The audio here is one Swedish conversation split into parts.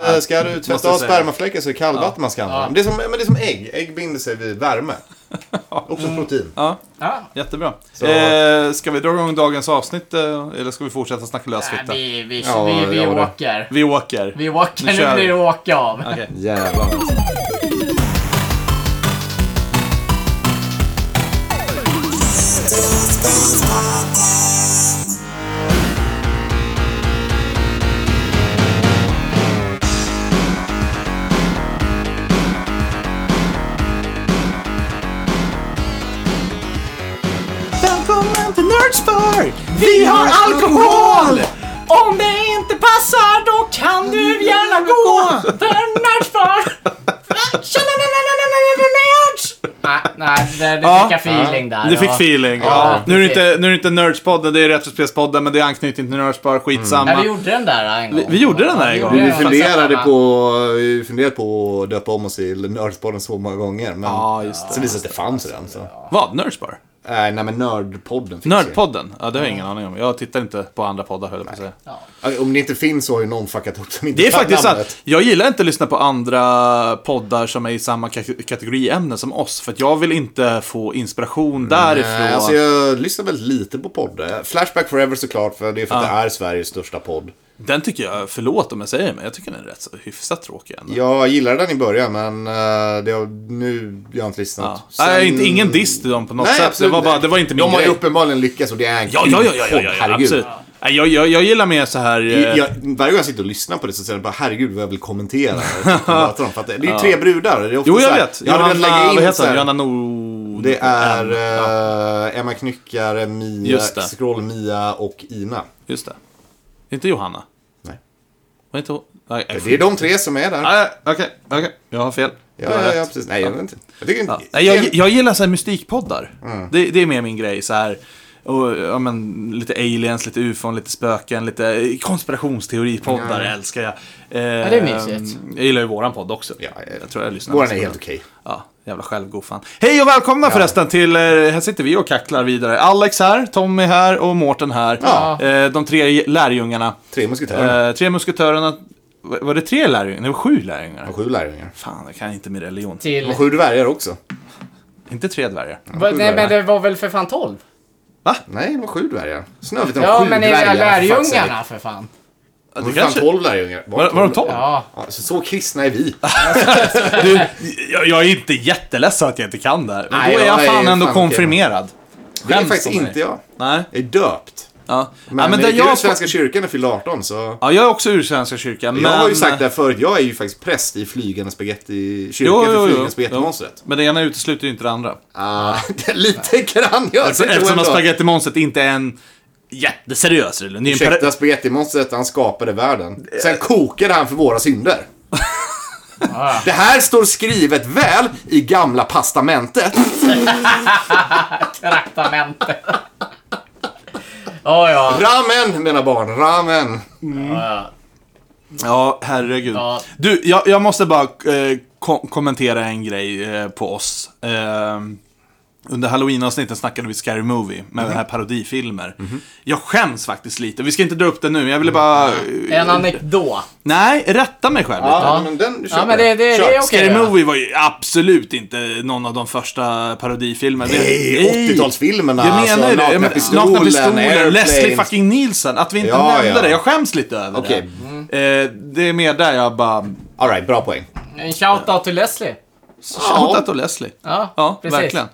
eh, ska du Måste tvätta av säga. spermafläcken så är det kallvatten man ska använda. Ja. Men Det, är som, men det är som ägg. Ägg binder sig vid värme. Också protein. Mm. Ja, Ja. jättebra. Så- Eh, ska vi dra igång dagens avsnitt eh, eller ska vi fortsätta snacka Nej, lösfitta? vi, vi, Ja, vi, vi gör det. åker. Vi åker. Vi åker, Nu nu, kör blir vi. det åka av. Okej. Jävlar alltså. Välkommen till Nördspark! Vi har alkohol! Om det inte passar då kan du gärna gå. För nördfar. Nej, nej, det, det Ja. fick jag feeling där. Du fick Ja. feeling. Ja, nu, är det precis. inte, nu är det inte Nördspodden, det är Retrospelspodden, men det är anknytning till Nördspark, skitsamma. Nej, vi gjorde den där en gång. Vi- vi gjorde den där Ja, en vi gång. gjorde Vi den. funderade på, vi funderade på att döpa om oss till Nördspodden så många gånger. Men Ja, just det. sen visade det sig att det fanns redan. Så. Vad? Nördspar? Nej, nej, men Nördpodden finns ju. Nördpodden? Ja, det har jag ingen aning om. Jag tittar inte på andra poddar, höll jag på att säga. Ja, Om det inte finns så har ju någon fuckat upp som inte Det är kan faktiskt namnet. sant. Jag gillar inte att lyssna på andra poddar som är i samma kate- kategoriämne som oss, för att jag vill inte få inspiration därifrån. Nej, alltså jag lyssnar väldigt lite på poddar. Flashback Forever såklart, för det är för att det är Sveriges största podd. Den tycker jag, förlåt om jag säger det, men jag tycker den är rätt så hyfsat tråkig ändå. Jag gillade den i början, men eh, det har, nu jag har inte lyssnat. Ja. Nej, inte, ingen diss till dem på något Nej, sätt. absolut. Det var, bara, det var inte min De har grej. ju uppenbarligen lyckats och det är en Ja, ja, ja, ja, ja, podd, ja, ja herregud. absolut. Nej, Jag, jag, jag gillar mer så här... eh, Jag, varje gång jag sitter och lyssnar på det så säger jag bara herregud vad jag vill kommentera. och möta dem, för att det det är ju tre brudar. Det är ofta jo, så jag här, vet. Jag hade Johanna, velat lägga in vad så heter här- hon? Johanna Nord... Det är N. Ja, eh, Emma Knyckare, Mia, Just det. Skroll, Mia och Ina. just det. Inte Johanna. Nej. Var inte hon? Nej, jag- Det är de tre som är där. Nej, Okej, okej. Jag har fel. Ja, Jag har ja, rätt. ja, precis. Nej, jag vet inte. Jag tycker inte... Ja. Nej, jag, jag gillar så här mystikpoddar. Mm. Det, det är mer min grej. Så här, och, ja, men, lite aliens, lite ufon, lite spöken, lite eh, konspirationsteoripoddar älskar jag. Eh, det är mysigt. Jag gillar ju våran podd också. Ja, eh, jag tror jag lyssnar Våran mest är på helt den. okej. Ja, jävla självgod fan. Hej och välkomna förresten till, eh, här sitter vi och kacklar vidare. Alex här, Tommy här och Mårten här. Ja. Eh, de tre lärjungarna. Tre musketörer. Eh, tre musketörerna. Var var det tre lärjungar? Det var sju lärjungar. Och sju lärjungar. Fan, jag kan inte min religion. Till... Och sju dvärgar också. Inte tre dvärgar. Va, Nej, men det var väl för fan 12? Nej, det var sju dvärgar. Snövit om Ja, sju men är dvärgar. det för fuck's sake. lärjungarna för fan? Det Ja, Det var fan kanske... tolv lärjungar. Var, var de tolv? Ah, Ja. Ja, så, så kristna är vi. Du, jag, jag är inte jätteledsen att jag inte kan det här. Men Nej, då är jag jag fan är ändå fan konfirmerad. Det är Skäms faktiskt om mig. inte jag. Nej. Jag är döpt. Ja. Men, ja, men det där är jag... jag... Svenska kyrkan är fylld 18, så... Ja, jag är också ur Svenska kyrkan, men... Jag har ju sagt det här förut, jag är ju faktiskt präst i flygande spagetti... Kyrkan Jo, för jo, flygande jo, jo. spagettimonstret. Men det ena utesluter ju inte det andra. Ah, det är lite grann gör Alltså, det eftersom ändå. att spagettimonstret inte är en jätteseriös religion. Det är en Ursäkta, per... spagettimonstret, han skapade världen. Sen kokade han för våra synder. Det här står skrivet väl i gamla pastamentet. Traktamente. Ja, ja. Ramen, mina barn, ramen. Ja, Ja, herregud. Ja. Du, jag, jag måste bara eh, ko- kommentera en grej eh, på oss. Ehm, under halloween-avsnittet snackade vi Scary Movie med den här parodifilmer. Jag skäms faktiskt lite. Vi ska inte dra upp det nu, jag ville bara... eh, ja. Mm. En anekdot. Nej, rätta mig själv lite. men den, kör Ja, men det, det, det är okej. Scary då. Movie var ju absolut inte någon av de första parodifilmerna. Nej, 80-talsfilmerna. Jag menar ju alltså, det. Nakna Jag menar, pistolen, Nakna pistolen, Airplane. Leslie fucking Nielsen. Att vi inte Ja, nämnde ja. det. Jag skäms lite över Okej. det. Eh, det är mer där jag bara... All right, bra poäng. En shoutout till Leslie. Shoutout och Leslie. Ja, precis. verkligen.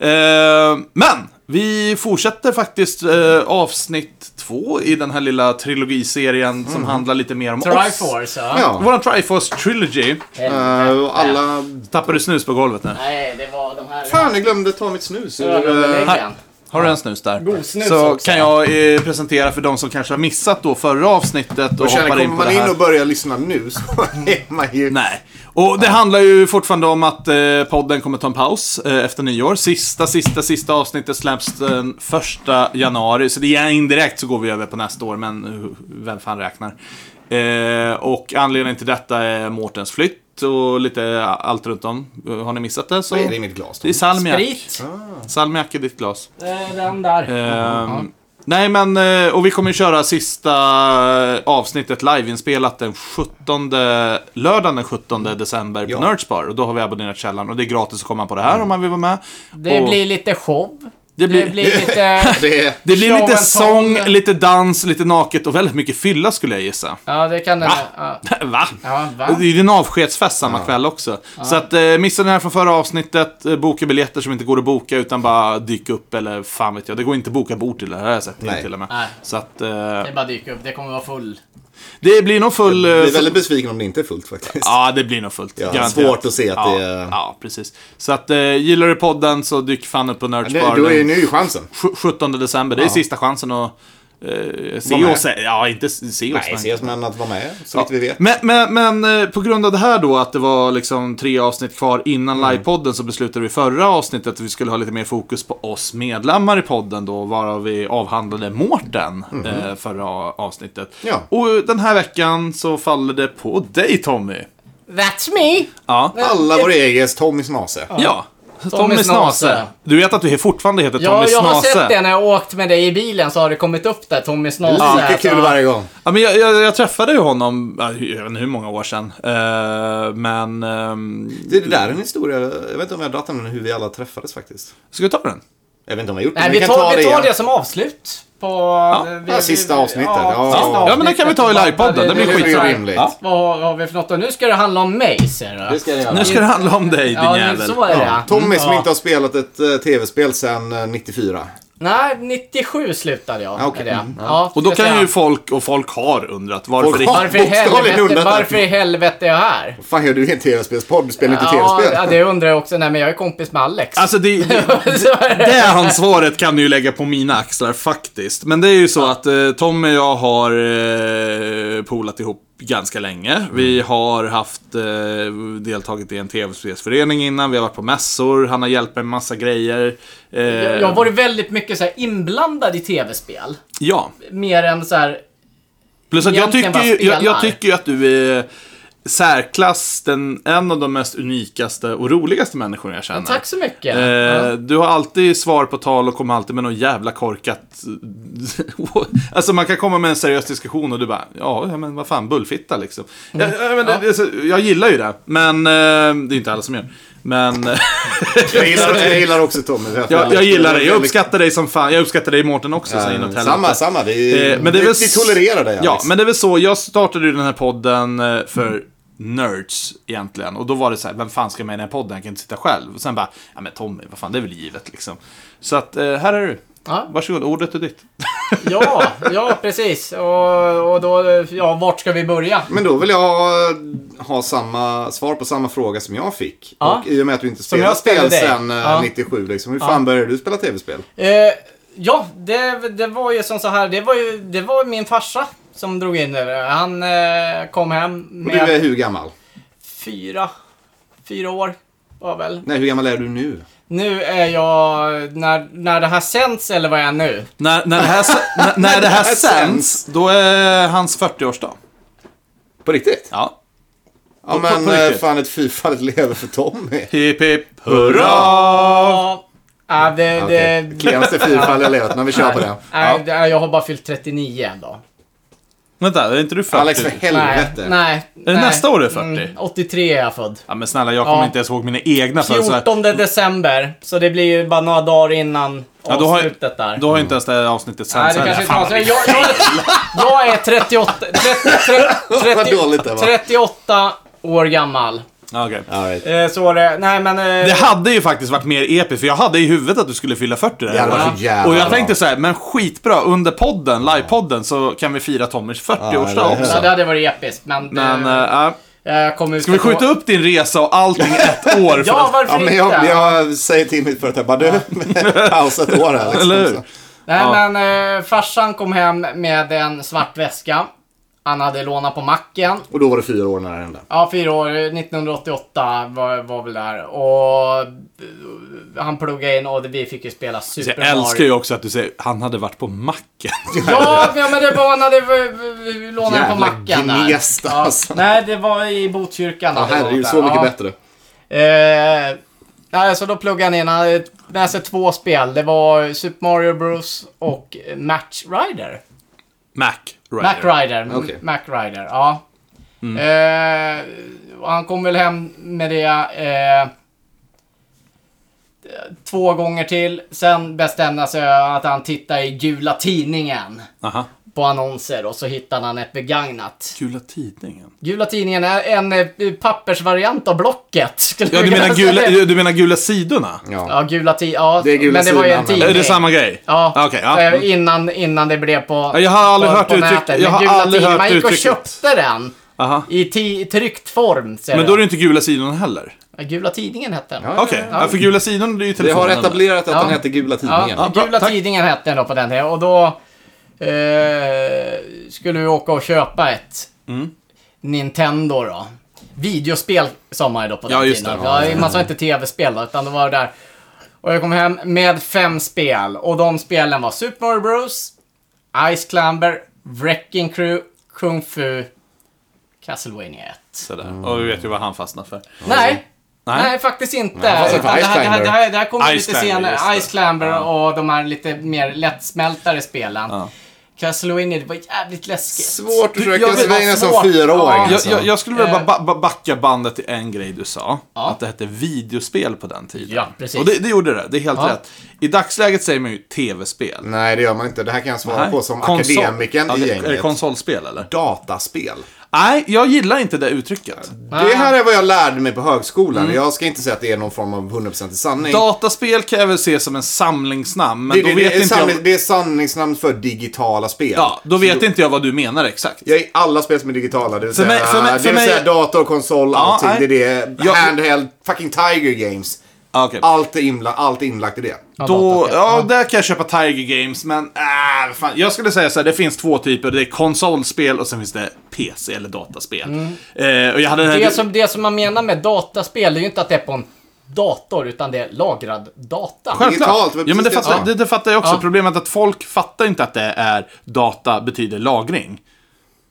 Eh, men, vi fortsätter faktiskt eh, avsnitt två i den här lilla trilogiserien som handlar lite mer om oss. Mm. Triforce, ja. Ja. Vår Triforce Trilogy. Eh, och alla... Tappar du snus på golvet nu? Nej, det var de här... Fan, jag glömde ta mitt snus ur... eh, Öronbeläggaren. Har du en snus där? God snus Så också. kan jag eh, presentera för de som kanske har missat då förra avsnittet och, Och känner, hoppar in kommer på det man här. in och börjar lyssna nu så är man ju... Nej. Och det handlar ju fortfarande om att eh, podden kommer ta en paus eh, efter nyår. Sista, sista, sista avsnittet släpps den första januari. Så det är indirekt så går vi över på nästa år, men eh, vem fan räknar? Eh, och anledningen till detta är Mårtens flytt och lite allt runt om. Eh, Har ni missat det så... Vad är det i mitt glas? då? Det är salmiak. Sprit. Salmiak i ditt glas. Eh, Den där. Ehm, Nej, men eh, och vi kommer ju köra sista eh, avsnittet liveinspelat den 17, lördagen den 17 december på Ja. Nerdspar. Och då har vi abonnerat källan och det är gratis att komma på det här om man vill vara med. Det och blir lite show. Det blir- det blir lite... Det är... det blir show lite and sång, tone. lite dans, lite naket och väldigt mycket fylla skulle jag gissa. Ja, det kan det... Ja, Va? ja va? Det är ju din avskedsfest samma kväll också. Så att eh, missa den här från förra avsnittet. Eh, boka biljetter som inte går att boka utan bara dyka upp eller fan vet jag. Det går inte att boka bord till det här har jag sett Nej. till och med. Nej. Så att eh, Det bara dyker upp. Det kommer vara full. det blir nog full... eh, Jag blir full- väldigt besviken om det inte är fullt faktiskt. Ja, det blir nog fullt. Ja, garanterat. svårt att se att ja, det är- Ja, precis. Så att eh, gillar du podden så dyk fan upp på Det, Nerdspar. då är den nu chansen. sj- 17 december. Det är sista chansen att eh, se med. oss. Ja, inte se oss. Nej, ses men att vara med, så vitt vi vet. Men, men, men eh, på grund av det här då, att det var liksom tre avsnitt kvar innan Mm. livepodden, så beslutade vi förra avsnittet att vi skulle ha lite mer fokus på oss medlemmar i podden då, varav vi avhandlade Mårten eh, förra avsnittet. Mhm. Ja. Och den här veckan så faller det på dig Tommy. That's me! Ja. Alla vår eges Tommy Snase. ja. Tommy, Tommy Snase. Snase. Du vet att du fortfarande heter Ja, Tommy jag har Snase? sett det när jag har åkt med dig i bilen så har det kommit upp där, Tommy Snase. Lika Så- kul varje gång. Ja, men jag, jag, jag träffade ju honom, ja, jag vet inte hur många år sedan. Eh, men... ehm, Det, det där är en historia, jag vet inte om jag har dragit den, men hur vi alla träffades faktiskt. ska vi ta den? Jag vet inte om jag har gjort det, Nej, men vi kan tar, vi tar igen. det som avslut. På... vi- Ja, sista vi- avsnittet. Ja, Ja. sista Ja, Ja, men det kan vi ta i avsnittet. livepodden. Det blir Det är skitbra. ju rimligt. Ja. Vad har- har vi för något då? Nu ska det handla om mig, ser du. Det ska jag göra. Nu ska det handla om dig, din Ja, men jävel. så är det. ja. Tommy som Ja. inte har spelat ett eh, tv-spel sedan eh, 94. Nej, 97 slutade jag. Ja, okej. med det. Mm, Ja, Och då det kan ska jag. ju folk, och folk har undrat varför Folk det- har- Varför i bokstavligen helvete, undrat det. varför i helvete är jag här? fan gör du i en tv-spelspodd? Du spelar inte Ja, tv-spel. ja, det undrar jag också. Nej, men jag är kompis med Alex. Alltså det, det, Så är det. det ansvaret kan du ju lägga på mina axlar faktiskt. Men det är ju så att eh, Tommy och jag har eh, polat ihop ganska länge. Mm. Vi har haft eh, deltagit i en tv-spelsförening innan, vi har varit på mässor, han har hjälpt mig med massa grejer. Eh, Jag jag har varit väldigt mycket så här inblandad i tv-spel. Ja. Mer än så här... Plus att jag Egentligen tycker, ju, bara jag, jag spelar. tycker ju att du är särklass den, en av de mest unikaste och roligaste människorna jag känner. Tack så mycket. Eh, Ja. Du har alltid svar på tal och kommer alltid med något jävla korkat... alltså man kan komma med en seriös diskussion och du bara, ja ja, men vad fan, bullfitta liksom. Mm. Jag, jag, men, det- alltså, jag gillar ju det, men eh, det är inte alla som gör. Men eh, Jag, gillar, jag gillar också Tommy. jag, jag gillar dig, jag uppskattar dig som fan. Jag uppskattar dig Mårten också, så inåt Eh, helvete. Samma, samma. Vi, Eh, men det är vi, väl... vi tolererar dig, Ja, Alex. men det är väl så. Jag startade ju den här podden eh, för nerds egentligen. Och då var det så här, vem fan ska med i den här podden? Jag kan inte sitta själv. Och sen bara, ja men Tommy, vad fan, det är väl givet liksom. Så att, eh, här är du. Ja. Varsågod, ordet är ditt. Ja, ja precis. Och, och då, ja, vart ska vi börja? Men då vill jag ha samma svar på samma fråga som jag fick. Ja. Och i och med att du inte jag spelar ställde spel dig. sedan eh, Ja. 97, liksom, hur fan började du spela tv-spel? Eh, ja, det, det var ju som så här, det var ju det var min farsa som drog in det. Han eh, kom hem Och du är med hur gammal? fyra, fyra år var väl. Nej, hur gammal är du nu? Nu är jag, när, när det här sänds eller vad är jag nu? När, när det här, s- när, när det här sänds, då är hans 40-årsdag. På riktigt? Ja. Ja, på- men på riktigt. eh, fan ett fyrfaldigt lever för Tommy. Hipp hipp hurra! Ja, äh, det, Okej, det, det Klenaste fyrfall jag levat, men vi kör på det. äh, det- jag har bara fyllt 39 ändå. Vänta, är inte du 40? Alex, för Nej, helvete. nej. det nej. nästa år du är 40? 83 är jag född. Ja men snälla, jag kommer Ja. inte ens ihåg mina egna födelsedagar. 14 december, så det blir ju bara några dagar innan då har- avslutet där. Då har ju inte ens det här avsnittet Nej, sänts det kanske heller. inte Fan, var så. Jag, jag, jag är 38, 30, 30, Vad dåligt det var. 38 år gammal. vad- Okej. All right. Eh, så var det, nej men... eh, Det hade ju faktiskt varit mer episkt, för jag hade i huvudet att du skulle fylla 40 där. Det hade varit så jävla Och jag bra. tänkte så här, men skitbra, under podden, livepodden, så kan vi fira Tommys 40-årsdag Ja, eller också. ja, det hade varit episkt, men... Men, eh, eh, äh, jag kommer ska vi skjuta upp din resa och allting ett år? För Ja, att, varför Ja, men inte? jag, jag säger till mitt företag, bara du, pausa ett år här. Liksom. eller hur? Eller Nej, Ja. men eh, farsan kom hem med en svart väska. Han hade lånat på macken. Och då var det fyra år när det hände. Ja, fyra år. 1988 var, var väl där. Och eh, han pluggade in och vi fick ju spela Super jag älskar ju också att du säger, han hade varit på macken. Ja, ja, men det var när det var- vi- vi lånade på Jävla macken gnest, alltså. Nej, det var i Botkyrka. när Ja, det var herregud, där. så mycket Ja. bättre. Eh, Nej, så då pluggade han in. Han hade med sig två spel. Det var Super Mario Bros och Match Rider. Mac Rider. Mm. Mac Rider. M- Okej. Mac Rider, ja. Eh, och han kom väl hem med det eh, två gånger till. Sen bestämde han sig att han tittade i Gula Tidningen Aha. på annonser och så hittade han ett begagnat. Gula tidningen. Gula Tidningen är en eh, pappersvariant av Blocket. skulle Ja, jag du menar vilja gula, säga. du menar gula sidorna? Ja. Ja, gula ti- ja, Det är Gula men det var ju en Sidan, tidning. men- Är det samma grej? Ja, Ah, okej, ja. eh, Mm. innan, innan det blev på Ja, jag har aldrig på, hört på uttryck- nätet. jag Men har Gula aldrig Tidningen, hört Man gick och uttrycket. köpte den Aha. i, ti- i tryckt form. ser Men du. då är det inte gula sidorna heller? Ja, Gula Tidningen hette den. Ja. Okej, ja. för gula sidorna det är ju Vi har telefonen. etablerat att Ja. den heter Gula Ja, Tidningen. bra, Gula tack. Tidningen hette den då på den tiden. Och då eh, skulle vi åka och köpa ett Mm. Nintendo då. Videospel sa man ju då på den Ja, just tiden. det. Ja, man sa inte tv-spel då, utan det var det där. Och jag kom hem med fem spel. Och de spelen var Super Mario Bros, Ice Climber, Wrecking Crew, Kung Fu, Castlevania 1. Sådär. Mm. Och vi vet ju vad han fastnar för. Nej. Nej. Nej. faktiskt inte. Nej, alltså, Utan det, här, det, här, det, här, det här kommer Ice lite Climber, just senare. det. Ice Climber och de här lite mer lättsmältare spelen. Ja. Castlevania, det var jävligt läskigt. Svårt att jag försöka vet- svänga som svårt. fyraåring. Ja. Jag, Alltså. jag, jag skulle vilja bara ba- ba- backa bandet till en grej du sa. Eh. Ja. Att det hette videospel på den tiden. Ja, precis. Och det, det gjorde det, det är helt Ja. rätt. I dagsläget säger man ju tv-spel. Nej, det gör man inte. Det här kan Mm. jag svara Nej. på som Konsol- akademikern Ja, i det- Är det gänget. konsolspel eller? Dataspel. Nej, jag gillar inte det uttrycket. Ah, Det här är vad jag lärde mig på högskolan. Mm. Jag ska inte säga att det är någon form av 100% sanning. Dataspel kan jag väl se som en samlingsnamn, men det, då det, vet det, är inte sanning, jag... det är sanningsnamn för digitala spel. Ja, då vet inte jag vad du menar exakt. Jag är alla spel som är digitala. Det vill För säga, mig- för mig- det för vill mig- säga dator, konsol, allting. nej. Det är det. Jag- Handheld, fucking Tiger Games. Ah, okej. Allt är, inla, allt är inlagt i det. Då, dataspel. ja, där kan jag köpa Tiger Games, men äh, fan. jag skulle säga så här, det finns två typer. Det är konsolspel och sen finns det PC eller dataspel. Mm. Eh, och jag hade den här... Det alltså som, det som man menar med dataspel, det är ju inte att det är på en dator, utan det är lagrad data. Digitalt, Självklart. men Ja, men det, precis, fattar, ja. det, det fattar jag också. Ja. Problemet är att folk fattar inte att det är data betyder lagring.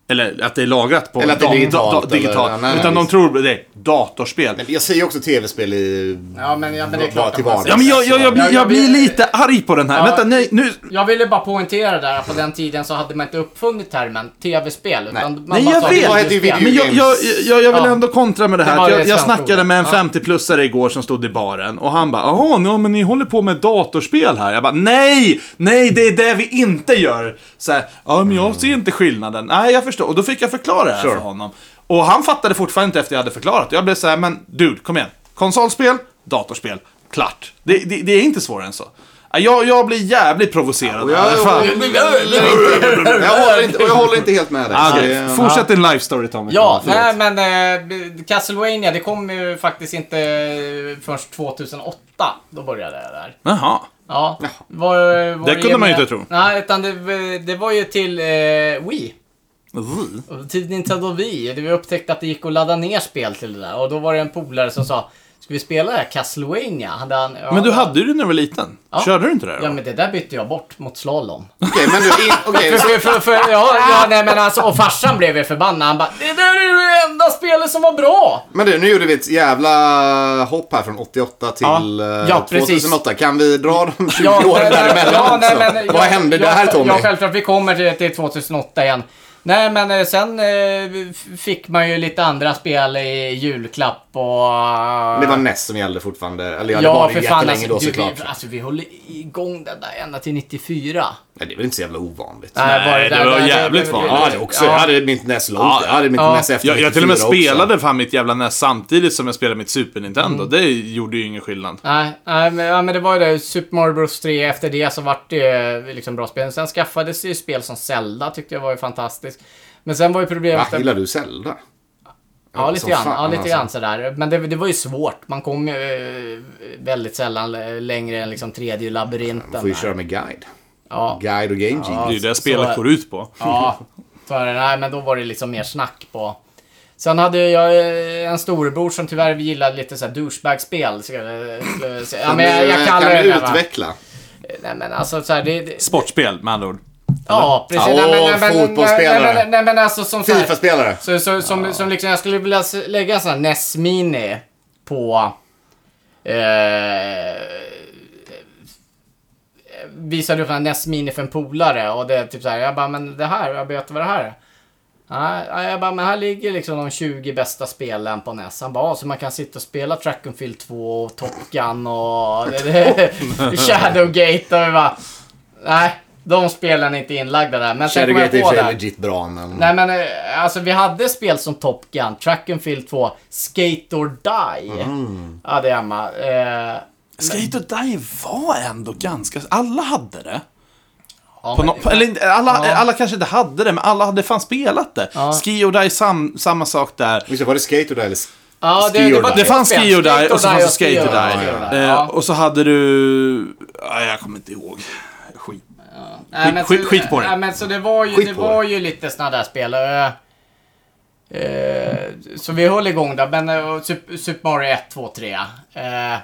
Eller att det är lagrat på Eller att det är dat- digitalt, da- digitalt. eller- nej, nej, Utan de visst. tror det är datorspel. Men Jag säger också tv-spel i... Ja, men- ja, men det är va- klart till att man vardags. Ja, men jag, jag, jag, blir, Ja, jag jag blir vet- lite arg på den här. Ja. Vänta, nej, nu... Jag ville bara poängtera där att på den tiden så hade man inte uppfunnit termen tv-spel. Utan man Nej, bara jag sa vet. Det heter ju videospel. Men jag, jag, jag, jag vill Ja. ändå kontra med det här. Det var att det jag, jag svenska snackade ordet. med en Ja. 50-plussare igår som stod i baren och han bara ”Jaha, ja, men ni håller på med datorspel här?” Jag bara ”Nej! Nej, det är det vi inte gör!” Så här, ”Ja, men jag ser inte skillnaden.” Nej, jag förstår. Och då fick jag förklara det här Sure. för honom. Och han fattade fortfarande inte efter jag hade förklarat. Jag blev så här ”Men dude, kom igen. Konsolspel, datorspel, klart. Det, det, det är inte svårare än så.” Jag, jag blir jävligt provocerad. Och jag, Fan. jag, håller inte, och jag håller inte helt med dig. Ah, Så okej. det är- Fortsätt din life story Tommy. Ja, Förlåt. nej men eh, Castlevania det kom ju faktiskt inte eh, först 2008. Då började det där. Jaha. Ja. Var, var Det kunde man ju med- inte tro. Nej, utan det, det var ju till eh, Wii. Vi. Och Till Nintendo Wii. Det vi upptäckte att det gick att ladda ner spel till det där. Och då var det en polare som sa Ska vi spela det här Castlevania? Hade han, ja, Men du hade ju det när du var liten. Ja. Körde du inte det då? Ja men det där bytte jag bort mot slalom. Okej, men du... In, okej, för, för, för, ja, ja, nej men alltså, och farsan blev ju förbannad. Han bara Det där är ju det enda spelet som var bra! Men du, nu gjorde vi ett jävla hopp här från 88 till Ja. eh, Ja, precis. 2008. Kan vi dra de 20 nej, åren nej, däremellan ja, nej, också? men jag- Vad hände jag, där Tommy? Ja, självklart. Vi kommer till, till 2008 igen. Nej, men eh, sen eh, f- fick man ju lite andra spel i julklapp och... det var NES som gällde fortfarande. Eller ja, det Ja, var det för ju fan. jättelänge Alltså, då du, vi, såklart. alltså, vi höll igång den där ända till 94. Nej, det är väl inte så jävla ovanligt. Nej, det var jävligt vanligt. Jag hade också, jag hade mitt NES långt. Ja. Jag hade mitt Ja. NES efter Jag, jag till och med 94 också. spelade fan mitt jävla NES samtidigt som jag spelade mitt Super Nintendo. Mm. Det gjorde ju ingen skillnad. Nej, nej men, ja, men det var ju det. Super Mario Bros 3 efter det så vart det eh, liksom bra spel. Sen skaffades det ju spel som Zelda tyckte jag var ju fantastiskt. Men sen var ju Va, problemet... att- gillar du Zelda? Ja, lite som grann. fan, ja, lite alltså. grann sådär. Men det, det var ju svårt. Man kom ju eh, väldigt sällan l- längre än liksom tredje labyrinten. Man får ju där. köra med guide. Ja. Guide och game Det är genie. ju det spelet så- går ut på. ja. För, nej, men då var det liksom mer snack på... Sen hade jag eh, en storebror som tyvärr gillade lite såhär douchebag-spel. Så, eh, skulle jag säga. ja, men jag, jag kallar eh, kan det du det. va? utveckla? Nej, men alltså såhär, det, det, Sportspel med andra ord. Ja, precis. Ja, Nej, men- åh, nej, men- nej, fotbollsspelare. nej, Nej, nej, men alltså som så här- Fifa-spelare. Så, så, som, som liksom, jag skulle vilja s- lägga en sån här NES Mini på Eh, visade upp en NES Mini för en polare och det är typ så här, jag bara, men det här, jag vet vad det här är. Nej, nej, jag bara, men här ligger liksom de 20 bästa spelen på NES. Han bara, "Ah, så man kan sitta och spela Track and Field 2 och Top Gun och Shadowgate och vi bara, nej, de spelen är inte inlagda där. Men sen kom jag Shadowgate är i och på för sig det. legit bra, men... Nej men eh, alltså vi hade spel som Top Gun, Track and Field 2, Skate or Die. Mm. Ja det är Emma. Eh, Skate och Die var ändå ganska... Alla hade det. ja, På men- nå- på- eller, inte- alla, Ja. alla kanske inte hade det, men alla hade fan spelat det. Ja. Ski och Die, sam, samma sak där. Visst, var det Skate och eller ja, Ski or var Die. Det tre fanns spel. Ski och Die och så fanns det Skate och Die. Ja, Die. ja, ja. Eh, Ja. Och så hade du... Ah, jag kommer inte ihåg. Skit. Nej, men skit- så- skit på det. Nej, men så det var ju, Skit det på det. var ju lite sådana där spel. Eh, eh, så vi höll igång där. Men eh, Sup- Super Mario 1, 2, 3. Eh, eh,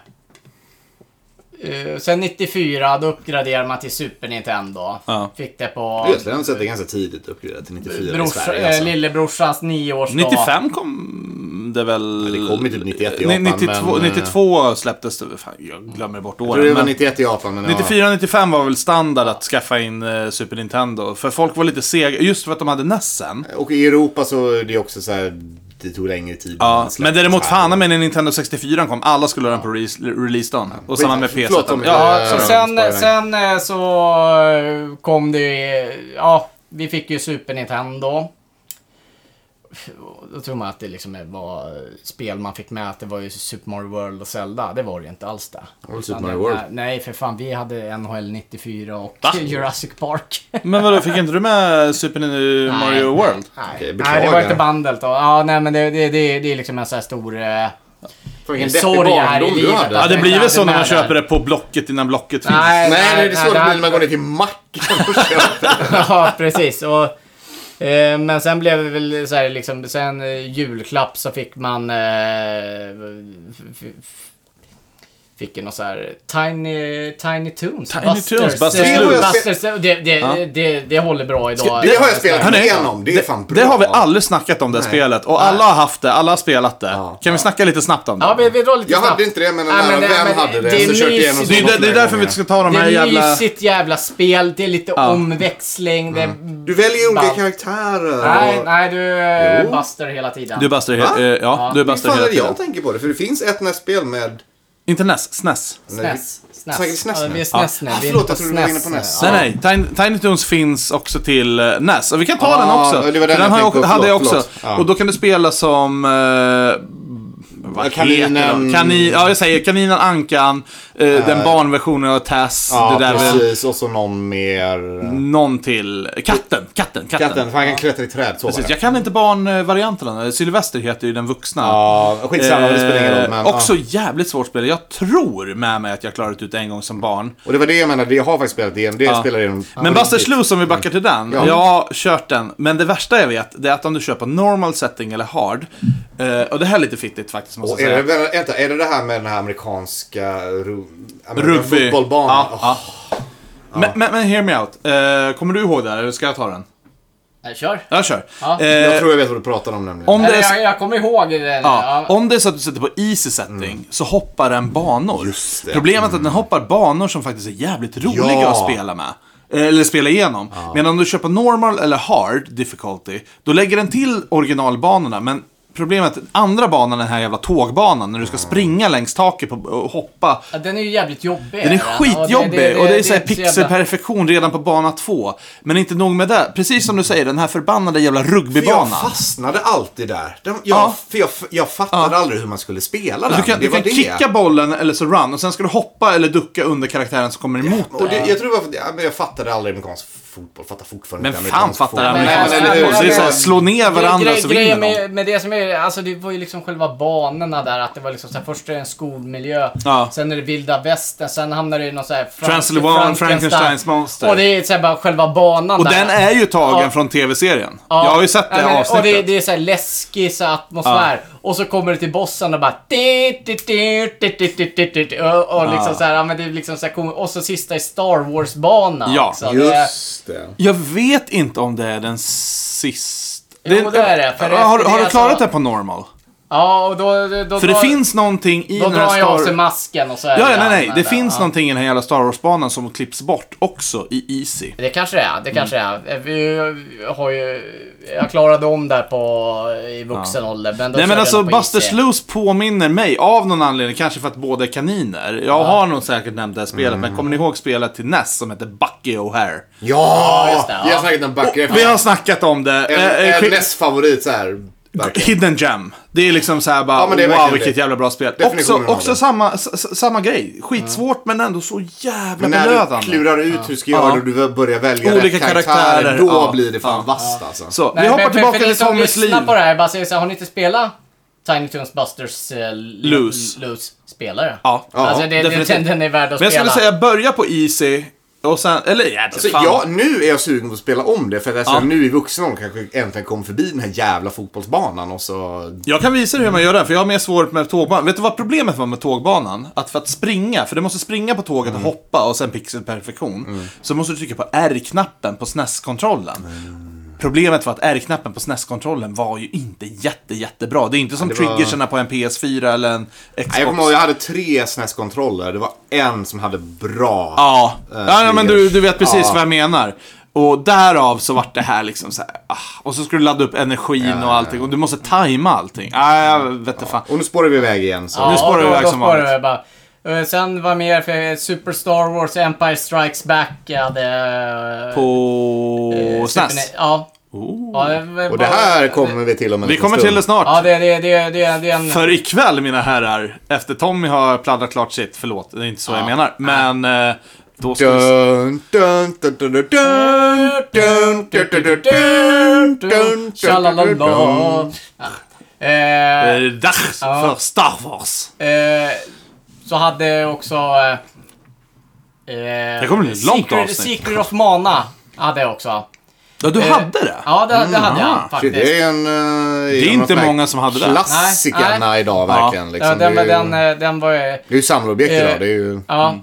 sen 94, då uppgraderade man till Super Nintendo. Ja. Fick det på... Egentligen har de sett det ganska tidigt uppgraderat till 94 i Brors, Sverige. Alltså. eh, lillebrorsans nioårsdag. 95 kom det väl... Ja, det kom ju typ 91 i Ni- Japan, 92, men, eh, 92 släpptes det. Fan, jag glömmer bort Jag tror det åren. var Men 91 i Japan, men 94. 94-95 var väl standard att skaffa in eh, Super Nintendo. För folk var lite sega, just för att de hade E Nessen. Ja. Och i Europa så är det också så här, det tog längre tid. Ja, men däremot fan med när Nintendo 64 kom, alla skulle ha den på re- release-dagen. Och samma med Skit- PS. förlåt om jag- ja, Ja, så Ja, sen, Spider-Man. sen eh, så eh, kom det ju, eh, ja, vi fick ju Super Nintendo. Då tror man att det liksom var spel man fick med, att det var ju Super Mario World och Zelda. Det var det ju inte alls det. var väl Super Utan Mario det- World? Nej, för fan, vi hade NHL 94 och Va? Jurassic Park. Men vadå, fick inte du med Super Nintendo Mario nej, World? Nej, Okej, nej. beklagar. nej det var inte bandet då. Ja, nej men det, det, det, det är liksom en sån här stor... eh, Vilken Sorg deppig här i barndom du livet, hade. Ja, alltså. det blir väl så när man Nej, köper det på Blocket innan Blocket finns. Nej, nej, det är nej, så det det blir här- när man går ner till macken och köper. Ja, precis. Och, eh, men sen blev det väl så här liksom, sen eh, julklapp så fick man... Eh, f- f- fick ju någon så här Tiny, Tiny Toons. Tiny Toons, Busters eh, Loot. Busters, eh, det, det, det, det, håller bra idag. Det har jag spelat Hörni, igenom. Det är fan bra. Det har vi aldrig snackat om det spelet. Och alla har haft det, alla har spelat det. Kan vi snacka lite snabbt om det? Ja, vi, vi drar lite Jag snabbt. hade inte det, men en Nej, nära men det- vän men hade det. det är så körde jag igenom mysigt. det, är, så det är många därför vi gånger. ska ta de Det här är jävla... mysigt jävla spel. Det är lite omväxling. Det Mm. är... Du väljer olika Band. karaktärer. Nej, och- nej, du eh, Jo. Buster hela tiden. Du bastar Va? helt... eh, Ja, du Hur bastar fan är hela det jag tiden. tänker på det? För det finns ett nästspel med... Inte NES, SNES. Snäs. Snäs. Säkert snäs Ja, nu. vi är snäs Ja. nu. Ah, Vi är förlåt, inte jag trodde du var inne snäs på nu. näs. Ja. Nej, nej. Tiny, Tiny Toons finns också till eh, NES. Och vi kan ta Ja, den också. det var den För jag har tänkte på. hade jag Förlåt, också. förlåt. Ja. Och då kan du spela som... Eh, vad Kaninen. heter de? Kanin, ja, jag säger kaninen, ankan, eh, den barnversionen av Tess. Ja, det där väl, precis. Och så någon mer... någon till. Katten, katten, katten. Katten, för han kan klättra i träd. Så var Precis, det. jag kan inte barnvarianterna. Sylvester heter ju den vuxna. Ja, skitsamma, det spelar ingen roll. Men, Eh, också ja. jävligt svårt spel. Jag tror med mig att jag klarat ut det en gång som barn. Och det var det jag menade, jag har faktiskt spelat det. Det Ja. spelar igenom. Men Buster Sluice, om vi backar till den. Ja. Jag har kört den. Men det värsta jag vet, det är att om du kör på normal setting eller hard. eh, och det här är lite fittigt faktiskt, måste jag Och är, det, säga. väl- vänta, är det det här med den här amerikanska ru, amerikanska Rugby. fotbollbanan? Ja, Åh, ja. Men, men, men hear me out. Eh, kommer du ihåg det här, eller ska jag ta den? Nej, Kör. Jag kör. Ja. Eh, Jag tror jag vet vad du pratar om nämligen. om det Eller, är så- jag, jag kommer ihåg det. där. Ja, Ja. om det är så att du sätter på easy setting så hoppar den banor. Just det. Problemet är att den hoppar banor som faktiskt är jävligt roliga Ja. att spela med. Eh, Eller spela igenom. Medan om du kör på normal eller hard difficulty, då lägger den till originalbanorna. Men problemet är att andra banan, den här jävla tågbanan, när du ska springa längs taket på, och hoppa. Ja, Den är ju jävligt jobbig. Den är Ja, skitjobbig och det är så här inte jävla- pixelperfektion redan på bana två. Men inte nog med det. Precis som du säger, den här förbannade jävla För jag rugbybanan. fastnade alltid där. De, jag, Ja. För jag, jag fattade aldrig hur man skulle spela den. Du kan, det du kan var det. kicka bollen eller så run och sen ska du hoppa eller ducka under karaktären som kommer emot Och dig. det, jag tror det var för att- ja, men jag fattade aldrig amerikansk fotboll. Fattar fortfarande Men inte fan fattar fotboll. han Men med alltså, eller men- hur? Så Det är men- såhär, slå ner varandra Grej- så grejen vinner de. med, med det som är, alltså det var ju liksom själva banorna där. Att det var liksom så här, först är det en skolmiljö. Ja. Sen är det vilda västern. Sen hamnar det i någon så här Frank- Transylvan, Frankensteins monster. Och det är så här, bara själva banan Och där. den är ju tagen Ja. från tv-serien. Ja. Jag har ju sett Ja, det men- Och det, avsnittet. det är så här läskig så här atmosfär. Och så kommer du till bossen och bara... dit, dit, dit, dit, dit, dit, dit, dit, Och, och liksom så här, ja, men det är liksom så här kom- Och så sista i Star Wars-bana Ja, också. Det är- Just det. Jag vet inte om det är den sista... Jo, det är det, för det- har, det är har du klarat alltså- det på normal? Ja, och då... då, då För det drar- finns någonting i Då den här drar Star... jag av sig masken och så är Ja, det ja, nej, nej. använda. Det finns Ja. någonting i den här jävla Star Wars-banan som klipps bort också i Easy. Det kanske det är. Det kanske Mm. det är. Vi har ju... Jag klarade om där på... I vuxen ålder. Men då Nej men körde alltså jag på Buster IC. Sluice påminner mig av någon anledning, kanske för att båda är kaniner. Jag har nog säkert nämnt det här spelet, Mm. men kommer ni ihåg spelet till NES som heter Bucky O'Hare? Ja! just det, Vi ja. har snackat om Bucky. Vi har snackat om det. En, Eh, eh, en skick- NES-favorit så här. verkligen. Hidden Gem. Det är liksom så här bara, Ja, men det är wow verkligen vilket det. jävla bra spel. Också, Definitionen av också det. samma, s- s- samma grej. Skitsvårt men ändå så jävla Men när du belönande. klurar ut hur du ska göra Ja. det och du börjar välja Olika rätt karaktärer, karaktärer, då ja. blir det fan Ja. vasst alltså. Så, Nej, vi men- hoppar men tillbaka för ni till som Tommys liv. lyssnar på det här, jag bara säger så här, har ni inte spelat Tiny Toons Busters eh, Loose. loose spelare? Ja, ja, alltså det, det, definitivt. den, den är värd att Men jag spela. skulle säga börja på Easy och sen, eller jävlar Så fan. Alltså, jag, nu är jag sugen på att spela om det för att alltså, Ja. nu i vuxen ålder kanske jag äntligen kom förbi den här jävla fotbollsbanan och så... Jag kan visa dig hur man gör den, för jag har mer svårt med tågbanan. Vet du vad problemet var med tågbanan? Att för att springa, för du måste springa på tåget och Mm. hoppa och sen pixelperfektion, så måste du trycka på R-knappen på SNES-kontrollen. Problemet var att R-knappen på SNES-kontrollen var ju inte jätte, jättebra. Det är inte som det var- triggerserna på en PS4 eller en Xbox. Nej, jag kommer ihåg, jag hade tre SNES-kontroller. Det var en som hade bra... Ja, ja nej, men du, du vet precis Äh, Ja. vad jag menar. Och därav så vart det här liksom så här, ah. Och så ska du ladda upp energin och allting. Och du måste tajma allting. Nej, jag vet inte fan. Och nu spårar vi iväg igen. Så. ja, nu spårar och vi då- iväg då som spårar vanligt. vi bara. Eh, Sen var mer för Super Star Wars Empire Strikes Back jag hade... eh, På Super SNES. Ne- Ja. Oh. ja det, Och det här kommer vi till om en Vi liten kommer till stund. det snart. Ja, det, det, det, det, det är en... För ikväll, mina herrar, efter Tommy har pladdrat klart sitt, förlåt, det är inte så jag menar, men eh, då ska vi... Dun, dun, dun, dun, dun, dun, dun, dun, dun, dun, dun, dun, dun, dun, dun. Tjalalala. Ja. Eh, Eh, dags Ja. för Star Wars! Eh, så hade också... Eh, det kommer bli ett långt Secret, avsnitt. Secret of Mana hade jag också. Ja, du Eh, hade det? Mm, Ja, det, det hade aha. jag Shit, faktiskt. Det är en... eh, en av inte de här många som hade det. Klassikerna Nej, nej. idag verkligen. Liksom, ja, den, det, är var- ju, den, eh, den var ju... det är ju samlarobjekt eh, idag. Det är ju... Ja. Mm.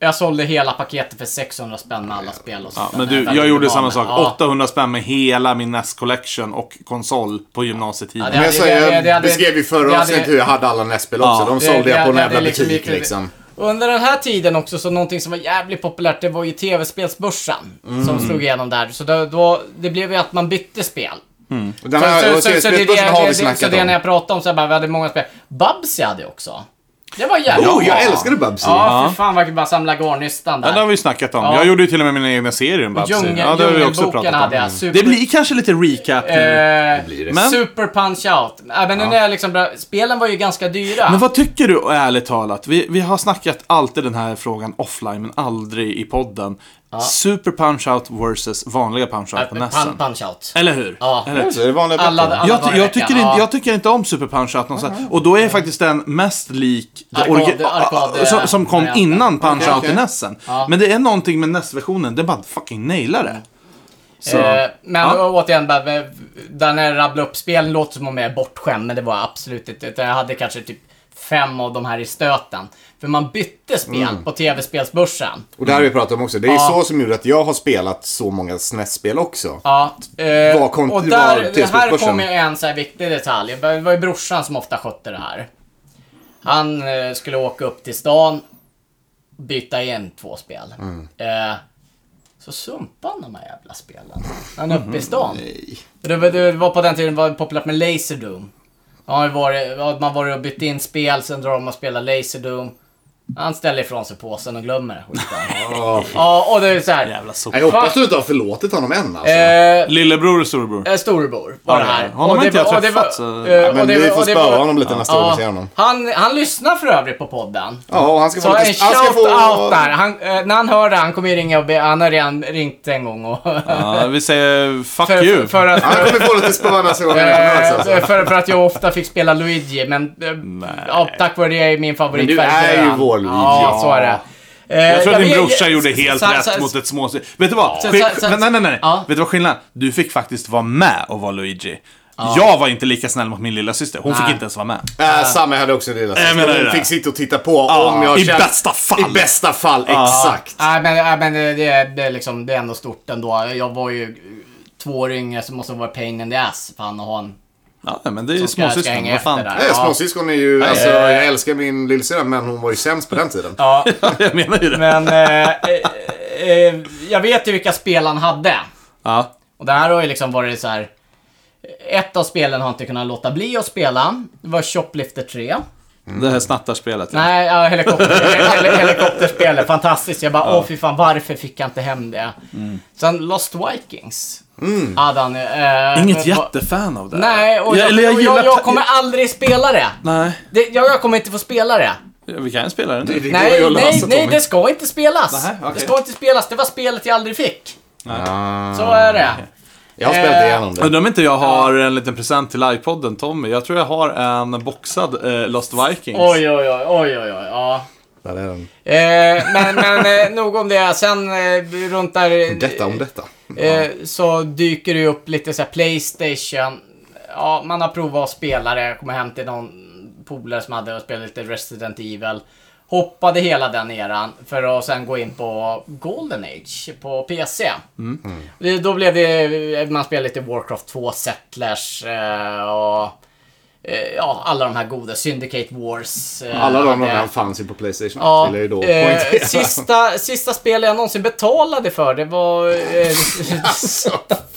Jag sålde hela paketet för 600 spänn med alla spel och Ja, sånt. men Den du, är jag gjorde väldigt samma bra, sak. men- ja. 800 spänn med hela min NES Collection och konsol på Ja, gymnasietiden. det- Men jag, det- säger, det- jag det hade- beskrev ju det förra hade- avsnittet hur jag hade alla nässpel Ja. också. De Det- sålde det- jag på en det- jävla det liksom butik gick- liksom. Under den här tiden också så någonting som var jävligt populärt det var ju tv-spelsbörsen. Mm. Som slog igenom där. Så då, då, det blev ju att man bytte spel. Den Så- så- här så- så det- OCS-börsen det- har det- vi Så snackat det när om. jag pratade om så jag bara, vi hade många spel. Bubsy hade jag också. Det var jävligt Oh, jag bra. älskade Bubsy. Ja, fy fan vad jag bara samla garnnystan Ja, det har där. vi ju snackat om. Ja. Jag gjorde ju till och med mina egna serier om Babsi. Djungel- Ja, det har vi också Djungelboken pratat om. hade jag. Super, Det blir kanske lite recap nu. eh, blir det. Men- Super Punch Out. Äh, men nu när jag liksom, började- spelen var ju ganska dyra. Men vad tycker du, ärligt talat? Vi, vi har snackat alltid den här frågan offline, men aldrig i podden. Super Punch-Out versus vanliga Punch-Out på Äh, Nessen. Pun, punch Out. Eller hur? Ja. Eller? Så det är vanliga Alla- böcker. alla Jag, dagar ty- i jag, veckan, tycker inte, ja. jag tycker inte om Super Punch-Out någonstans. Och då är faktiskt den mest lik det Arkad- origi- arkad- eh, som, som kom varianten. innan Punch-Out okej. i Nessen. Ja. Men det är någonting med NES-versionen, den bara fucking nailar det. Så. Eh, men Ja. å- återigen, bara, eh, där när jag rabblade upp spelen låter som om jag är bortskämd, men det var jag absolut inte. Utan jag hade kanske typ fem av de här i stöten. För man bytte spel Mm. på tv-spelsbörsen. Och det här har vi pratat om också. Det är så som gjorde att jag har spelat så många SNES-spel också. Ja, eh, Vad kom- och vad där, det här tillskottsbörsen? kommer ju en så här viktig detalj. Det var ju brorsan som ofta skötte det här. Han eh, skulle åka upp till stan, byta in två spel. Eh, så sumpade han de här jävla spelen. Han är uppe i stan. Det, var- det var på den tiden det var populärt med Laserdoom. Man har ju varit, man har varit och bytt in spel, sen drar de och spelar Laserdoom. Han ställer ifrån sig påsen och glömmer det. skiten. Åh. Ja, och det är så här. Jävla sopa. Jag hoppas du inte har förlåtit honom än alltså. Eh, Lillebror eller storebror? Eh, Storebror var Ja, det här. ja. Honom har inte jag och det var- träffat, så- eh, Nej, och men det vi var- får och det spöa var- honom lite nästa gång vi ser honom. Han, han lyssnar för övrigt på podden. Ja, och han ska Så få en lite... han ska shout-out få- där. Han, eh, när han hör det, han kommer ju ringa och be, han har redan ringt en gång och... Ja, vi säger fuck för, you. för, att, Han kommer få lite spö nästa gång vi eh, träffas, alltså. för, för att jag ofta fick spela Luigi, men eh, ja, tack vare det är min favorit. Men du är ju verkligen. vår Luigi. Ja, så är det. Eh, Jag tror att din vet- brorsa gjorde helt så- så- rätt så- mot ett småsyskon. Vet du vad? Så- Skill- så- så- men nej, nej, nej. Ja. Vet du vad skillnaden Du fick faktiskt vara med och vara Luigi. Jag var inte lika snäll mot min lilla syster. Hon fick Nej. inte ens vara med. Äh, Samma hade också en lilla Jag menar syster. det. Hon fick sitta och titta på om jag I känt- bästa fall. I bästa fall, exakt. Nej, men, nej, men det, det, är- det, är liksom, det är ändå stort ändå. Jag var ju två år yngre så måste det vara pain in the ass. Fan, att ha en Ja, men det är Som ska- ska småsyskon. hänga Vad fan. efter där. Nej, Ja. Småsyskon är ju, alltså jag älskar min lillsyrra men hon var ju sämst på den tiden. Ja, Ja, jag menar ju det. men eh, eh, eh, jag vet ju vilka spel han hade. Ja. Och det här har ju liksom varit så här. Ett av spelen har jag inte kunnat låta bli att spela. Det var Shoplifter 3. Det här snattarspelet. ja. Nej, ja, helikopter, hel- helikopterspelet. Fantastiskt. Jag bara, åh fy fan, varför fick jag inte hem det? Sen Lost Vikings. Hade han, eh, Inget men- jättefan av det. Nej, och Ja, jag, eller jag och gillar- jag, jag kommer aldrig spela det. Nej, det jag, jag kommer inte få spela det. Ja, vi kan spela den Det nu. går ju Nej, att nej, lösa, nej, Tommy. det ska inte spelas. Nähä, okej. Det ska inte spelas. Det var spelet jag aldrig fick. Ah. Så är det. Jag har spelat Eh, igenom det. Undrar om inte jag har en liten present till iPodden, Tommy. Jag tror jag har en boxad eh, Lost Vikings. Oj, oj, oj, oj, oj, oj. Ja. Där är den. Eh, men men eh, nog om det. Sen eh, runt där... Detta om detta. Eh, så dyker det ju upp lite så här Playstation. Ja, man har provat att spela det. Jag kommer hem till någon polare som hade spelat lite Resident Evil. Hoppade hela den eran för att sen gå in på Golden Age på PC. Mm. Det- Då blev det, man spelade lite Warcraft 2, Settlers eh, och eh, ja, alla de här goda, Syndicate Wars. eh, Alla de hade- namnen fanns ju på Playstation 1 Ja, vill jag ju då eh, poängtera. sista, sista spel jag någonsin betalade för, det var... Alltså. Eh,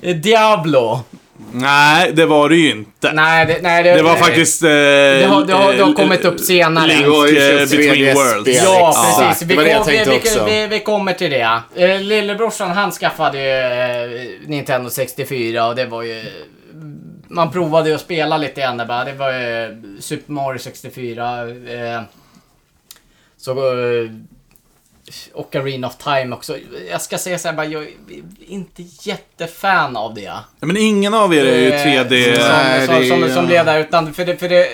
Diablo. Nej, det var det ju inte. Nej, det, nej, det, Det var faktiskt... Eh, det, har- det har- det har kommit upp senare. Link Det var ju eh, köpt between 3DS worlds. spel. liksom. Ja, Exakt. precis. Vi, Det var det jag kom, vi, tänkte vi, också. vi, vi kommer till det. Eh, Lillebrorsan, han skaffade ju eh, Nintendo 64 och det var ju... Man provade ju att spela lite grann där bara. Det var ju Super Mario 64. Eh, så... Eh, Ocarina of Time också. Jag ska säga så här bara, jag är inte jättefan av det. Men ingen av er är ju Eh, 3D... så- Nej, Som, som, det som, är- som ledare. Utan för det, för det,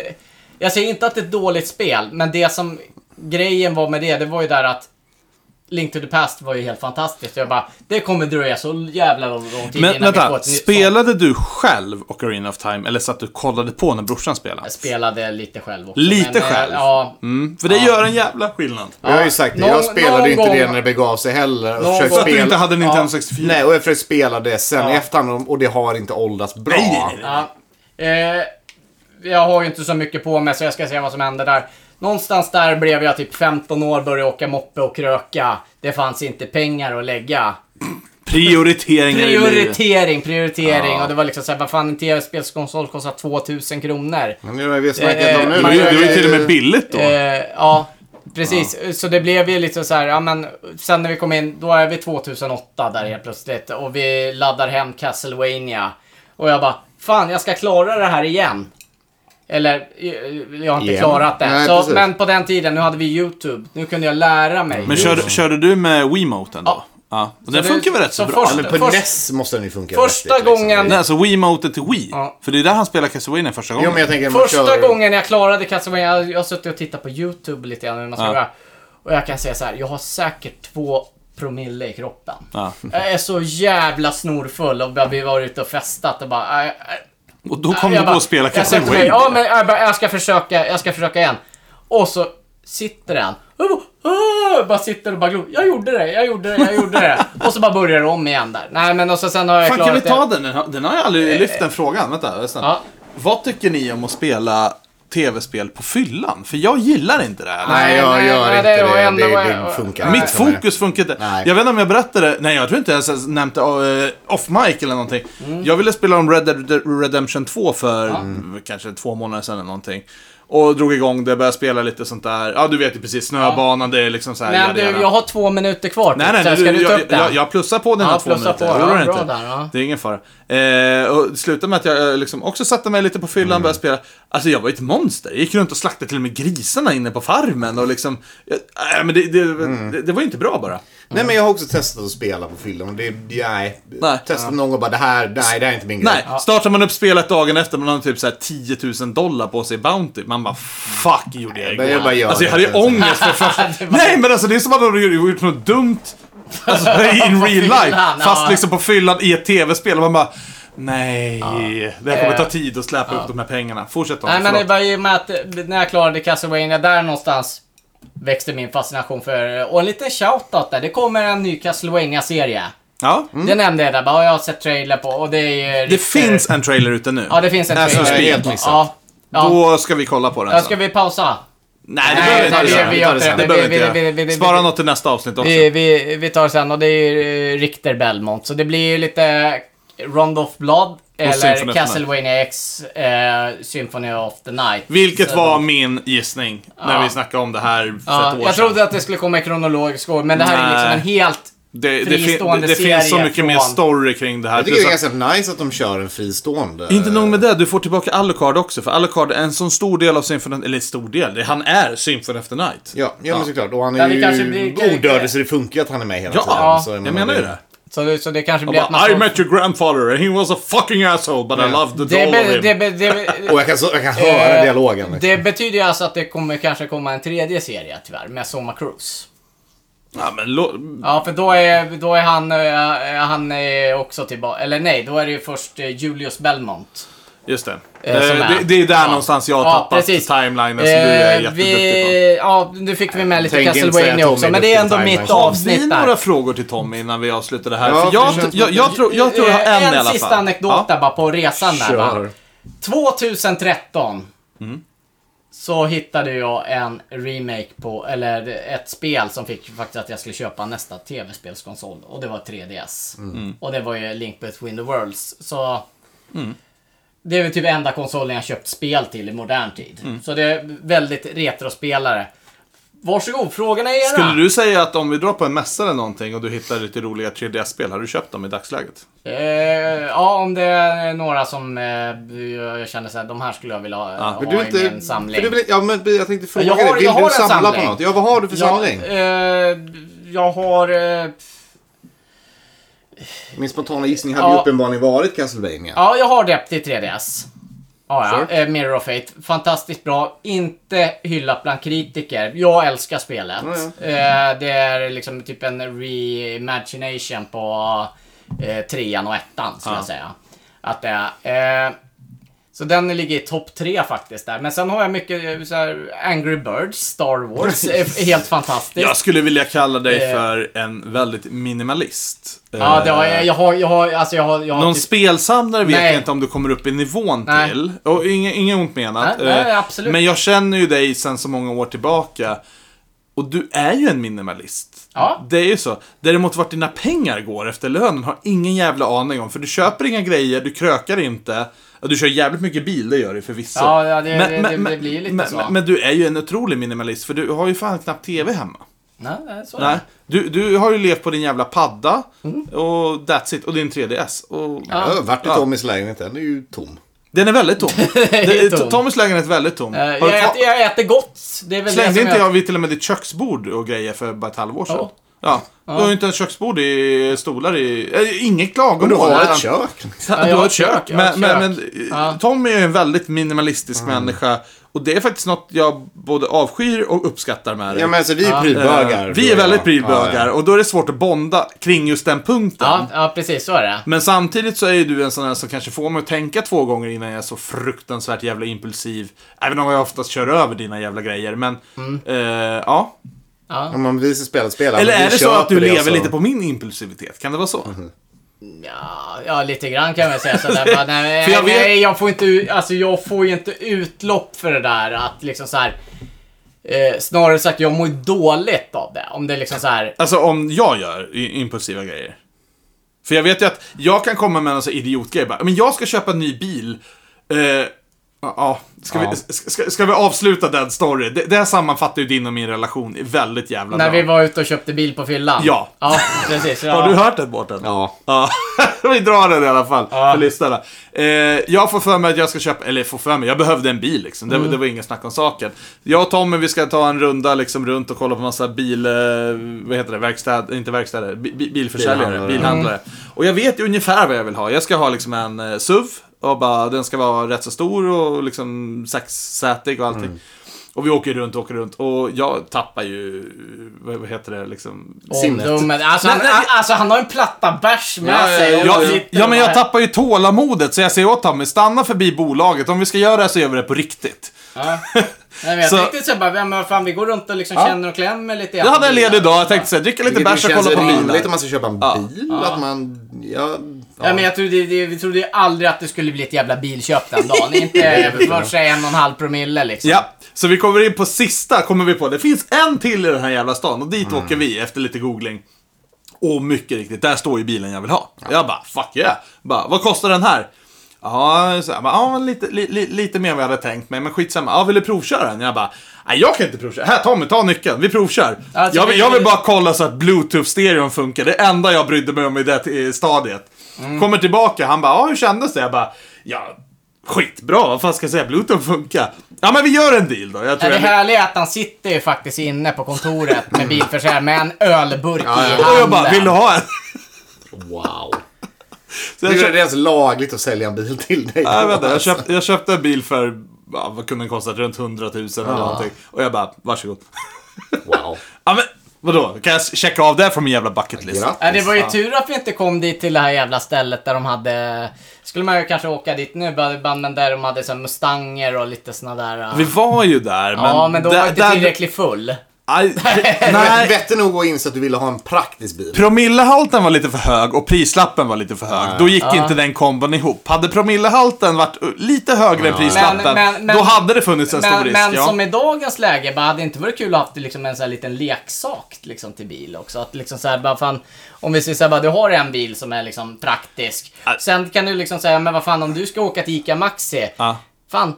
jag säger inte att det är ett dåligt spel, men det som grejen var med det, det var ju där att Link to the Past var ju helt fantastiskt. Jag bara, det kommer dröja så jävla lång lång tid Men innan vi får vänta, ett nytt spelade du själv Ocarina of Time eller satt du och kollade på när brorsan spelade? Jag spelade lite själv också. Lite eh, själv? Ja. Mm, för det gör en jävla skillnad. Jag har ju sagt det, Någon- jag spelade någon ju inte det gång- när det begav sig heller. Och Någon försökte För att du spela- inte hade Nintendo Ja. 64. Nej, och jag försökte spela det sen i efterhand och det har inte åldrats bra. Nej, nej, nej. ja. Eh, jag har ju inte så mycket på mig så jag ska se vad som händer där. Någonstans där blev jag typ 15 år, började åka moppe och kröka. Det fanns inte pengar att lägga. Prioriteringar i livet. Prioritering, prioritering. Och det var liksom såhär, vad fan en tv-spelskonsol kostar 2000 kronor. Men nu har vi snackat Eh, om nu. Det var ju, det var ju till och med billigt då. Eh, ja, precis. Så det blev ju lite så här, ja men sen när vi kom in, då är vi 2008 där helt plötsligt. Och vi laddar hem Castlevania. Och jag bara, fan jag ska klara det här igen. Eller, eh, jag har inte Igen. klarat det. Nej, så, precis. men på den tiden, nu hade vi YouTube. Nu kunde jag lära mig. Men körde, körde du med Wiimoten då? Ja. Ja. Och den det- funkar väl rätt så så bra? först- eller? Men på Först- NES måste den ju funka första vettigt, liksom. gången- Nej, alltså Wiimoten till Wii. Ja. För det är där han spelar Castlevania första Jo, gången. men jag tänker man Första kör- gången jag klarade Castlevania, jag, jag har suttit och tittat på YouTube lite grann hur man ska Ja. göra. Och jag kan säga så här, jag har säkert två promille i kroppen. Ja. Jag är så jävla snorfull och vi har varit ute och festat och bara... Äh, äh, Och då kom jag du på bara- att spela jag sätter mig, Castlevania. Ja, men jag, bara, jag ska försöka, jag ska försöka igen. Och så sitter den. Och jag bara, "Åh!" bara sitter och bara glor. Jag gjorde det, jag gjorde det, jag gjorde det. och så bara börjar det om igen där. Nej men och så sen har jag Fan, kan vi klarat ta den? Den har, den har jag aldrig lyft den frågan. Vänta, snälla. Eh, Ja. Vad tycker ni om att spela tv-spel på fyllan? För jag gillar inte det här. Nej, jag Nej, gör nej, inte det det. var Det, ändå- det, funkar Mitt inte för mig. fokus funkar inte. Nej. Jag vet inte om jag berättade, nej jag tror inte jag ens nämnt det eh, off mic eller någonting. Mm. Jag ville spela om Red Dead Redemption 2 för mm, kanske två månader sedan eller någonting. Och drog igång det, började spela lite sånt där. Ja, du vet ju precis, snöbanan, det är liksom så här. Men jada, du, jada. jag har två minuter kvar. Nej, nej, så här, nej ska du, du ta jag, upp den? jag, jag plussar på dina Ja, två plussa minuter. på, jag ja, oroar bra inte. där, ja. Det är ingen fara. Eh, och det slutade med att jag eh, liksom också satte mig lite på fyllan Mm. och började spela. Alltså jag var ju ett monster. Jag gick runt och slaktade till och med grisarna inne på farmen och liksom... Jag, äh, men det, det, Mm. det, det var ju inte bra bara. Nej, men jag har också testat att spela på fyllan och det... Nej. Nej. Testat någon gång och bara, det här, nej, det här är inte min grej. Nej, startar man upp spelet dagen efter man har typ så här 10 000 dollar på sig i Bounty. Man bara fuck gjorde jag igår. men jag bara gör alltså jag det. hade ju ångest för första... Nej men alltså det är som att man har gjort något dumt alltså, in real life. fyllan, Fast ja. liksom på fyllan i ett tv-spel och man bara nej. Det här kommer ta tid att släpa upp de här pengarna. Fortsätt Tom, Eh, Nej men det förlåt. var ju med att eh, när jag klarade Castlevania där någonstans växte min fascination för, och en liten shoutout där, det kommer en ny Castlevania serie Ja. Det nämnde jag där, bara, "Ja, jag har sett trailer på och det är ju Mm. Det riktigt- finns Alltså, en trailer ute nu. Ja, det finns en As we trailer. speak. Helt missat. Ja. ja. Då ska vi kolla på den Ja, sen. ska vi pausa? Nej, det Nej, behöver vi nej, inte vi- göra. vi Vi tar gör det inte sen. det. Det behöver Vi- vi inte vi- vi- vi- göra. Spara vi- något till nästa avsnitt också. Vi, vi, vi tar det sen och det är ju eh, Richter Belmont. Så det blir ju lite Rondo of Blood Symphony eller of the Night. Castlevania X eh, Symphony of the Night. Vilket Så- var min gissning när Ja. vi snackade om det här för Ja, ett år jag sedan. trodde att det skulle komma i kronologisk ordning, men det här är liksom Nej. en helt... Det, det, fin- fristående det, det finns så serie mycket mer från- story kring det här. Jag tycker det är Plus att- ganska nice att de kör en fristående. Inte nog med det, du får tillbaka Alucard också. För Alucard är en sån stor del av Symphony... Eller stor del, det- han är Symphony of the Night. Ja, ja, men såklart. Och han Ja, är det kanske ju blir- odödlig så det funkar ju att han är med hela Ja, tiden. ja, så jag menar ju det. Så, så det kanske Han blir att man... Bara, I får- met your grandfather and he was a fucking asshole but I Ja. loved the det, doll of be, him. det, be, det, Och jag kan, så, jag kan höra Eh, dialogen. liksom. Det betyder ju alltså att det kommer kanske komma en tredje serie tyvärr, med Soma Cruise. Ja, men lo- Mm. Ja, för då är, då är han, eh, han är också tillbaka. Eller nej, då är det ju först eh, Julius Belmont. Just det. Eh, som Eh, är- det, det är där Ja. någonstans jag har Ja, tappat precis. timelinen som du är Eh, jätteduktig på. vi, ja, nu fick vi med lite Tänk inte säga Castlevania Tommy liksom. också, är men det duktig är på ändå timelines. mitt Har vi avsnitt några där. frågor till Tommy innan vi avslutar det här? Ja, För jag, det känns jag, jag, lite- tror, jag tror jag har en, Eh, i alla fall. sista anekdot Ja. där bara på resan där. Va? Kör. 2013 Mm. så hittade jag en remake på, eller ett spel som fick faktiskt att jag skulle köpa nästa tv-spelskonsol. Och det var 3DS. Mm. Och det var ju Link Between the Worlds. Så Mm. det är väl typ enda konsolen jag köpt spel till i modern tid. Mm. Så det är väldigt retrospelare. Varsågod, frågorna är era. Skulle du säga att om vi drar på en mässa eller någonting och du hittar lite roliga 3DS-spel, har du köpt dem i dagsläget? Eh, ja, om det är några som eh, jag jag känner såhär, de här skulle jag vilja ha, Vill ha du i min inte... samling. För du vill, ja, men jag tänkte fråga Jag har- dig. Vill jag har du en samla samling. på något? Ja, vad har du för samling? Jag, eh, jag har... Eh, Min spontana gissning hade ju Ja. uppenbarligen varit Castlevania. ja, jag har Depth i 3DS. Ja, ja. Sure. Eh, Mirror of Fate. Fantastiskt bra. Inte hyllat bland kritiker. Jag älskar spelet. Eh, det är liksom typ en reimagination på eh, trean och ettan, skulle jag säga. Att det är... Eh, Så den ligger i topp tre faktiskt där. Men sen har jag mycket eh, så här, Angry Birds, Star Wars. eh, Helt fantastiskt. Jag skulle vilja kalla dig Eh. för en väldigt minimalist. Ja, det har, Eh, jag, jag har, jag har, alltså jag har, jag har Någon typ- spelsamlare vet Nej. jag inte om du kommer upp i nivån Nej. till. Och inget, inget ont menat. Nej, nej, Eh, absolut. Men jag känner ju dig sedan så många år tillbaka. Och du är ju en minimalist. Ja. Det är ju så. Däremot vart dina pengar går efter lönen har ingen jävla aning om. För du köper inga grejer, du krökar inte. Ja, Du kör jävligt mycket bil, det gör du förvisso. Ja, ja, det- det- det- det blir ju lite men, så. Men, men du är ju en otrolig minimalist, för du har ju fan knappt TV hemma. Nej, nej, Mm. så är Nej. det. Du, du har ju levt på din jävla padda, och that's it, och din 3DS. Och, Jag har varit i Ja. Tommys lägenhet. Den är ju tom. Den är väldigt tom. Det- tom. Tommys lägenhet är väldigt tom. Eh, Har du jag, kvar- äter, jag äter gott. Det är väl det Slängde som inte jag vid till och med ditt köksbord och grejer för bara ett halvår sedan? Ja. Ja. Du har ju inte ens köksbord i stolar i... Äh, inget Och klagomål. du har Han- ett kök. Ja, Du jag har har ett ett kök. liksom. kök, jag har Men, ett men, kök. men eh, Ja. Mm. Tommy är ju en väldigt minimalistisk människa. Och det är faktiskt något jag både avskyr och uppskattar med dig. Ja, men alltså vi är Eh, prylbögar. du Vi är och väldigt jag. prylbögar Ja, ja. och då är det svårt att bonda kring just den punkten. Ja, ja, precis så är det. Men samtidigt så är ju du en sån här som kanske får mig att tänka två gånger innan jag är så fruktansvärt jävla impulsiv. Även om jag oftast kör över dina jävla grejer, men... eh, ja. Mm. Ja, men vi ska spela ett spel. Eller men vi är det så att köper du det, lever alltså. Mm. lite på min impulsivitet? Kan det vara så? Ja, ja lite grann kan man säga sådär. Bara, nej, För jag jag vet- nej, jag får inte, ut- alltså jag får ju inte utlopp för det där att liksom så här. Eh, snarare sagt, jag mår ju dåligt av det. Om det är liksom så här. Alltså om jag gör i- impulsiva grejer. För jag vet ju att jag kan komma med en sån här idiotgrej bara, men jag ska köpa en ny bil. Eh, Ja, ja. ska, Ja. Vi, ska- ska, ska vi avsluta den story? Det, det här sammanfattar ju din och min relation väldigt jävla När bra. vi var ute och köpte bil på fyllan. Ja. Ja, precis. Ja. Har du hört den Mårten? Ja. Ja, vi drar den i alla fall för lyssnarna. Eh, jag får för mig att jag ska köpa, eller får för mig, jag behövde en bil liksom. Det, det var ingen snack om saken. Jag och Tommy, vi ska ta en runda liksom runt och kolla på massa bil... Eh, vad heter det? Verkstäd, inte verkstäder, bi, bi, bilförsäljare, bilhandlare. Bilhandlare. Och jag vet ju ungefär vad jag vill ha. Jag ska ha liksom en eh, SUV och bara, den ska vara rätt så stor och liksom sexsätig och allting. Och vi åker runt, åker runt och jag tappar ju, vad vad heter det, liksom... Sinnet. Omdömet. Alltså, Nej, han, nej. alltså han har en platta bärs med Ja, ja, sig. och Ja, sitter ja, men bara- jag tappar ju tålamodet så jag säger åt Tommy, stanna förbi bolaget. Om vi ska göra det här så gör vi det på riktigt. Ja. Nej, men jag Så- tänkte så här bara, ja, men vad fan, vi går runt och liksom Ja. känner och klämmer lite. i Jag hade en bilar. ledig dag, jag tänkte såhär, dricka lite Vilket bärs och känns kolla på rimligt bilar. om man ska köpa en Ja. bil. Att man... Ja, ja. Ja, men jag trodde, det, vi trodde ju aldrig att det skulle bli ett jävla bilköp den dagen. Inte för sig en och en halv promille liksom. Ja, så vi kommer in på sista, kommer vi på. Det finns en till i den här jävla stan och dit Mm. åker vi efter lite googling. Och mycket riktigt, där står ju bilen jag vill ha. Jag bara, fuck yeah. Bara, vad kostar den här? Ja, så jag bara, ja men lite, li, li, lite mer än vad jag hade tänkt mig, men skitsamma. Ja, vill du provköra den? Jag bara, nej jag kan inte provköra. Här Tommy, ta nyckeln, vi provkör. Alltså, jag, vill, vi- jag vill bara kolla så att bluetooth-stereon funkar. Det enda jag brydde mig om i det eh, stadiet. Mm. Kommer tillbaka, han bara, ja hur kändes det? Jag bara, ja skitbra, vad fan ska jag säga, bluetooth funkar. Ja men vi gör en deal då. Jag Ja, tror jag... det Mm. härliga är att han sitter ju faktiskt inne på kontoret med bilförsäljare med en ölburk i handen. Och jag bara, vill du ha en? Wow. Så jag Hur köpte- är det ens lagligt att sälja en bil till dig? Nej, vänta, jag, köpt, jag köpte en bil för, ja, vad kunde den kosta, runt 100 000 eller någonting. Och jag bara, varsågod. Wow. Ja men, vadå? Kan jag checka av det från min jävla bucket list? Grattis. Ja, det var ju tur att vi inte kom dit till det här jävla stället där de hade... Skulle man ju kanske åka dit nu, bara- bara- men där de hade så här mustanger och lite såna där... äh, Vi var ju där, men... ja, men då där- var jag inte där- tillräckligt full. Aj, Nej. nej, Bättre nog att inse att du ville ha en praktisk bil. promillehalten var lite för hög och prislappen var lite för hög. Då gick inte den kombon ihop. Hade promillehalten varit uh, lite högre än prislappen, Men- men- men- då hade det funnits en stor Men, risk. men ja. som i dagens läge, bara, hade det inte varit kul att ha haft liksom en sån här liten leksak liksom, till bil också? Att liksom så här, bara, fan, om vi säger så här, bara, du har en bil som är liksom praktisk. Ja. Sen kan du liksom säga, men vad fan om du ska åka till ICA Maxi. Ja. Fan,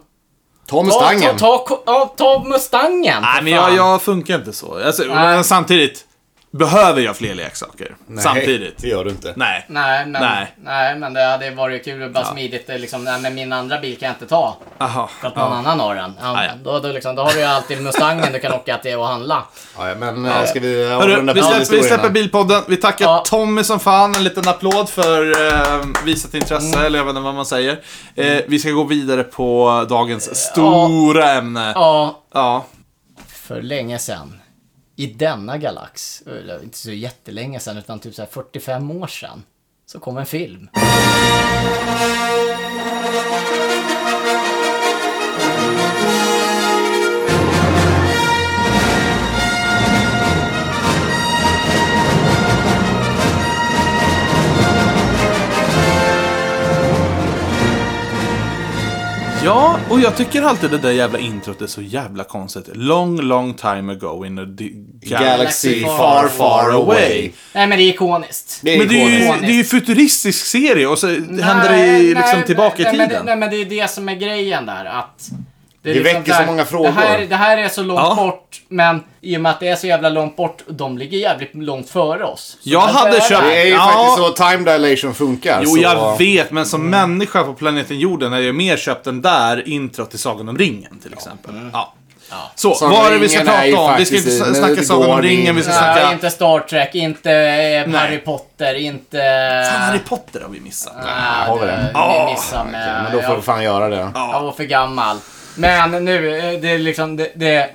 Ta ta, ta, Mustangen. ta, ko- ja, ta Mustangen. Nej, för men jag, fan. jag funkar inte så. Alltså, Nej. men samtidigt, behöver jag fler leksaker? Nej, Samtidigt. det gör du inte. Nej. Nej, men, Nej. nej. men det hade varit kul och bara smidigt. eh, Liksom, nej, men min andra bil kan jag inte ta. Aha. För att någon annan har den. Ja, Ja, ja. Då, då, liksom, då har du ju alltid Mustangen du kan åka till och handla. Ja, ja, men äh, ska vi eh, Hörru, avrunda vi, släpper, vi bilhistorierna? släpper bilpodden. Vi tackar Ja. Tommy som fan. En liten applåd för eh, visat intresse, Mm. eller jag vet inte vad man säger. Eh, vi ska gå vidare på dagens stora ämne. Ja. Ja, för länge sedan. I denna galax, eller inte så jättelänge sedan, utan typ så här 45 år sedan, så kom en film. ja, och jag tycker alltid det där jävla introt är så jävla konstigt. Long, long time ago in a di- Galaxy Galaxy far, far, far away. Nej men det är ikoniskt. Det är Men det är, ju, ikoniskt. det är ju futuristisk serie och så händer det i, liksom tillbaka nej, i Men, tiden. det- nej men det är det som är grejen där att det, är Det liksom väcker där, så många frågor. Det här, det här är så långt Ja. bort, men i och med att det är så jävla långt bort, de ligger jävligt långt före oss. Så Jag där hade börjar köpt- Det är ju Ja. faktiskt så time dilation funkar. Jo, så... jag vet, men som människa på planeten jorden hade jag mer köpt den där intro till Sagan om ringen till exempel. Ja. Så, Sagan vad om är det vi ska ringen är ju prata om? Vi ska faktiskt i- inte nu snacka Sagan går om vi in. ringen, vi ska Nej, snacka... inte Star Trek, inte eh, Nej. Harry Potter, inte... Fan, Harry Potter har vi missat. Nej, Har vi det- det? Ah, Vi missar med... Men då får jag- vi fan göra det. Jag var för gammal. Men nu, eh, det är liksom... Det, det är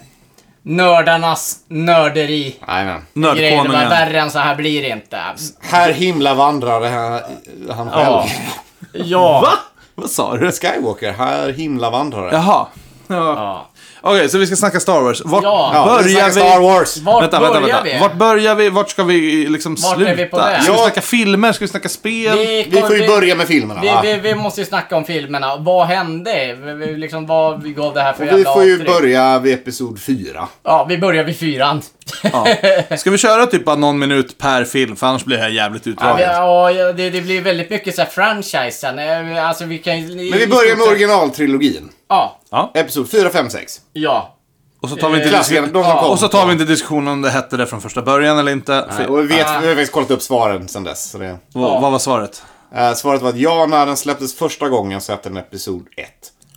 nördarnas nörderi. Nej, men. Grejer, det var Nördkonungen. värre än så här blir det inte. Här himla vandrade han, han själv. Ja. ja. Va? Vad sa du? Skywalker, här himla vandrare. Jaha. Ja. Ja. Okej, så vi ska snacka Star Wars. Vart Ja. Ja, vi börjar snackar vi? Star Wars. Vart vänta, börjar vänta, vänta. vi? Vart börjar vi? Vart ska vi liksom Vart är sluta? vi på väg? Ska vi Ja. snacka filmer? Ska vi snacka spel? Vi får ju vi- börja med filmerna. Vi, va? vi, vi måste ju snacka om filmerna. Vad hände? Vi- vi- Liksom, vad vi gav det här för Vi får ju avtryck? börja vid episod fyra. Ja, vi börjar vid fyran. Ja. Ska vi köra typ bara någon minut per film? För annars blir det här jävligt utdraget. Ja, ja, det, det blir väldigt mycket så här franchisen. Eh, Alltså vi kan ju- Men vi börjar med originaltrilogin. Ja, Episod fyra, fem, sex. ja. Och så tar vi inte, Eh, Klassikerna, diskussion- de som Ja, kom. och så tar vi inte diskussionen om det hette det från första början eller inte. För, Nej, Och vi, vet, Ah. vi har faktiskt kollat upp svaren sen dess. Så det, vad, vad var svaret? Eh, svaret var att ja, när den släpptes första gången så hette den Episod 1.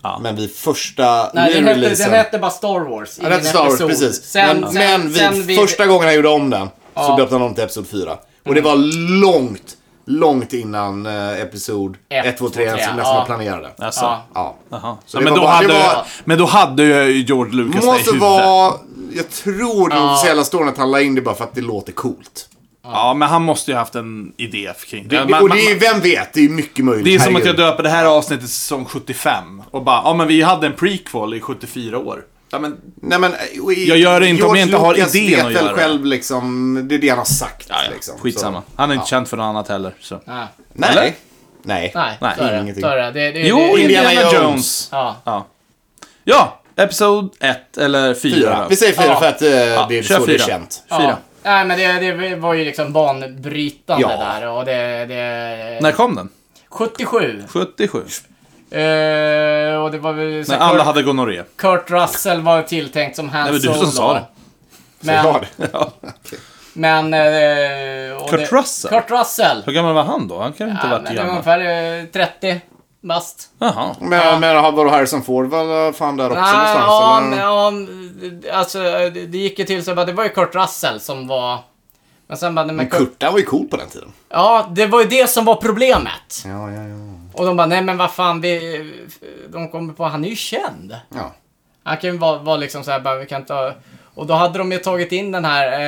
Ja. Men vid första Nej, den, hette, releasen den hette bara Star Wars. Ja, den hette ingen Star Wars, episod. precis. Sen, men sen, men vid sen vi- första gången jag gjorde om den så Ja. Mm. döpte han om till Episod 4. Och det var långt, långt innan eh, Episod Ett, 1, 2, 3 två, som tre, alltså nästan ja. var planerade. Ja. Alltså. Ja. Jaha. Så Ja, det men, var då bara- hade det ju- var- men då hade ju George Lucas det i Måste huvudet. vara, jag tror den Ja. officiella storyn att han la in det bara för att det låter coolt. Ja, men han måste ju haft en idé kring det. Det, Man- och man- det är, vem vet, det är mycket möjligt. det är som att jag herregud. döper det här avsnittet till säsong 75 och bara, ja men vi hade en prequel i 74 år. Ja, men, nej, men, eh, och i- Jag gör det inte om jag George inte har Lucas idén vet att väl göra det. själv liksom, det är det han har sagt. liksom, Skitsamma. Så. Han är inte känd för något annat heller. Så. Nej, Nej. Eller? Nej. Ah, nej, Nej, så är det. ingenting. Så är det. det, det Jo, det, det, Indiana, Indiana Jones. Jones. Ja. Ja. Ja, Episod 1 eller 4. Fyra. Vi säger fyra Ja. för att eh, det är kör så det är fyra. känt. Ja. Fyra. Nej, men det, det var ju liksom banbrytande Ja. där och det... det När kom den? 77. 77. Eh, och det var väl... så När här, alla Kurt, hade gonorré. Kurt Russell var tilltänkt som Han Nej, men du Solo. som sa det. Så jag Men, har det. Ja. men... eh, och Kurt det, Russell? Kurt Russell. Hur gammal var han då? Han kan ju inte Ja, ha men varit det var gammal. ungefär eh, 30 bast. Jaha. Men, men har var Harrison Ford var fan där också Nej, någonstans? ja, eller? men, ja, men, alltså det det gick ju till så att det var ju Kurt Russell som var... Men sen bara, nej, men Men Kurt, Kurt, han var ju cool på den tiden. Ja, det var ju det som var problemet. Ja, ja, ja. Och de bara, nej men vad fan, vi, de kommer på, han är ju känd. ja. Han kan ju vara, vara liksom så här, bara, vi kan ta... Och då hade de ju tagit in den här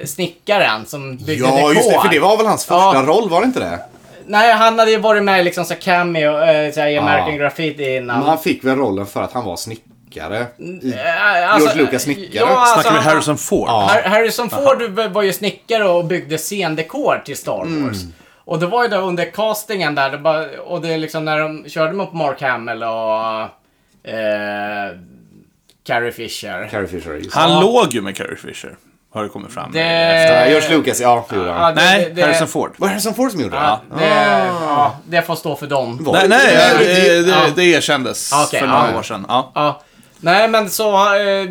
eh, snickaren som byggde Ja, dekor. just det. För det var väl hans första Ja. roll, var det inte det? Nej, han hade ju varit med i liksom så här cameo eh, så här, i American Ah. Graffiti innan. Men han fick väl rollen för att han var snickare. I... Eh, alltså, George Lucas snickare. Ja, alltså, Snackar vi han- Harrison Ford? Ja. Har- Harrison Ford var ju snickare och byggde scendekor till Star Mm. Wars. Och det var ju då under castingen där, det bara, och det är liksom när de körde mot Mark Hamill och eh, Carrie Fisher. Carrie Fisher, just Han det. låg ju med Carrie Fisher. Har det kommit fram. Det- Ja, George Lucas, ja. Det gjorde han. det- Nej, det- Harrison Ford. Var det Harrison Ford som gjorde det? Ja, det, ja, det får stå för dem. Ah. Var Nej, det- nej eh, det- det- det, Ja. det, det erkändes Okej, för några ja. år sedan. Ja. Ja. Nej, men så... Eh,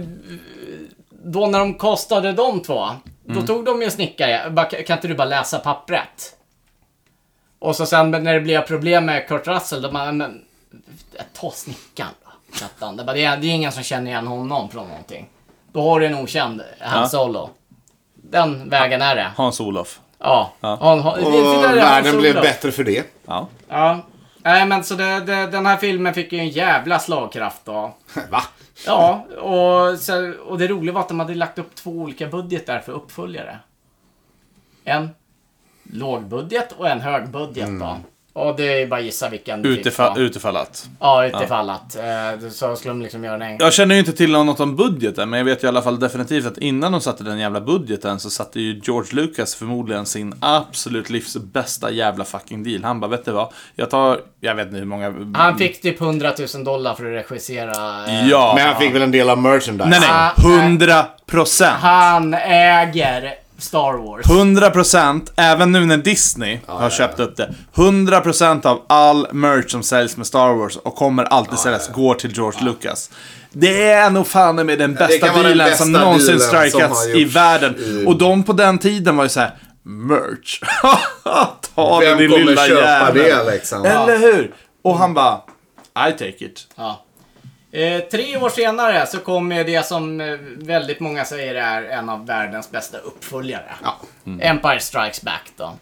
då när de kastade de två, då tog de ju en snickare. Bara, Kan inte du bara läsa pappret? Och så sen när det blev problem med Kurt Russell, då bara, men... eh, Ta snickaren då. satt han. Det, bara, det, är, det är ingen som känner igen honom från någonting. Då har du en okänd eh, Han Ja. Solo. Den vägen är det. Hans-Olof. Ja. Ja. Han- han- det- det Och där är Han världen blev Solo. bättre för det. Ja. Ja. Nej men så det, det, den här filmen fick ju en jävla slagkraft då. Va? Ja, och, så, och det roliga var att de hade lagt upp två olika budgetar för uppföljare. En lågbudget och en högbudget då. Och det är bara att gissa vilken. typ, Utefa- va? utefallat. Ja, utifallat. Eh, Så skulle de liksom göra en egen. Jag känner ju inte till något om budgeten, men jag vet ju i alla fall definitivt att innan de satte den jävla budgeten så satte ju George Lucas förmodligen sin absolut livs bästa jävla fucking deal. Han bara, vet du vad? Jag tar, jag vet inte hur många... Han fick typ 100 000 dollar för att regissera. eh, Ja. Men han fick väl en del av merchandise? Nej, Ah, nej. 100 procent. Han äger Star Wars. 100 procent, även nu när Disney har köpt upp det. 100 procent av all merch som säljs med Star Wars och kommer alltid säljas går till George Lucas. Det är nog fan med den bästa kan vara den dealen som bästa någonsin dealen som har strikats i gjorts världen. i- Och de på den tiden var ju så här. merch. Ta den Vem din kommer lilla köpa jävel. det liksom? Eller hur? Och han bara, I take it. Ja. Eh, tre år senare så kom ju det som eh, väldigt många säger är en av världens bästa uppföljare. Ja. Empire Strikes Back då.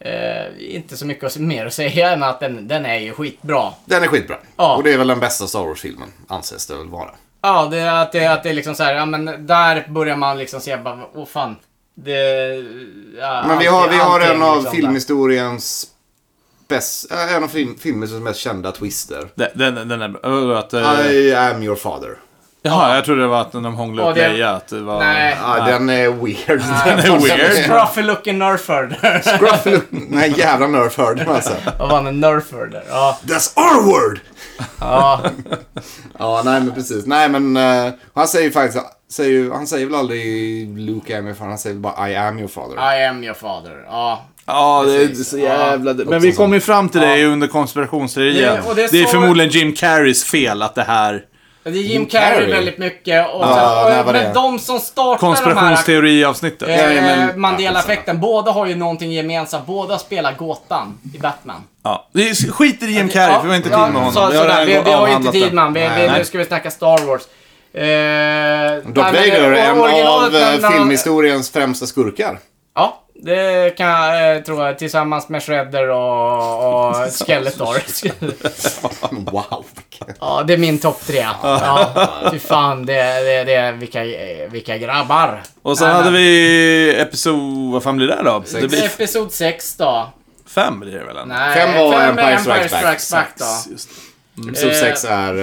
Eh, inte så mycket att- mer att säga än att den, den är ju skitbra. Den är skitbra. Ja. Och det är väl den bästa Star Wars-filmen, anses det väl vara. Ja, det, är att, det, att det är liksom så här, ja men där börjar man liksom se bara, åh fan. Det, ja, Men vi har, allting- vi har en allting av liksom där. filmhistoriens bäst, äh, en av film, filmhistoriens mest kända twister. Den, den, den är... ö, Att, eh, I am your father. jaha, jag trodde det var att de hånglade Ja, upp det- Leia. Att det var... Nej. Ah, Den är weird. Den är weird. Scruffy looking nerfherder. Scruffy Nej, jävla nerf hörde man alltså. Vad var han, en nerfherder? Ja. That's our word! ja. Ja, nej men precis. Nej men eh, han säger faktiskt, säger, ju- han säger väl aldrig Luke I am your father, han säger bara I am your father. I am your father. Ja. Ja, det är Precis. så Ja. jävla... Men Också vi så. kom ju fram till det under konspirationsteorin. Det- Det, och det är sa- förmodligen Jim Carreys fel att det här... Det är Jim Carrey. Carrey väldigt mycket. Och Ja, sen, nej, och, vad det men är. de som startar de här Konspirationsteori-avsnittet. eh, Ja, men- ja, Mandela-effekten, båda har ju någonting gemensamt. Båda spelar gåtan i Batman. Ja. Vi skiter i Jim Carrey, för vi har inte tid ja, med honom. Så, vi har, sådär, redan vi, vi har ju inte avhandlat tid det. man. Vi, vi, Nej. nu ska vi snacka Star Wars. Darth Eh, nej, men, Vader eh, är en originalet av eh, när- när- filmhistoriens främsta skurkar. Ja, det kan jag eh, tro. Tillsammans med Shredder och, och Skeletor. Wow. ja, det är min topp tre. Ja, fy fan, det, det, det, vilka, eh, vilka grabbar. Och sen Nej, hade men- vi episod... Vad fan blir det då? Det blir Episod 6 då. fem blir det väl? ändå? Nej, Fem var är Empire Strikes Back. Strikes Back då. Just det. Episod Eh, 6 är...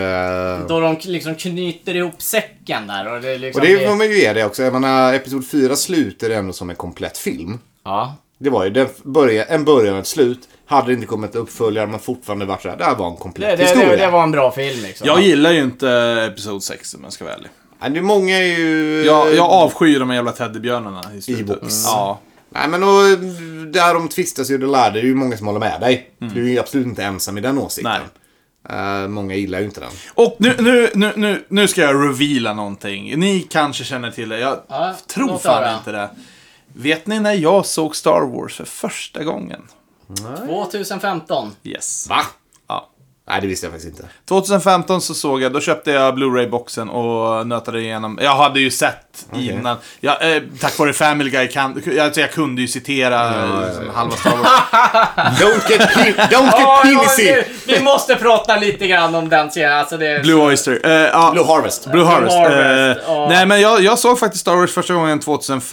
eh, Då de liksom knyter ihop säcken där och det och liksom... det får man ju ge det också. Jag menar, Episod 4 slutar ändå som en komplett film. Ja. Det var ju den börja, en början och ett slut. Hade det inte kommit uppföljare men fortfarande varit såhär, det här var en komplett Det, det, historia. det, det var en bra film liksom. Jag gillar ju inte Episod 6 om jag ska vara ärlig. Ja, det är många är ju... Jag, jag avskyr de här jävla teddybjörnarna i slutet. Ewoks. Ja. Nej men och, där de tvistas ju och lär, det är ju många som håller med dig. Du är ju absolut inte ensam i den åsikten. Nej. Eh, många gillar ju inte den. Och nu, nu, nu, nu, nu ska jag reveala någonting. Ni kanske känner till det, jag Ja, tror låt fan höra. inte det. Vet ni när jag såg Star Wars för första gången? 2015. Yes. Va? Ja. Nej, det visste jag faktiskt inte. 2015 så såg jag, då köpte jag Blu-ray-boxen och nötade igenom. Jag hade ju sett innan. Jag, eh, tack vare Family Guy, kan, jag, alltså jag kunde ju citera eh, liksom, halva Star Wars. Don't get, pin- don't Ja, get ja, pincy! vi- vi måste prata lite grann om den serien. Alltså det... Blue Oyster. Eh, ja. Blue Harvest. Blue Harvest. Harvest, Eh, ja. Nej, men jag, jag såg faktiskt Star Wars första gången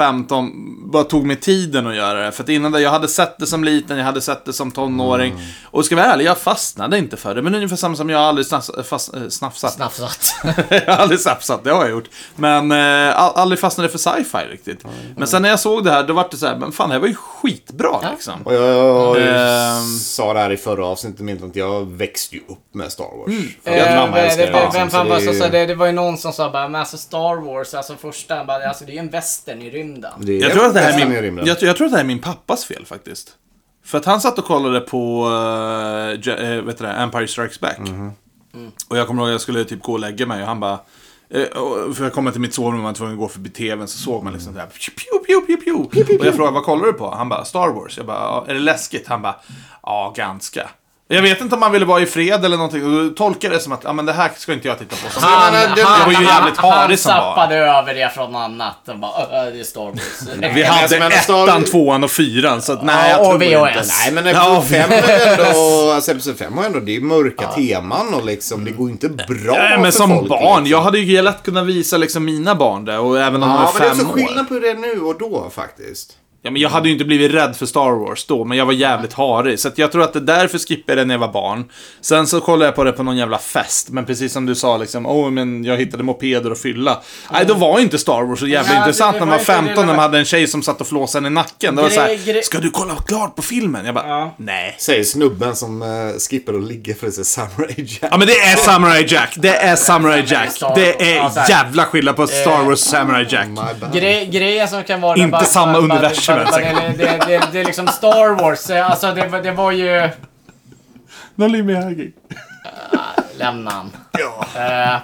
2015. Bara tog mig tiden att göra det. För att innan det, jag hade sett det som liten, jag hade sett det som tonåring. Mm. Och ska jag vara ärlig, jag fastnade inte för det. Men ungefär samma som jag har aldrig snafs, fast, eh, snafsat. Snafsat. jag har aldrig snafsat, det har jag gjort. Men eh, all- aldrig fastnade för sci-fi riktigt. Men sen när jag såg det här, då var det så här, men fan det här var ju skitbra liksom. Och jag, jag, Ehm. sa det här i förra avsnittet, men att jag växte ju upp med Star Wars. För att Eh, mamma vem- älskar vem- liksom, Vem så fan det var är det som ju- sa det? Det var ju någon som sa bara, men alltså Star Wars, alltså första, bara, alltså det är ju en västern i rymden. det är Jag tror, att det här är nästan i min, rymden. jag, jag tror att det här är min pappas fel faktiskt. För att han satt och kollade på eh, Je- eh, vet du det, Empire Strikes Back. Mhm. Och jag kommer ihåg att jag skulle typ gå och lägga mig och han bara... eh, och- För jag kom till mitt sovrum och var tvungen att gå förbi tvn så såg man liksom det här. Pew, pew, pew, pew, pew. Och jag frågade vad kollar du på? Han bara Star Wars. Jag bara "Ja, är det läskigt? Han bara ja ganska. Jag vet inte om han ville vara i fred eller någonting. Och då tolkade jag det som att ja, men det här ska inte jag titta på. Så, Han- menar, det- det var ju jävligt han harig som barn. zappade över det från annat. Och bara, "Ö, ö, det är Star Wars. vi hade men Star- ettan, tvåan och fyran. Så att, nej, Ja, jag tror och inte. VHS. Nej men Ja, Episod 5 är ändå, alltså Episod 5 har ändå, det är ju mörka teman och liksom, det går ju inte bra Nej, men för som folk, barn. liksom. Jag hade ju lätt kunnat visa liksom mina barn det. Och även om de Ja, var men det är fem också år. skillnad på det nu och då faktiskt. Ja, men jag hade ju inte blivit rädd för Star Wars då, men jag var jävligt harig. Så att jag tror att det är därför skippade jag det när jag var barn. Sen så kollade jag på det på någon jävla fest. Men precis som du sa, liksom, oh, men jag hittade mopeder och fylla. Nej, då var ju inte Star Wars så jävla Nej, intressant det- när det man var var inte 15 det när man där- hade en tjej som satt och flåsade en i nacken. Det var Gre- såhär, gre- ska du kolla klart på filmen? Jag bara, Ja. nej. Säger snubben som eh, skippar att ligga för att se Samurai Jack. Ja men det är Samurai Jack, det är Samurai Jack. Det Ja, Eh. så är här. jävla skillnad på Star Wars och Samurai Jack. My bad. Gre grejen som kan vara... Inte samma universum bara, ens. bara, det, det, det, det är liksom Star Wars, eh, alltså det, var- det var ju... Lämna han. Ja. Eh,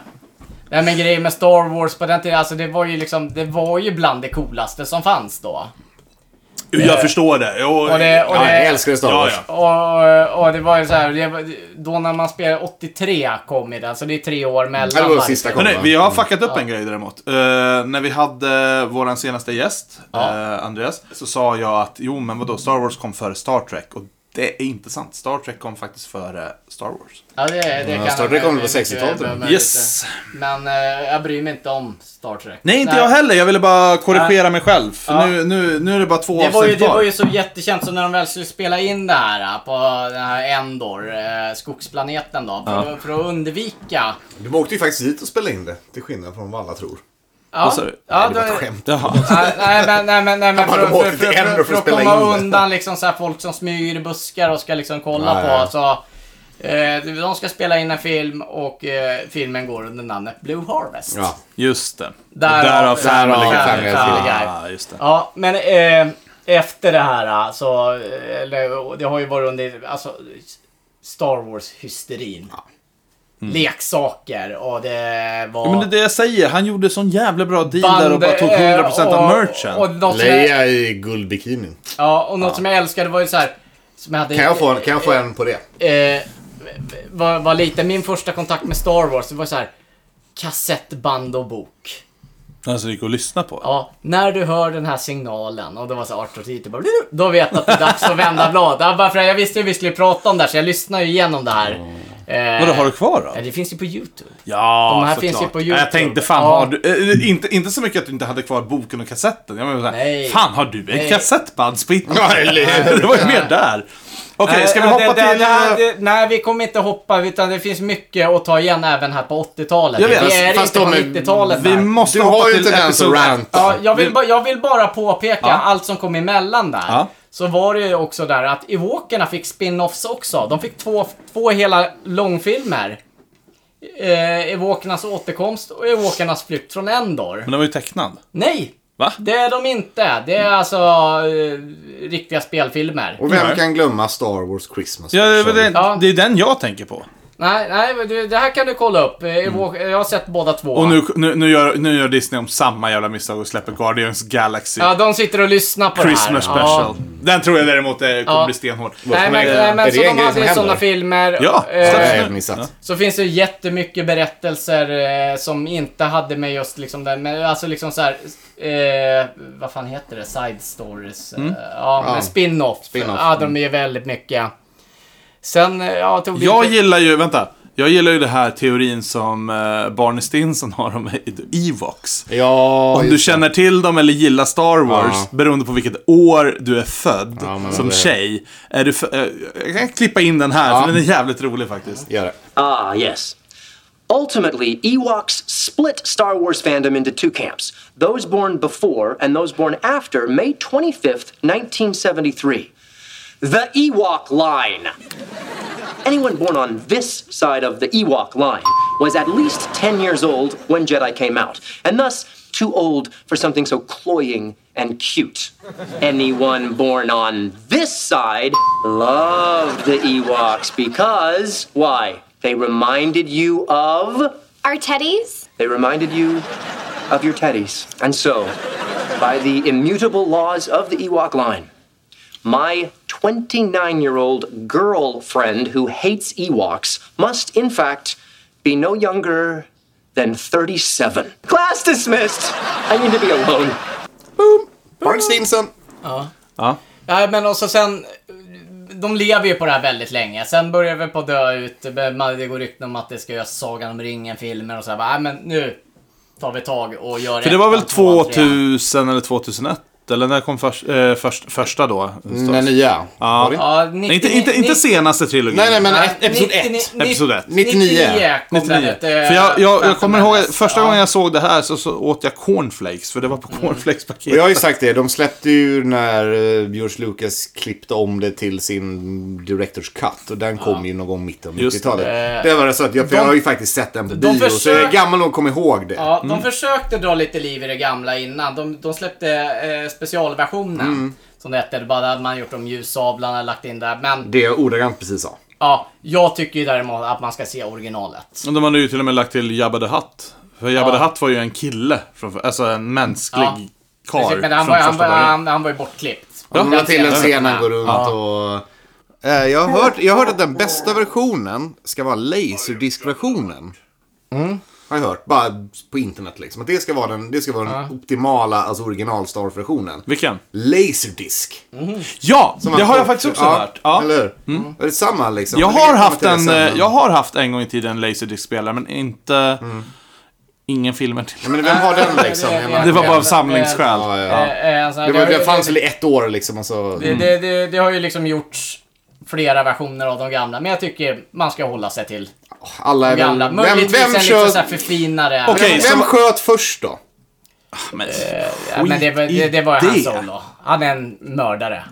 Nej men grejen med Star Wars på den tiden, alltså det var ju liksom, det var ju bland det coolaste som fanns då. Jag förstår det. Jag, Och det, och Ja, det, jag älskar Star Ja, Wars. ja. Och, och det var ju så här, det var, då när man spelade 83 kom ju den, så det är tre år mellan. Det var varje sista film. gången. Men nej, vi har fuckat upp en grej däremot. Eh, när vi hade våran senaste gäst, eh, Andreas, så sa jag att jo men vadå, Star Wars kom före Star Trek. Och det är inte sant. Star Trek kom faktiskt före Star Wars. Ja, det, det kan Star Trek kom väl på 60-talet, men- men- Men eh, jag bryr mig inte om Star Trek. Nej, inte jag heller. Jag ville bara korrigera mig själv. För Ja. nu, nu, nu är det bara två Det var, ju, avsnitt det var kvar. ju så jättekänt, så när de väl skulle spela in det här eh, på den här Endor, eh, skogsplaneten då, för, att- för att undvika... De åkte ju faktiskt dit och spelade in det, till skillnad från vad alla tror. Ja, sa du? ja, det var då- ett skämt. Jaha. Nej, nej, men, nej, men, nej, men bara, för, de åkte för, till för, Endor för, för för att att spela komma in det. undan liksom så här, folk som smyger i buskar och ska liksom kolla Ja, ja. på. Så, eh, de ska spela in en film och eh, filmen går under namnet Blue Harvest. Ja. Just det. Därav- därav Därav Family Family Guy. Guy. Ah, just det. Ja, men eh, efter det här eh, så, eller, det har ju varit under alltså, Star Wars-hysterin. Mm. Leksaker och det var... eh, Ja, men det är det jag säger, han gjorde sån jävla bra deal där och bara tog 100% av och- merchen. Och, något som jag, Leia i guldbikinin. ja, och något som jag älskade var ju så här... Som jag hade, Kan jag få en, kan jag få en på det? eh, var, var liten, min första kontakt med Star Wars, det var så här kassettband och bok. Alltså det gick att lyssna på. Ja, när du hör den här signalen och det var så här 18 10, bara, då vet jag att det är dags att vända blad. Ja, bara för jag visste ju vi skulle prata om det här så jag lyssnar ju igenom det här. Eh, Vadå, har du kvar Ja, då? det finns ju på YouTube. Ja, De här såklart. finns ju på Jag YouTube. tänkte, fan Ja. har du... eh, inte, inte så mycket att du inte hade kvar boken och kassetten. Jag menar, Nej. fan har du en Nej. kassettbandspelare? Ja, eller hur? det var ju mer där. Okej, ska vi Eh, hoppa det, det, till... Det, här- eh, det, nej, vi kommer inte hoppa utan det finns mycket att ta igen även här på 80-talet. Jag vet, vi är fast inte på de är- 90-talet Vi där. måste Du hoppa har ju till inte ens episod- rant. Ja, jag, vill Vi- ba, jag vill bara påpeka allt som kom emellan där. Ja. Så var det ju också där att Ewokerna fick spin-offs också. De fick två, två hela långfilmer. Eh, Ewokernas återkomst och Ewokernas flykt från Endor. Men den var ju tecknad. Nej! Va? Det är de inte. Det är alltså eh, riktiga spelfilmer. Och vem Nej. kan glömma Star Wars Christmas? Ja, det, är väl Special? den- Ja. det är den jag tänker på. Nej, nej, men du- det här kan du kolla upp. Eh, Ewok- Jag har sett båda två. Och nu, nu, nu, gör, nu gör Disney om samma jävla misstag och släpper Guardians Galaxy. Ja, de sitter och lyssnar på Christmas det här. Ja. special. Den tror jag däremot eh, kommer Ja. bli stenhård. Nej, men, Är nej, men det så en de grej hade som ju händer? sådana filmer. Ja, Det har absolut. eh, jag missat. Ja. Så finns det ju jättemycket berättelser eh, som inte hade med just liksom den, men alltså liksom så här, eh, vad fan heter det, side stories? Mm. Eh, ja, Ja. men spin-off. Spin-off, Ja, de är ju väldigt mycket. Sen, eh, ja, tog vi Jag lite- gillar ju, vänta. Jag gillar ju det här teorin som eh, Barney Stinson har om Evox. Ja, Om just du det. känner till dem eller gillar Star Wars, Ja. beroende på vilket år du är född Ja, men som det- tjej. Är du fö- eh, jag kan klippa in den här, för den är jävligt rolig faktiskt. Gör det. Ah, yes. Ultimately, Ewoks split Star Wars fandom into two camps those born before and those born after May 25th, 1973. The Ewok line. Anyone born on this side of the Ewok line was at least 10 years old when Jedi came out, and thus too old for something so cloying and cute. Anyone born on this side loved the Ewoks because, why? They reminded you of. Our teddies? They reminded you of your teddies. And so, by the immutable laws of the Ewok line, my 29 year old girlfriend who hates Ewoks must, in fact, be no younger than 37. Class dismissed! I need to be alone. Barney Stinson. Nej, men också sen... De lever ju på det här väldigt länge. Sen börjar vi på att dö ut. Man- Det går rykten om att det ska göras Sagan om ringen-filmer och så här. bara, Nej, men nu tar vi tag och gör För det var väl ettan, tvåan, trean. 2000 eller 2001? Eller när kom först, eh, först, första då? Den nya. Var det inte? Ja, Nej, inte, inte, inte senaste trilogin. Nej, nej, men Nej, ett- episod 99 ett. Episod ett. 99. 99 kom 99. den ut, eh, För jag, jag, jag Phantom kommer ihåg att Menace. första Ja. gången jag såg det här så, så åt jag cornflakes, för det var på Mm. cornflakespaket. Och jag har ju sagt det, de släppte ju när eh, George Lucas klippte om det till sin Directors Cut. Och den kom ju någon gång mitten av Just det. 90-talet. Det var det så att jag, för jag har ju faktiskt sett den på bio. Så jag är försöker- gammal nog att komma ihåg det. Ja, de försökte dra lite liv i det gamla innan. De, de släppte eh, specialversionen. Mm. Som det hette, Det bara hade man gjort om ljussablarna lagt in där. Men Det jag ordagrant precis sa. ja, jag tycker ju däremot att man ska se originalet. Och De hade ju till och med lagt till Jabba the Hutt. För Jabba the Hutt var ju en kille, från, alltså en mänsklig Ja. karl Precis, men han från var, han, första var, början. han, han var ju bortklippt. De la till en scen när han går runt Ja. och... Eh, Jag har, hört, jag har hört att den bästa versionen ska vara laserdiskversionen. Mm. Har jag hört. Bara på internet liksom. Att det ska vara den, det ska vara den optimala, alltså original Star Wars-versionen. Vilken? Laserdisk. Ja, Som man det har jag får- faktiskt också ja, hört. Ja. Mm. Eller hur? Det är samma liksom. Jag Men det har, kommer haft till det en, sen, men- eh, jag har haft en gång i tiden Laserdisc-spelare, men inte... Mm. Ingen filmer till. Men vem har den liksom? Det- Jag menar- Det var bara av Eh, samlingsskäl. Ja, ja. Eh, eh, alltså, Det, var, har det ju- fanns väl i ett år liksom. Och så, det, det, det, det har ju liksom gjorts flera versioner av de gamla, men jag tycker man ska hålla sig till alla är de gamla. väl... Vem, Möjligtvis vem, en lite så här sköt, förfinare. Okej, vem, så- vem sköt först då? Men, Eh, Ja, men det, var- det, det var ju Skit i hans det. solo. Han är en mördare.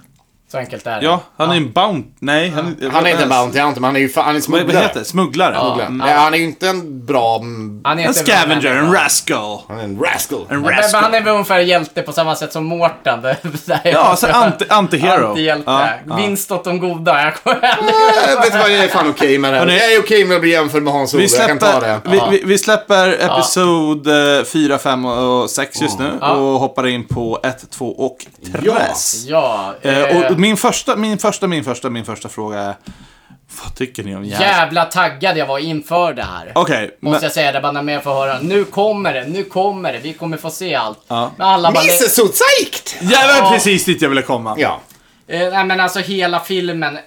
Så enkelt är det. Ja, han är en bounty... Nej, han, Han är inte en bounty hunter, men han är ju fa- han är Vad vad smugglare. heter det? Smugglare? Mm. Smugglare. Nej, Han är ju inte en bra... mm, Han är En inte- scavenger, en rascal. Han är en rascal. En Men, men rascal. han är väl ungefär hjälte på samma sätt som Mårten. Det- det där är- Ja, alltså anti, anti-hero. Antihjälte. Ja, ja. Eh, Vinst åt de goda. Jag kommer aldrig- Äh, vet du vad, jag är fan okej med det. här. Hörni. Jag är okej med att bli jämförd med Hans Ove. Vi Jag kan ta det. släpper, vi, vi, vi släpper episod eh, 4, 5 och 6 just nu och hoppar in på 1, 2 och 3. Ja. Eh, eh, och min första, min första, min första, min första fråga är Vad tycker ni om Jävla... Jävla taggad jag var inför det här. Okej, men, Måste jag säga det bara när jag får höra. Nu kommer det, nu kommer det. Vi kommer få se allt. Men alla bara... Nisse so zeigt! jävlar Ja. precis dit jag ville komma. Ja. Eh, nej men alltså hela filmen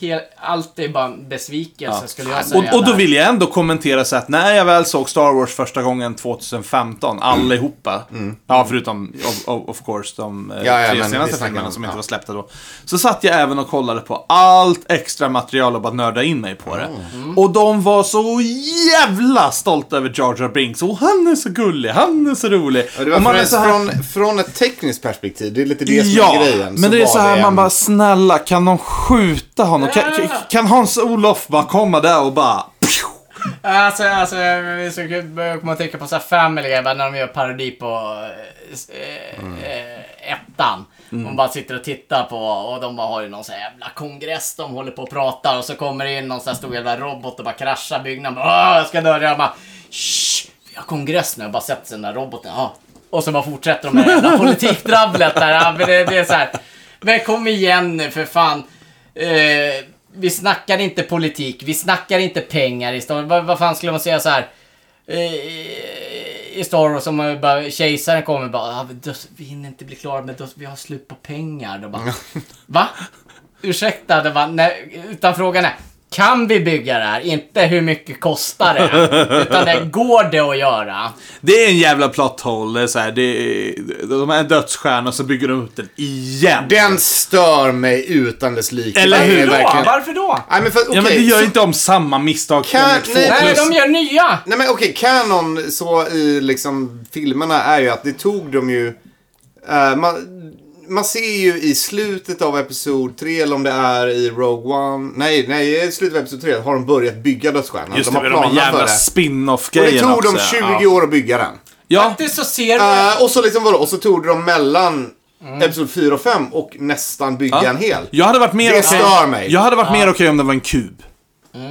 he- allt är bara en besvikelse skulle jag säga. Och, och då där. vill jag ändå kommentera så att när jag väl såg Star Wars första gången 2015, allihopa, ja förutom of, of, of course de eh, Mm. Ja, ja, tre men senaste visst, filmerna men, som inte ja. var släppta då, så satt jag även och kollade på allt extra material och bara nörda in mig på Mm. det. Och de var så jävla stolta över Jar Jar Binks, och han är så gullig, han är så rolig. Ja, Det var och man är så från, här- från, från ett tekniskt perspektiv. Det är lite det som är grejen. men det är var så här man en- bara, snälla kan de skjuta honom? Kan, kan- kan Hans-Olof bara komma där och bara... Alltså, alltså jag är så kul. börjar komma att tänka på så här Family Guy, bara när de gör parodi på eh, eh, ettan. De bara sitter och tittar på och de bara har ju någon så här jävla kongress de håller på och pratar och så kommer det in någon så här stor jävla robot och bara kraschar byggnaden. Bara, "Åh, jag ska dö. Jag bara, Shh, vi har kongress nu. Jag bara sätter sig i den där roboten. Ja. Och så bara fortsätter de med det jävla politikdrabblet där. Ja, men det, det är så här. Men kom igen nu för fan. Eh, vi snackar inte politik, vi snackar inte pengar i Star Wars. Vad, vad fan skulle man säga så här? Eh, I Star Wars, om man bara, kejsaren kommer och bara, ah, men döds- vi hinner inte bli klara med döds- vi har slut på pengar. Då bara, va? Ursäkta, det var, nej, utan frågan är, kan vi bygga det här? Inte hur mycket kostar det? Utan det, går det att göra? Det är en jävla plot hole. Det är så här, det är, de är en dödsstjärna och så bygger de upp den igen. Den stör mig utan dess like. Eller Det är hur? Då, verkligen- varför då? Nej, men för, ja, men okej, det gör så- inte om samma misstag Kan- gånger två nej. Nej, plus. de gör nya! Nej men okej, kanon så i liksom filmerna är ju att det tog dem ju... eh, man, man ser ju i slutet av episod 3, eller om det är i Rogue One. Nej, nej, i slutet av episod 3 har de börjat bygga dödsstjärnan. Just de det, har med de planer för jävla det. spin-off-grejerna Och det tog dem också, 20 ja. år att bygga den. Ja, Faktiskt så ser man... Eh, och så liksom vadå, och så tog de mellan Mm. episod 4 och 5 och nästan bygga en hel. jag hade varit mer Det okej- stör mig. Jag hade varit mer okej om det var en kub.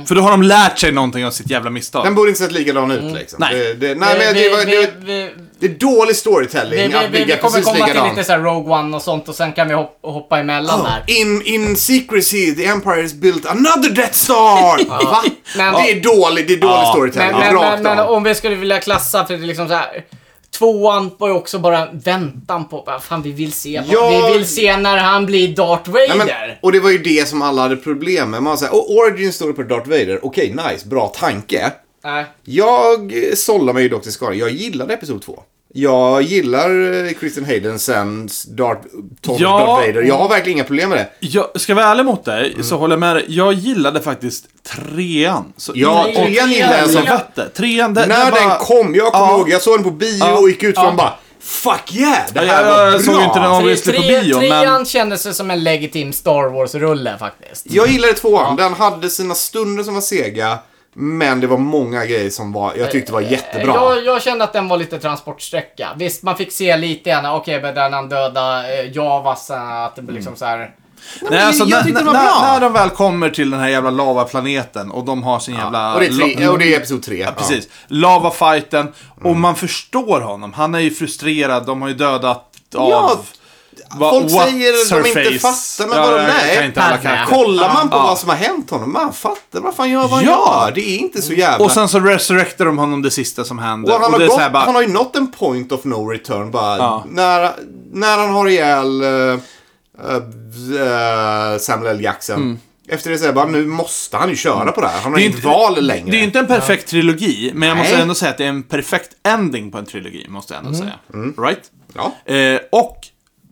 För då har de lärt sig någonting av sitt jävla misstag. Den borde inte sett likadan ut liksom. Nej. Det, det, nej men det, var, Mm. vi, det, vi, vi, det är dålig storytelling Vi, vi, att vi, vi bygga kommer precis komma likadan. till lite så här Rogue One och sånt och sen kan vi hop- hoppa emellan där. In, in secrecy, the empire has built another Death Star! Va? Men- det är dålig, det är dålig Ja. storytelling. Men, men, Rakt men, men av. om vi skulle vilja klassa för det är liksom så här. Tvåan var ju också bara en väntan på, vad fan vi vill se, vad- Ja. vi vill se när han blir Darth Nej, Vader. men, och det var ju det som alla hade problem med. Man säger, och origin story på Darth Vader, okej nice, bra tanke. Nej. Jag eh, sållar mig ju dock till skadan. Jag gillade Episod 2. Jag gillar eh, Christian Haydensens Darth, Tom Ja. Darth Vader. Jag har verkligen inga problem med det. Jag ska jag vara ärlig mot dig, så håller jag med dig. Jag gillade faktisst trean. Så Ja, in- trean och- gillade jag så som- vette. Trean, det, När det var... den kom, jag kommer Ja. ihåg, jag såg den på bio Ja. och gick ut från Ja. bara Fuck yeah! Det Ja, här jag- var bra! jag såg inte den av- vi skulle på bio, men- trean kändes ju som en legitim Star Wars-rulle faktiskt. Jag gillade tvåan. Den hade sina stunder som var sega. Men det var många grejer som var, jag tyckte var jättebra. Jag, jag kände att den var lite transportsträcka. Visst, man fick se lite grann, okej, okay, där han döda eh, Javas, eh, att det blir Mm. liksom så här. Nej, men alltså, jag när, tyckte det när, var bra. när de väl kommer till den här jävla lavaplaneten och de har sin jävla... och, det är tre, la- och det är Mm. episod tre. Ja, Precis. Lavafighten. Och man förstår honom. Han är ju frustrerad. De har ju dödat av... Ja, Va- Folk what säger att de inte surface. fattar, men Ja, vadå jag kan nej? inte alla Nej. kanske. Kollar man på Ja. vad som har hänt honom, man fattar vad fan gör vad han Ja. gör. Det är inte så jävla... Och sen så resurrectar de honom det sista som händer. Och han, det har är så gått, här bara- han har ju nått en point of no return bara. Ja. När, när han har ihjäl eh, eh, Samuel L. Jackson. Efter det säger jag bara, nu måste han ju köra på det här. Han har Mm. Det är inget inte- val längre. Det är ju inte en perfekt trilogi, men jag måste Nej. Mm. ändå säga att det är en perfekt ending på en trilogi, måste jag ändå säga. Right? Ja. Eh, och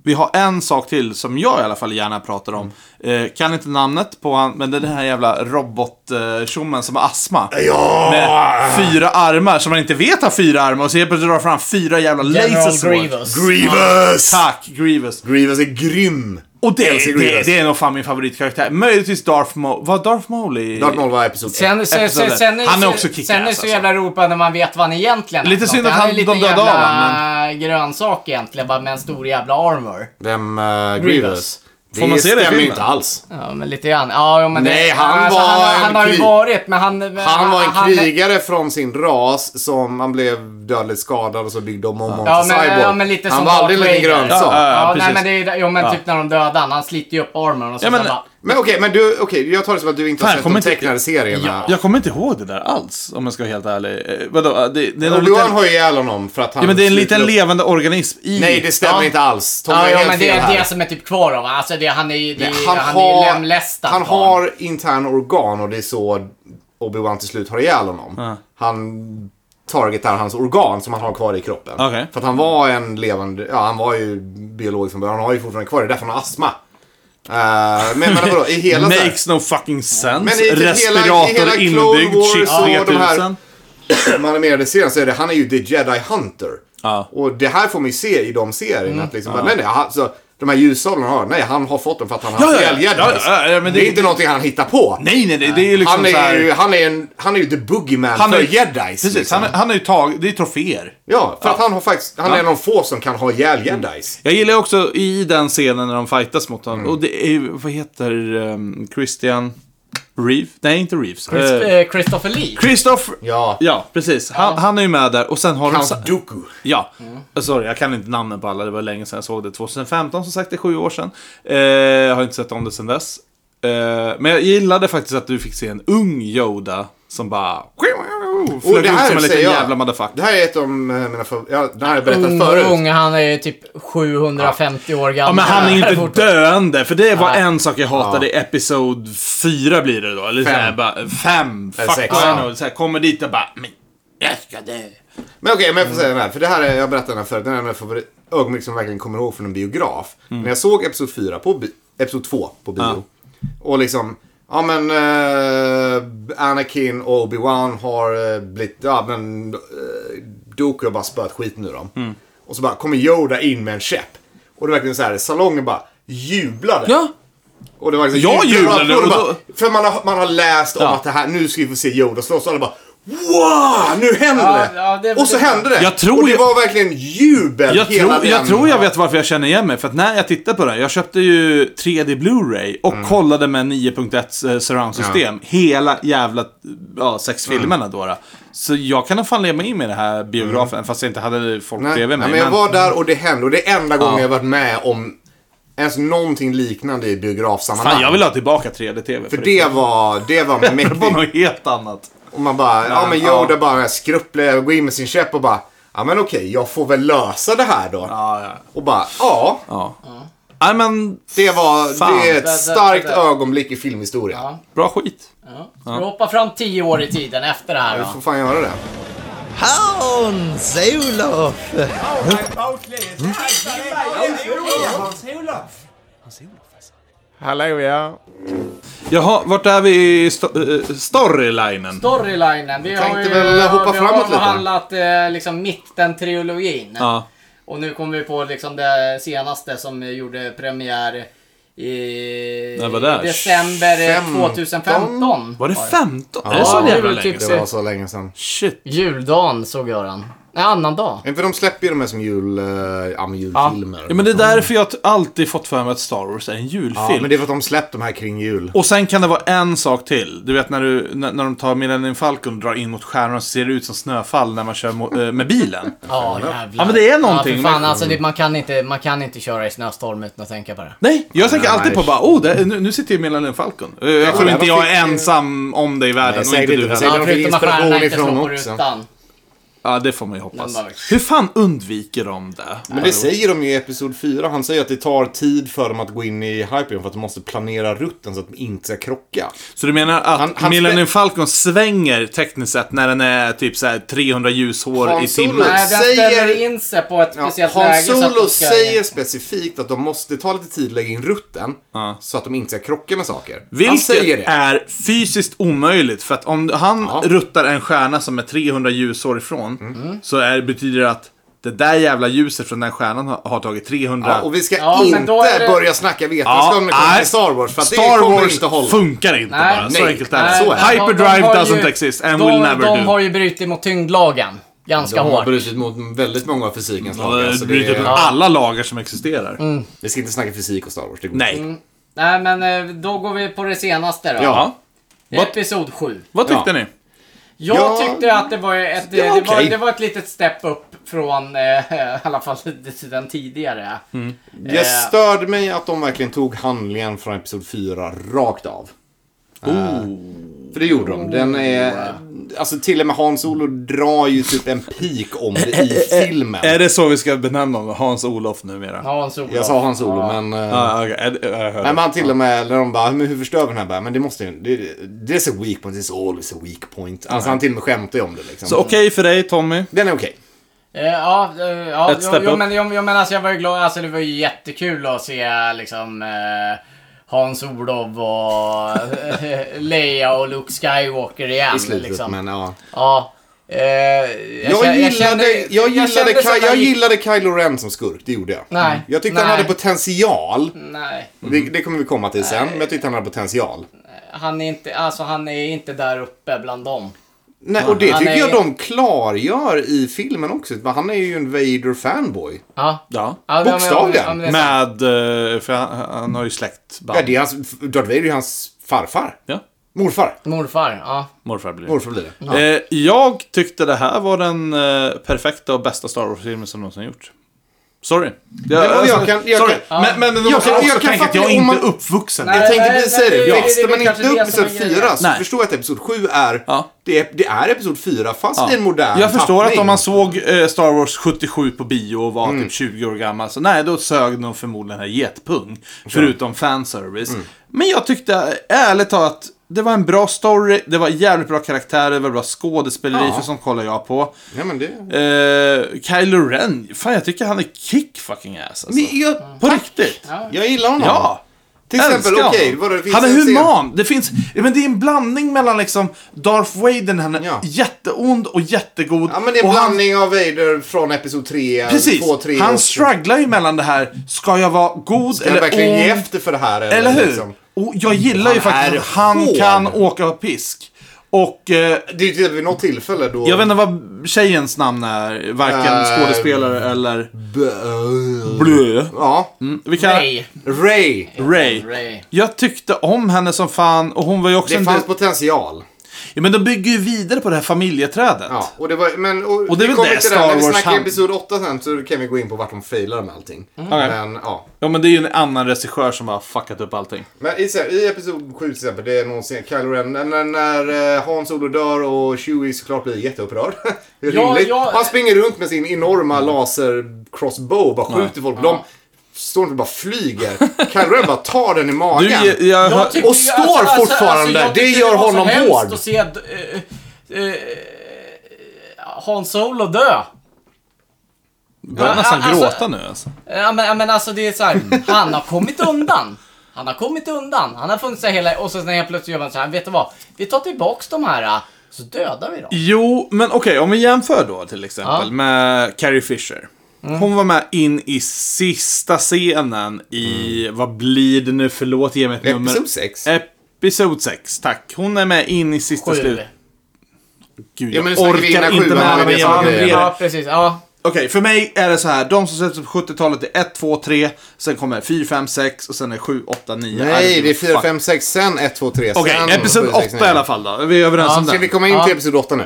vi har en sak till som jag i alla fall gärna pratar om. Eh, kan inte namnet på han, men det är den här jävla robottjommen eh, tjommen som har astma. Ja! Med fyra armar, som man inte vet har fyra armar, och så helt plötsligt drar fram fyra jävla General lasersword. Grievous. Grievous! Tack, Grievous. Grievous är grym. Och det, Älskar det, Grievous. det är nog fan min favoritkaraktär. Möjligtvis Darth Maul. Var Darth Maul i... Darth Maul var episod ett. Sen, sen, sen, Episoder. sen, Han är sen- också kick-ass, Sen är det så alltså. jävla roligt när man vet vad han egentligen är. Lite för synd något. att Han är han- lite de dödade jävla av grönsak egentligen, bara med en stor jävla armor. Vem? eh, Grievous. Grievous. Får man se det i stämmer ju filmen? inte alls. Ja, men lite grann. Ja, jo, men Nej, det, han var Alltså, han, har- en han har ju krig- varit, men han... men Han var en han- krigare från sin ras som han blev dödligt skadad och så byggde de om honom Ja till men, cyborg. ja, men lite han som var aldrig en Darth liten Vader. grönsak. Ja, ja. Ja, nej, precis. men det är, jo, men typ när de dödar han, han sliter ju upp armen och så, Ja, men- så bara, Men okej, men du, okej, jag tar det som att du inte Fan, har sett kommer de inte- tecknade serierna. Ja, jag kommer inte ihåg det där alls, om jag ska vara helt ärlig. Eh, vadå, eh, det, det är någon Obi-Wan liten, har ju ihjäl honom för att han... ja, men det är en sluter liten upp- levande organism i... Nej, det stämmer Ja. inte alls. Tom Ja, är ja helt men det fel här. är det som är typ kvar av Alltså det, han är ju det, Nej, han är ju lemlästad. han barn. har intern organ och det är så Obi-Wan till slut har ihjäl honom. Han targetar hans organ som han har kvar i kroppen. Okej. För att han var en levande, ja han var ju biolog från början, han har ju fortfarande kvar det, därför han har astma. Eh, men men vadå, i hela... så här- Makes no fucking sense. Men i typ hela- i Respirator hela Clone inbyggd, Wars chip och de här- 3000. man animerade serien så är det, han är ju the jedi hunter. Ja. Mm. Och det här får man ju se i de serierna. Att liksom, bara, nej, nej, han, så, de här ljussablarna har, nej han har fått dem för att han har Ja, ja, haft ihjäl ja, jedis. ja, ja, men Det det- är inte någonting han hittar på. Nej, nej, nej. Det är ju liksom han, så är här, ju, han, är en, han är ju the boogeyman Han för är- jedis. Precis, liksom. han, han har ju tagit... Det är troféer. ja, för att han har faktiskt, han är en av de få som kan ha ihjäl jedis. Jag gillar också i den scenen när de fightas mot Mm. honom. Och det är ju- Vad heter ehm, Christian... Reeve? Nej, inte Reeves. Chris, Eh, eh, Christopher Lee. Christopher... Ja. Ja, precis. Han, han är ju med där och sen har Hans de... sa- Dooku. Ja, Eh, sorry jag kan inte namnen på alla. Det var länge sedan jag såg det. 2015 som sagt, det är sju år sedan. Eh, jag har inte sett om det sedan dess. Eh, men jag gillade faktiskt att du fick se en ung Yoda som bara... Och Flög det ut här som en liten säger jag. jävla motherfucker. Det här är ett av eh, mina favoriter. Ja, det här har jag berättat Ung förut. och ung, han är ju typ 750 år gammal. Ja, men han är ju inte döende, för det var Nej. en sak jag hatade i Episod 4 blir det då. Eller Fem. fem. Såhär, bara, fem. Eller Fuck, sex. ja. Ja. know. Såhär, kommer dit och bara... Men, jag ska dö. Men okej, men jag får säga den här. För det här är, jag berättade den här förut. Den här är en av mina favorit- ögonblick som jag verkligen kommer ihåg från en biograf. Mm. När jag såg Episod 4 på bi- Episod 2 på bio. Och liksom, ja men eh, Anakin och Obi-Wan har eh, blivit, ja men eh, Dooku har bara spöat skiten nu dem. Mm. Och så bara kommer Yoda in med en käpp. Och det är verkligen så här, salongen bara jublade. Ja, Och det var liksom, Jag jublade, och applåder och då- bara- För man har, man har läst om Ja. att det här, nu ska vi få se Yoda slåss. Och alla bara Wow! Nu händer det! Ja, ja, det- och så det- hände det! Jag tror och det jag- var verkligen jubel Jag hela tror, jag den- tror jag vet varför jag känner igen mig, för att när jag tittar på den, jag köpte ju 3D Blu-ray och Mm. kollade med 9.1 eh, surroundsystem hela jävla ja, sex Mm. filmerna då, då. Så jag kan ha fan leva mig in med den här biografen, fast jag inte hade folk Nej, bredvid mig. nej, men jag men- var där och det hände. Och det är enda gången jag varit med om ens någonting liknande i biografsammanhang. Fan, jag vill ha tillbaka 3D-TV. För det var, det var det var mäktigt. något helt annat. Och man bara, ja men Ja. Yoda bara skrupplar, går in med sin käpp och bara, ja men okej, jag får väl lösa det här då. Ja, ja. Och bara, ja. Nej, men Det var Fan. det är Där, där, ett starkt där. ögonblick i filmhistorien. Ja. bra skit. Ja. Ska vi hoppa fram 10 år i tiden efter det här Vi då? får fan göra det. Hans Olof! Hallå ja. Jaha, vart är vi i sto- eh, storylinen? Storylinen. Vi har ju Tänkte väl hoppa vi framåt har lite. avhandlat eh, liksom mitten-trilogin. Ja. Och nu kommer vi på liksom det senaste som gjorde premiär i När var det? december eh, 15? 2015. Var det 15? Ja, det det så var jävla väl länge typ Det sedan? var så länge sedan. Shit. Juldagen såg jag den. Nej, annan dag. Men För de släpper ju de här som jul, eh, ja, men julfilmer. Ja, men det är därför jag t- alltid fått för mig att Star Wars är en julfilm. Ja, men det är för att de släppte de här kring jul. Och sen kan det vara en sak till. Du vet när, du, när, när de tar Millennium Falcon och drar in mot stjärnorna så ser det ut som snöfall när man kör mo- eh, med bilen. Ja, jävlar. Ja, men det är någonting. Ja, för fan, alltså, det, man, kan inte, man kan inte köra i snöstorm utan att tänka på det. Nej, jag tänker Nej. alltid på bara, oh, det, nu, nu sitter ju Millennium Falcon. Eh, Jag tror men inte de jag är fick ju- ensam om det i världen Nej, och säg inte det du inte, heller. säg Ja, de fick förutom att inspiration stjärnorna inte ifrån slår på också. rutan. Ja, det får man ju hoppas. Den där- Hur fan undviker de det? Men det säger de ju i Episod 4. Han säger att det tar tid för dem att gå in i Hyperion för att de måste planera rutten så att de inte ska krocka. Så du menar att Han- han Millennium Falcon svänger tekniskt sett när den är typ så här 300 ljushår i Hans Solo timmen? Nej, den Säger- ställer in sig på ett Ja, speciellt läge. Han så att Solo de ska- säger specifikt att de måste ta lite tid att lägga in rutten så att de inte ska krocka med saker. han säger det. Vilket är fysiskt omöjligt, för att om han Ja. Mm. ruttar en stjärna som är 300 ljusår ifrån, så är, betyder det att det där jävla ljuset från den stjärnan har, har tagit 300... Ja, och vi ska Ja, men inte då är det- börja snacka vetenskap när det kommer nej. till Star Wars. För att Star det kommer Wars inte hålla. funkar inte Nej. bara, så Nej. enkelt är det. Nej, så är det. Hyperdrive de har doesn't ju- exist and de, will never De do. har ju brutit mot tyngdlagen. Ganska De har hårt. brutit mot väldigt många av fysikens lagar. Eh, så det typ- Bryter är- mot alla lagar som existerar. Mm. Vi ska inte snacka fysik och Star Wars. Det går Nej. inte. Nej, men eh, då går vi på det senaste då. Ja. Vad, Episod 7. vad tyckte Ja. ni? Jag Ja. tyckte att det var ett, det Det var var, det var, okej. ett litet step upp från eh, i alla fall den tidigare. Mm. Eh, Jag störde mig att de verkligen tog handlingen från Episod 4 rakt av. Eh, för det gjorde de. Den är... Alltså till och med Hans Olo drar ju typ en pik om det i Eh, filmen. eh, Är det så vi ska benämna honom? Hans-Olof numera? Hans Olof. Jag sa Hans Olo, men... eh, Ah, okej. Är det- jag hörde. Nej, men han till och med, när de bara, men hur förstör vi den här? Bara, Men det måste ju, det, this is a weak point, it's always a weak point. Alltså han till och med skämtar ju om det liksom. Så okej för dig Tommy. Den är okej. Eh, ja, eh, ja Ett jo, step jo, up. men, jo, jo, men alltså jag var ju glad. Alltså det var ju jättekul att se liksom eh, Hans-Olof och eh, Leia och Luke Skywalker igen. I slutet, liksom. men ja. Ja. Eh, jag, Jag, kände- gillade, jag, jag gillade, kände så att Ky- jag han gick- gillade Kylo Ren som skurk, det gjorde jag. Nej. Mm. Jag tyckte han Nej. hade potential. Nej, Det, det kommer vi komma till sen, men jag tyckte han hade potential. han är, inte, alltså, han är inte där uppe bland dem. Nej, och det Han tycker är- jag de klargör i filmen också. Men Han är ju en Vader-fanboy. Ja. Ja. Ja, men- Bokstavligen. men- men- Med, eh, för han, han har ju släktband. Ja, det är hans, Darth Vader är ju hans farfar. Ja, Morfar. Morfar, ja. morfar blir det. Morfar blir det. Eh, jag tyckte det här var den eh, perfekta och bästa Star Wars-filmen som någonsin gjorts. Sorry. Jag, Det var- jag kan- jag sorry. kan- men, men, men vi Jag måste kan- också jag kan tänka att fatta jag är om inte man- uppvuxen. Nej. Jag tänkte precis säga det. nej, det Växte är man väl inte kanske upp det som episod är grejen. 4 så Nej. förstår jag att episod 7 är... Ja. Det är, det är episod 4 fast i en modern jag förstår att tappning. Mm. om man såg eh, Star Wars 77 på bio och var typ 20 år gammal, så nej, då sög de förmodligen här getpung. Förutom fanservice. Mm. Men jag tyckte, ärligt talat, det var en bra story, det var jävligt bra karaktärer, det var bra skådespeleri, Ja. för sånt kollar jag på. Ja, men det... Eh, Kylo Ren, fan jag tycker han är kick fucking ass alltså. Men jag, På riktigt. jag gillar honom. Ja. Till exempel, Älskar okej, honom. vadå, det finns Han är en scen- human. Det finns, ja, men det är en blandning mellan liksom Darth Vader, han är Ja. jätteond och jättegod. Ja, men det är en och han- blandning av Vader från episod 3, Precis. 2, 3 han strugglar ju mellan det här, ska jag vara god Ska jag eller verkligen ond? ge efter för det här? Eller, Eller hur? liksom? Och jag gillar ju Han faktiskt att är han hård. kan åka på pisk. Och eh, Det är ju till vid något tillfälle då... jag vet inte vad tjejens namn är, varken Eh, skådespelare eller... B- Blö. Ja. Mm, vi kan... Nej. Ray. Ray. Ray. Jag tyckte om henne som fan och hon var ju också Det en... fanns potential. Ja, men de bygger ju vidare på det här familjeträdet. Ja, och det var... Men, och, Och det vi är väl kommer det till det här. När Star vi Wars snackar hand- episod 8 sen så kan vi gå in på vart de failar med allting. Mm. Okej. Men, ja. Ja, men det är ju en annan regissör som har fuckat upp allting. Men i, i episod 7 till exempel, det är någon scen, Kylo Ren, när, när, när eh, Han Solo dör och Chewie såklart blir jätteupprörd. Hur Ja, rimligt. ja. eh- Han springer runt med sin enorma Mm. laser-crossbow och bara skjuter folk. De står inte och bara flyger. Kylo Ren bara tar den i Du, magen. jag, jag, Jag tycker Och ju- alltså, står fortfarande. jag Det tycker gör var så honom hemskt hård. att se eh, eh, eh, Han Solo dö. börjar nästan alltså- gråta nu alltså. Ja men, ja, men alltså det är så här, han har kommit undan. Han har kommit undan. Han har funnits där hela... Och så när jag plötsligt gör man så här, vet du vad? Vi tar tillbaks de här, eh, så dödar vi dem. Jo, men okej, om vi jämför då till exempel Ja. Mm. med Carrie Fisher. Hon var med in i sista scenen i, vad blir det nu, förlåt, ge mig ett nummer. Mm. Episod 6. Episod 6, tack. Hon är med in i sista Sju. slut. Gud, Ja, jag men nu snackar vi orkar innan inte sjuan, med det var mig det som var igenom grejen. det. Ja. Ja, precis. Ja. Okej, för mig är det så här. De som sätts upp på 70-talet är 1, 2, 3, sen kommer 4, 5, 6 och sen är 7, 8, 9. Nej, det är 4, alltså, fuck. 5, 6, sen 1, 2, 3, Okej, sen... episod sju, sex, 8 i nio. alla fall då. Vi är överens om Ska det. vi komma in till episod 8 nu?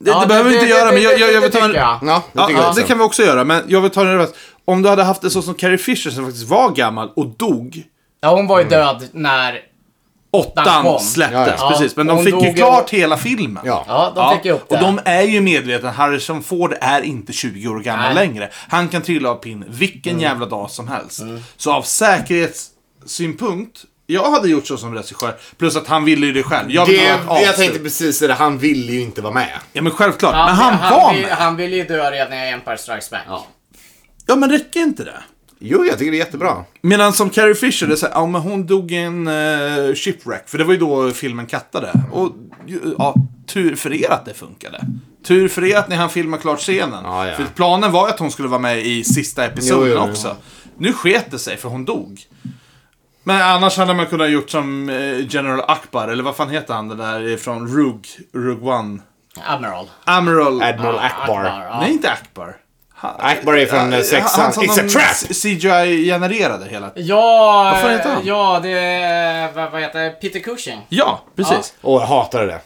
Det, Ja, det behöver vi inte göra, det- men jag, jag, jag det vill ta en... tycker jag. Ja, det Ja, tycker jag ja, också. det kan vi också göra, men jag vill ta en reverse. Om du hade haft en sån som Carrie Fisher som faktiskt var gammal och dog. Ja, hon var ju död när... Den kom. Åttan Ja, släpptes, ja. precis. Men de Hon fick ju dog- klart hela filmen. Ja. Ja, de fick ju upp det. Och de är ju medvetna. Harrison Ford är inte 20 år gammal Nej. Mm. längre. Han kan trilla av pinn vilken jävla dag som helst. Så av säkerhetssynpunkt, jag hade gjort så som regissör. Plus att han ville ju det själv. Jag ville Det, ha ett det jag avslut. tänkte precis är det, han ville ju inte vara med. Ja men självklart, Ja, men han, var vill, med. han ville ju dö redan i Empire Strikes Back. Ja men räcker inte det? Jo, jag tycker det är jättebra. Medan som Carrie Fisher, det är såhär, ja men hon dog i en eh, shipwreck. För det var ju då filmen kattade. Och ju- ja, tur för er att det funkade. Tur för er att ni hann filma klart scenen. Ja, ja. För planen var ju att hon skulle vara med i sista episoden Jo, jo, jo. också. Nu sket det sig för hon dog. Men annars hade man kunnat gjort som eh, General Akbar, eller vad fan heter han den där från Rug, Rug One? Admiral. Admiral... Admiral Akbar. ja. Nej, inte Akbar. Ha- Akbar är från Ja, eh, sexan. han som It's de a trap! CGI-genererade hela tiden. Ja, Vad fan heter han? ja, det är, vad, vad heter Peter Cushing. Ja, precis. Och jag hatar det.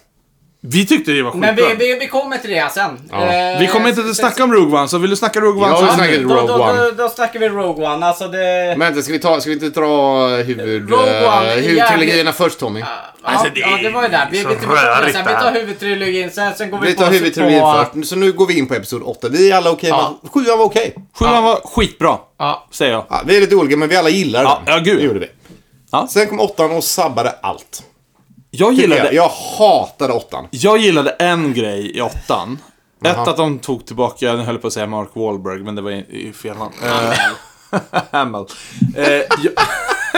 Vi tyckte det var skitbra. Men vi, vi, vi kommer till det sen. Eh, Vi kommer inte att snacka om Rogue One, så vill du snacka Rogue One Ja, så... vi snackar- då, då, Rogue då, One. då, då snackar vi Rogue One. Alltså det... Men ska vi, ta, ska vi inte dra huvud, Rogue One, eh, huvudtrilogierna jävligt- först Tommy? Alltså, ja, det det, ja, det var ju där. Vi, vi, så vi, rörigt vi det tar här. huvudtrilogin, sen, sen går vi, Vi på... tar huvudtrilogin på- först. Så nu går vi in på Episod 8. Vi är alla okej Ja. med... Sjuan var okej. Sjuan var skitbra, Ja. säger jag. Ja, vi är lite olika, men vi alla gillar Ja, den. ja, gud. Det gjorde vi. Ja. Sen kom åttan och sabbade allt. Jag Jag, gillade, jag hatade åttan. jag gillade en grej i åttan. Ett, att de tog tillbaka, nu höll jag på att säga Mark Wahlberg, men det var i- i fel namn. Eh, Hamill. Eh, jag-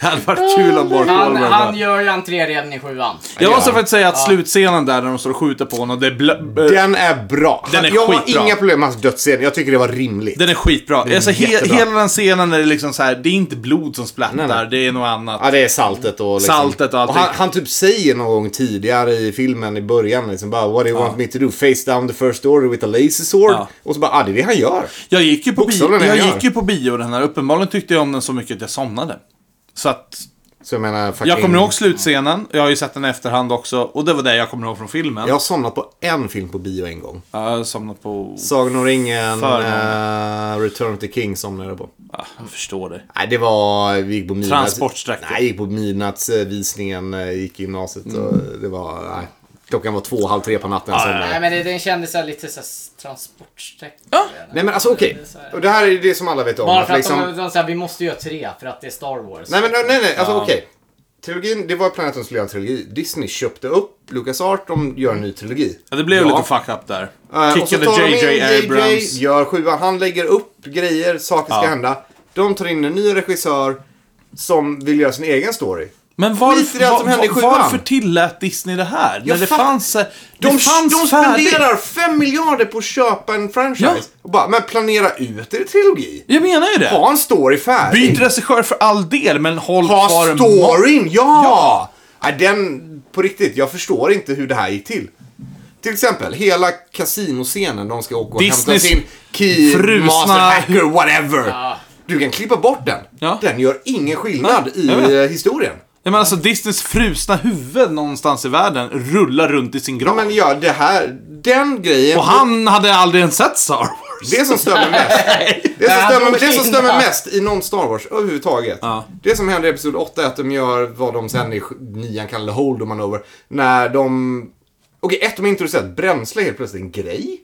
Det hade varit kul om Mark Han, Wahlberg var- han gör ju entré redan i sjuan. Jag måste Ja. faktiskt säga att slutscenen där när de står och skjuter på honom, det är eh, blö- den, Den är bra. Den är jag har skitbra. inga problem med hans dödsscen. Jag tycker det var rimligt. den är skitbra. alltså, he, jättebra. hela den scenen är liksom så här, det är inte blod som splattar, det är något annat. Ja, det är saltet och liksom. Saltet och allting. han, han typ säger någon gång tidigare i filmen i början liksom bara What do you want me to do? Face down the first order with a laser sword? Ja. Och så bara, ah, det är det han gör. Jag gick ju på, bio, Bokstavligen är jag jag. gick ju på bio den här, uppenbarligen tyckte jag om den så mycket att jag somnade. Så att, Så jag menar, fucking... jag kommer ihåg slutscenen, jag har ju sett den i efterhand också, och det var det jag kommer ihåg från filmen. Jag har somnat på en film på bio en gång. Jag har somnat på... Sagan om ringen, För- eh, Return of the King somnade jag på. Ah, jag förstår det. Nej, det var... Vi gick på midnatt... Transportsträckor. Nej, jag gick på midnattsvisningen, eh, gick i gymnasiet. Mm. Och det var... Nej. Klockan var två, halv tre på natten. Ah, Nej men det, den kändes så här lite såhär transportsträcka. Nej men alltså okej. så Och det här är det som alla vet om. Bara att för att liksom- de, de säger vi måste göra tre för att det är Star Wars. Nej men nej nej, alltså okej. Trilogin, det var planen att de skulle göra en trilogi. Disney köpte upp LucasArts, de gör en ny trilogi. Ja, det blev Ja. lite fuck up där. Eh, och så Kickade tar de in JJ Abrams. gör sjuan, han lägger upp grejer, saker ska Ja. hända. De tar in en ny regissör som vill göra sin egen story. Men Skit i varför, det som hände i sjuan. varför tillät Disney det här? När det fatt- fanns... eh, Det De, fanns de färdigt. spenderar 5 miljarder på att köpa en franchise. Ja. Och bara, men planera ut er trilogi. Jag menar ju det. Ha en story färdig. Byt regissör för all del, men håll kvar Ha en storyn, ja! Nej, den, på riktigt, jag förstår inte hur det här gick till. Till exempel, hela kasinoscenen, de ska åka och hämta Disneys sin key, frusna- master hacker, whatever. Du kan klippa bort den. Ja. Den gör ingen skillnad jag vet. i eh, historien. Nej, men alltså Disneys frusna huvud någonstans i världen rullar runt i sin grav. Ja, men ja, det här, den grejen. Och han hade aldrig ens sett Star Wars. Det som stör mig mest. Det som Nej, stör mig, de är det som stör mig innan. mest i någon Star Wars överhuvudtaget. Ja. Det som händer i Episod 8 är att de gör vad de sen i sj- nian kallade Hold och Manöver. När de... Okej, ett, de har introducerat bränsle är helt plötsligt en grej.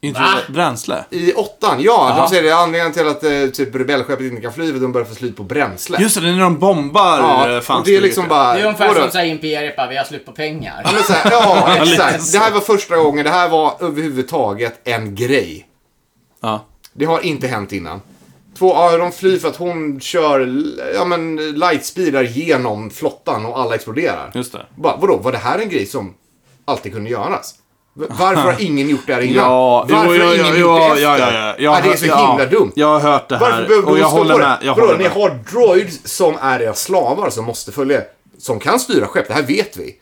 Inte Va? bränsle. I åttan, ja. De säger det är anledningen till att eh, typ rebellskeppet inte kan fly för att de börjar få slut på bränsle. Just det, det är när de bombar eh, ja, fanns och det är liksom ju. bara... det är ungefär vadå? som såhär Imperiet bara, vi har slut på pengar. Ja, men så här, ja, Ja, lite exakt. Det här var första gången. Det här var överhuvudtaget en grej. Ja. Det har inte hänt innan. Två, ja, de flyr för att hon kör ja, men, lightspeedar genom flottan och alla exploderar. Just det. Bara, vadå, var det här en grej som alltid kunde göras? V- Varför har ingen gjort det här innan? Ja, jo, Varför jo, har jo, ingen jo, gjort ja, det ja, efter? ja. Jag Ja, har det är hört- så ja. himla dumt. Jag har hört det här Varför behöver och de jag stå håller på det? med. Jag Vadå, håller ni med. har droids som är era slavar som måste följa Som kan styra skepp, det här vet vi.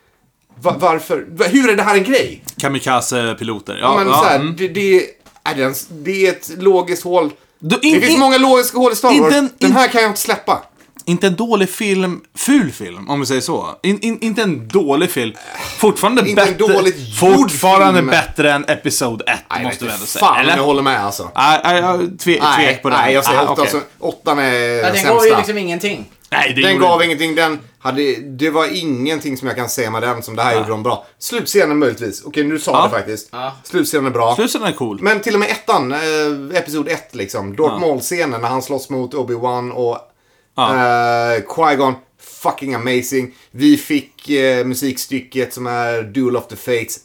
Va- varför? Va- Hur är det här en grej? Kamikaze-piloter. Ja, Ja, men ja. så här, mm. det, det, är, det, ens- det är ett logiskt hål. Du, det in- finns in- många logiska hål i Star inte Wars. en- Den in- här kan jag inte släppa. Inte en dålig film, ful film om vi säger så. In, in, inte en dålig film. Fortfarande Inte en bättre. dåligt gjord fortfarande film. bättre än Episod 1 måste vi jag vet ändå inte säga. Fan om Eller? jag håller med alltså. Nej, nej, jag tve, tvek på den. nej, jag säger Ah, åtta. okej. så åttan är Ja, den den gav ju sämsta. liksom ingenting. Nej, det Den gjorde gav inte. ingenting. Den hade, det var ingenting som jag kan säga med den som det Ah. här gjorde de bra. Slutscenen möjligtvis. Okej, nu sa det faktiskt. Slutscenen är bra. Slutscenen är cool. Men till och med ettan, eh, episod ett liksom. Darth Maul-scenen när han slåss mot Obi-Wan och eh, Qui-Gon. Fucking amazing. Vi fick eh, musikstycket som är Duel of the Fates.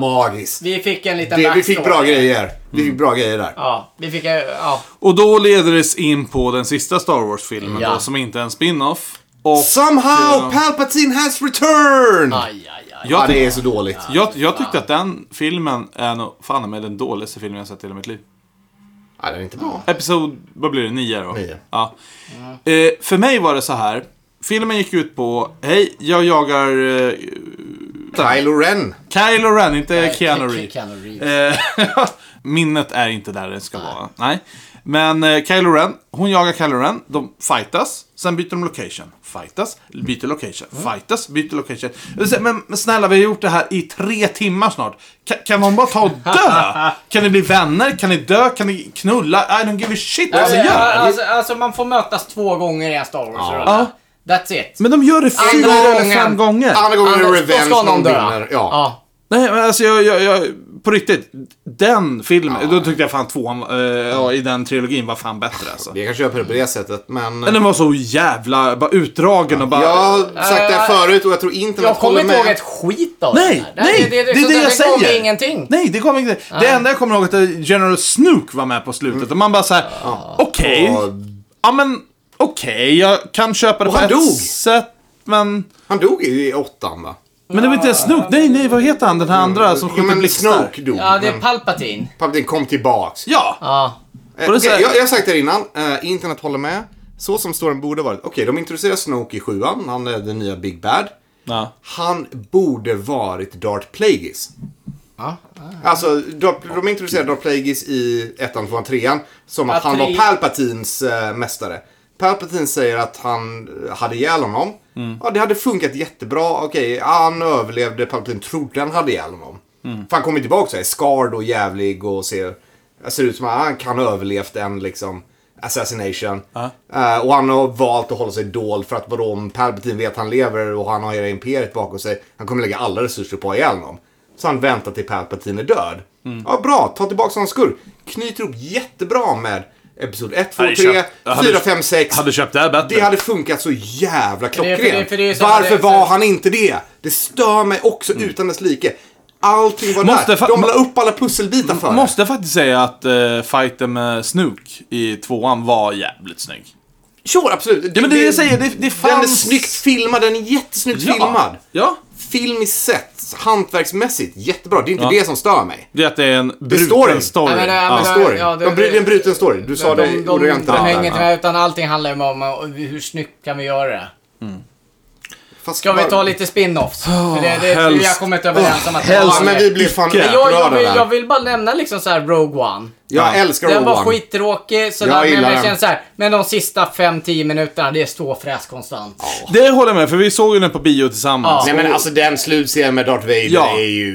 Magiskt. Vi fick en liten Det, vi fick backstory. bra grejer. Vi fick bra grejer där. Ja, vi fick, eh, ja. Och då leder det in på den sista Star Wars-filmen Ja. då, som inte är en spin-off. Och Somehow Palpatine has returned! Aj, aj, aj. Ja, jag, det tyck- är så dåligt. jag, jag tyckte att den filmen är nog fan med den dåligaste filmen jag sett i hela mitt liv. Ja, det är inte bra. Episod, vad blir det, nio då? Nio. Ja. Eh, för mig var det så här. Filmen gick ut på, hej, jag jagar eh, Vänta. Kylo Ren. Kylo Ren, inte Keanu Ke- Ke- Reeves. Keanu Reeves. Eh, Minnet är inte där det ska vara. Nej. Men eh, Kylo Ren, hon jagar Kylo Ren, de fightas, sen byter de location. Fightas, byter location. Mm. Fightas, byter location. Jag säger, Men, men snälla, vi har gjort det här i tre timmar snart. Kan, kan någon bara ta och dö? Kan ni bli vänner? Kan ni dö? Kan ni knulla? I don't give a shit vad Alltså, ni gör. alltså, alltså man får mötas två gånger i en Star Wars-rulla. Ja. That's it. Men de gör det fyra Andra eller gången. fem gånger. Andra gången är det Annars- då Revenge ska någon någon dö. vinner. Ja. Ja. Nej, men alltså jag, jag, jag på riktigt. Den filmen, då tyckte jag fan tvåan eh, ja, i den trilogin var fan bättre alltså. Vi kan köpa det på det sättet, men... eh, Men den var så jävla bara utdragen och bara... Jag har sagt det här förut och jag tror inte Eh, Jag kommer håller inte ihåg med. ett skit av Nej, det här. nej, det, det, liksom- det jag Det gav säger. mig ingenting. Nej, det kom inte. Det enda jag kommer ihåg är att General Snook var med på slutet och man bara såhär, okej. Ja. Ja men, okej, jag kan köpa det Och på han ett dog. sätt, men... Han dog i i åttan va? Men det var inte ens Snook. Nej, nej, vad heter han? Den här andra som Jo, skjuter men blixtar. Snoke dog. Ja, det är men Palpatine. Palpatine kom tillbaks. Ja! Ja. Eh, Och det okej, är så här- jag, jag har sagt det här innan, eh, internet håller med. Så som storyn borde varit. Okej, de introducerar Snoke i sjuan, han är den nya Big Bad. ja. Han borde varit Darth Plagueis. Ja. Alltså, Darth, de introducerade Darth Plagueis i ettan, tvåan, trean som att Ja, han var tre- Palpatines eh, mästare. Palpatine säger att han eh, hade ihjäl honom. Ja, det hade funkat jättebra. Okej, han överlevde. Palpatine trodde han hade ihjäl honom. För han kommer tillbaka så här skard och jävlig och ser, eh, ser ut som att han kan ha överlevt en liksom assassination. Eh, och han har valt att hålla sig dold för att vadå om Palpatine vet att han lever och han har hela imperiet bakom sig. Han kommer lägga alla resurser på att ha ihjäl honom. Så han väntar till Palpatine är död. Ja, bra. Ta tillbaka honom skurk. Knyter ihop jättebra med Episod 1, 2, Hade 3, köpt- hade- 4, 5, 6. Hade köpt det här bättre. Det hade funkat så jävla klockrent. för det- för det är så- Varför det är så- var han inte det? Det stör mig också utan dess like. Allting var Mm. Måste där. fa- De la upp alla pusselbitar för det. Måste jag faktiskt säga att eh, fighten med Snook i tvåan var jävligt snygg. Sure, absolut. Ja, men det är det jag säger, det- det Den är fanns- snyggt filmad, den är jättesnyggt filmad. Ja. Filmiskt sett, hantverksmässigt, jättebra. Det är inte det som stör mig. Det är att det är en bruten står i. story. story. Ja, men det- ja. men det- Story. ja, det- de bryr, det är en bruten story. Du sa det De, de, de, ordagrant. hänger inte där. med, utan allting handlar ju om, om hur snyggt kan vi göra det. Fast Ska vi bara- ta lite spin-offs? För det, det, helst. vi har kommit överens om att... Ja, helst. men vi blir fan Icke. upprörda jag, jag, vill, där. jag vill bara nämna liksom så här Rogue One. Jag älskar Den Rogue var One. skittråkig, så Jag där, men gillar jag den. känner så här, men de sista 5-10 minuterna, det är ståfräs konstant. Det håller jag med för vi såg ju den på bio tillsammans. Nej men alltså den slutscenen med Darth Vader Ja. är ju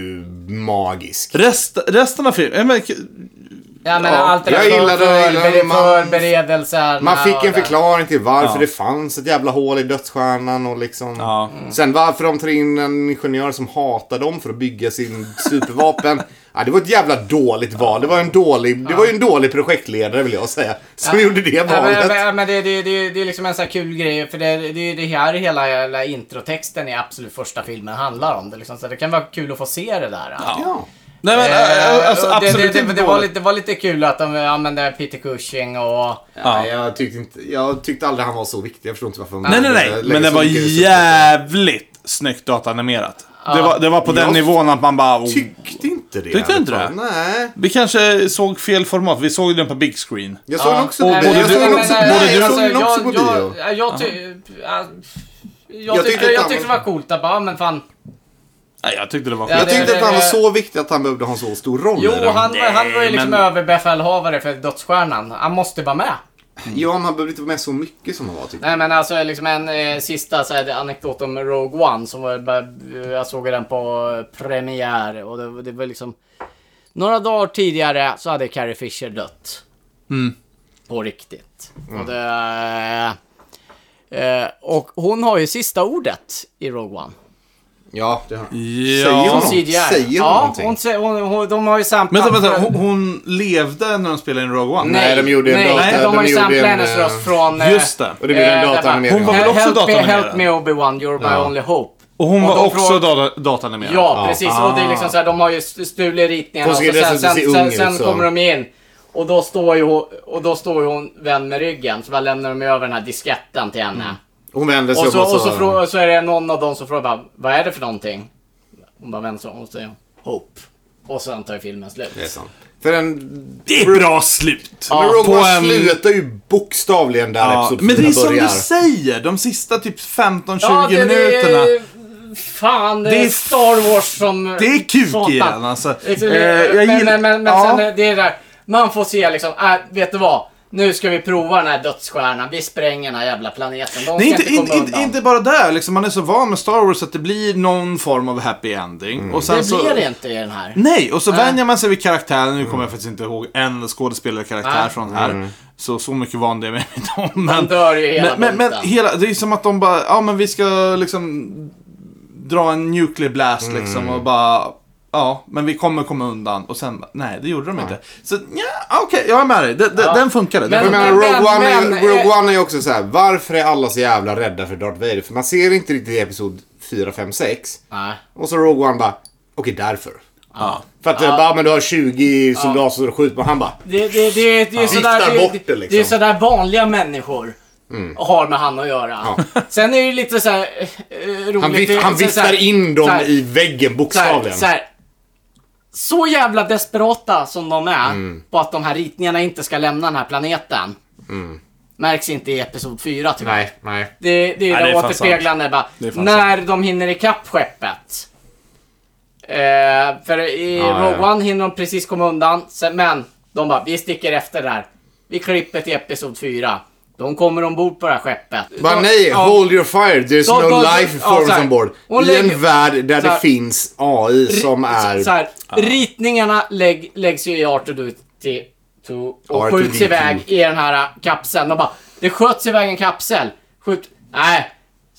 magisk. Rest, resten av filmen, men, Ja, men Ja, allt det jag där för- gillar det, jag gillar det. förbered- Man- förberedelser. Man fick en och det. förklaring till varför Ja. det fanns ett jävla hål i dödsstjärnan och liksom. Ja. Mm. Sen varför de tar in en ingenjör som hatar dem för att bygga sin supervapen. ja, det var ett jävla dåligt val. Det var, en dålig, det var ju en dålig projektledare vill jag säga. Som gjorde det Ja, men, valet. men, men det, det, det, det är liksom en sån här kul grej, för det, det, det här är hela, hela introtexten i absolut första filmen handlar om. Det, liksom, så det kan vara kul att få se det där. Ja. nej, men Eh, äh, alltså, det- absolut det, det, inte det, det, var dåligt. lite, det var lite kul att de använde Peter Cushing och... Ja, jag, tyckte inte, jag tyckte aldrig han var så viktig. Jag förstår inte varför. man- Nej, nej, nej. lägger Men det så var mycket resurser på jävligt snyggt dataanimerat. Det, var, det var på den Jag nivån att man bara... det. Oh, Tyckte inte det. Tyckte inte det? Nej. vi kanske såg fel format. Vi såg den på big screen. Jag såg den också på Och bio. både Jag du- såg den också- men- nej, både jag du- såg den också på bio. Alltså, jag, jag, jag, ty, jag, Jag jag, tyckte tyckte, att jag han tyckte det var- var coolt att bara, men fan. Nej, jag tyckte det var Ja, skit. Jag tyckte det- att han var det- så viktig att han behövde ha en så stor roll Jo, i den. han, han var ju liksom men- överbefälhavare för dödsstjärnan. Han måste vara med. Ja, men han behövde inte vara med så mycket som han var tyckte jag. Nej men alltså liksom en eh, sista så här, anekdot om Rogue One som var, bara- jag såg den på eh, premiär och det, det var liksom några dagar tidigare så hade Carrie Fisher dött. Mm. På riktigt. Mm. Och, det, eh, och hon har ju sista ordet i Rogue One. Ja, det har han. Ja. Säger hon, Hon CGI. säger hon ja, någonting? hon, sä- hon, hon, de har ju samplat... Vänta, vänta. Hon, hon levde när de spelade in Rogue One? Nej, de gjorde en nej, data- de, de har ju gjorde samplat en, hennes eh, röst från... eh, Just det. Och det blev en Eh, dataanimering. Hon var väl Eh, också help me, datanimerad? Help me Obi-Wan, you're my only hope. Och hon var de också frågar- data, dataanimerad? Ja, precis. Och det är liksom så här, de har ju st- stulit ritningarna och Hon så ser sen, sen, dessutom se sen, ung sen, ut, så. kommer de in. Och då står ju hon, och då står ju hon vänd med ryggen. Så bara lämnar de över den här disketten till henne. Hon vände sig Och, så, om och så, frå- så är det någon av dem som frågar bara, vad är det för någonting? Hon bara vänder sig om och säger hope. Och sen tar ju filmen slut. Det är sant. För den... Det är ett bra slut. Men Rogue på One en- slutar ju bokstavligen där Ja, episod men det är fyra som börjar. du säger, de sista typ 15-20 Ja, det- det- minuterna. fan, det Det är är- Star Wars som... Det är kuk satan. igen alltså. Liksom, Eh, men, jag men, gillar- men, men ja. sen eh, det är det där, man får se liksom, äh, vet du vad? Nu ska vi prova den här dödsstjärnan, vi spränger den här jävla planeten. De ska Nej, inte, inte komma inte, inte, undan. inte bara där. Liksom, man är så van med Star Wars att det blir någon form av happy ending. Och sen Mm. det så, blir det inte i den här. Nej, och så vänjer man sig vid karaktären. Nu kommer jag faktiskt inte ihåg en skådespelarkaraktär Mm. Nej. från här. Så, så mycket vande jag mig vid dem. Men, dör ju hela men, men, men bunten. hela, det är som att de bara, ja men vi ska liksom dra en nuclear blast liksom och bara, ja men vi kommer komma undan. Och sen, bara, nej det gjorde de inte. Så ja, okej, jag är med dig. Det, det, Den funkade. Men- Den Jag funkade. menar, Men- Rogue, One är, men- Rogue eh, One är ju också så här, varför är alla så jävla rädda för Darth Vader? För man ser inte riktigt i episod 4, 5, 6. Nej. Och så Rogue One bara, okej därför. Ja. För att ah. bara, men du har 20 soldater som du skjuter på. Han bara, Det, det, det, det, det är ju sådär, Viftar det, bort det, det, det är ju liksom. sådär vanliga människor har med han att göra. Sen är det ju lite såhär eh, roligt. han, det- vift, han så- så viftar här- in dem så här- i väggen så här- bokstavligen. Så, här, så jävla desperata som de är på att de här ritningarna inte ska lämna den här planeten. Märks inte i Episod 4 tyvärr. Nej, nej. Det, det är Nej, det det är fan återspeglande. Bara, Det är fan när de hinner ikapp skeppet. Eh, för i Ja, ja, Rogue ja. One hinner de precis komma undan. Sen, men de bara, vi sticker efter där. Vi klipper till Episod 4. De kommer ombord på det här skeppet. Bara De- nej, ja, hold your fire, there's Då- no då- life ja, forms så här. ombord. Hon I lägger- en värld där så här. det finns AI som är... Så här, Ritningarna lägg, läggs ju i R2D2 och R2D2. skjuts iväg i den här ä, kapseln. De bara, det sköts iväg en kapsel. Skjut. Nej,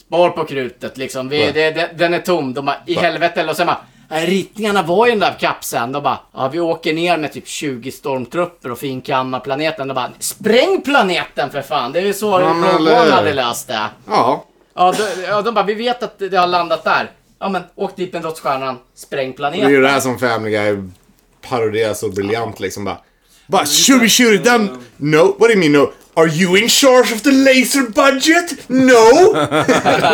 spar på krutet liksom. Vi, det, det, den är tom. De bara, i helvete. eller Och sen bara, nej, ritningarna var i den där kapseln. De bara, ja, vi åker ner med typ 20 stormtrupper och finkammar planeten. De bara, spräng planeten för fan. Det är ju så Ja, men Rogue eller One hur? hade löst det. Ja. Ja, de, ja, de bara, vi vet att det har landat där. Ja men, åk dit med dödsstjärnan, spräng Det är planeten. ju det här som Family Guy paroderar så briljant liksom bara. Mm. Bara shoot it, shoot it down. No, what do you mean no? Are you in charge of the laser budget? No!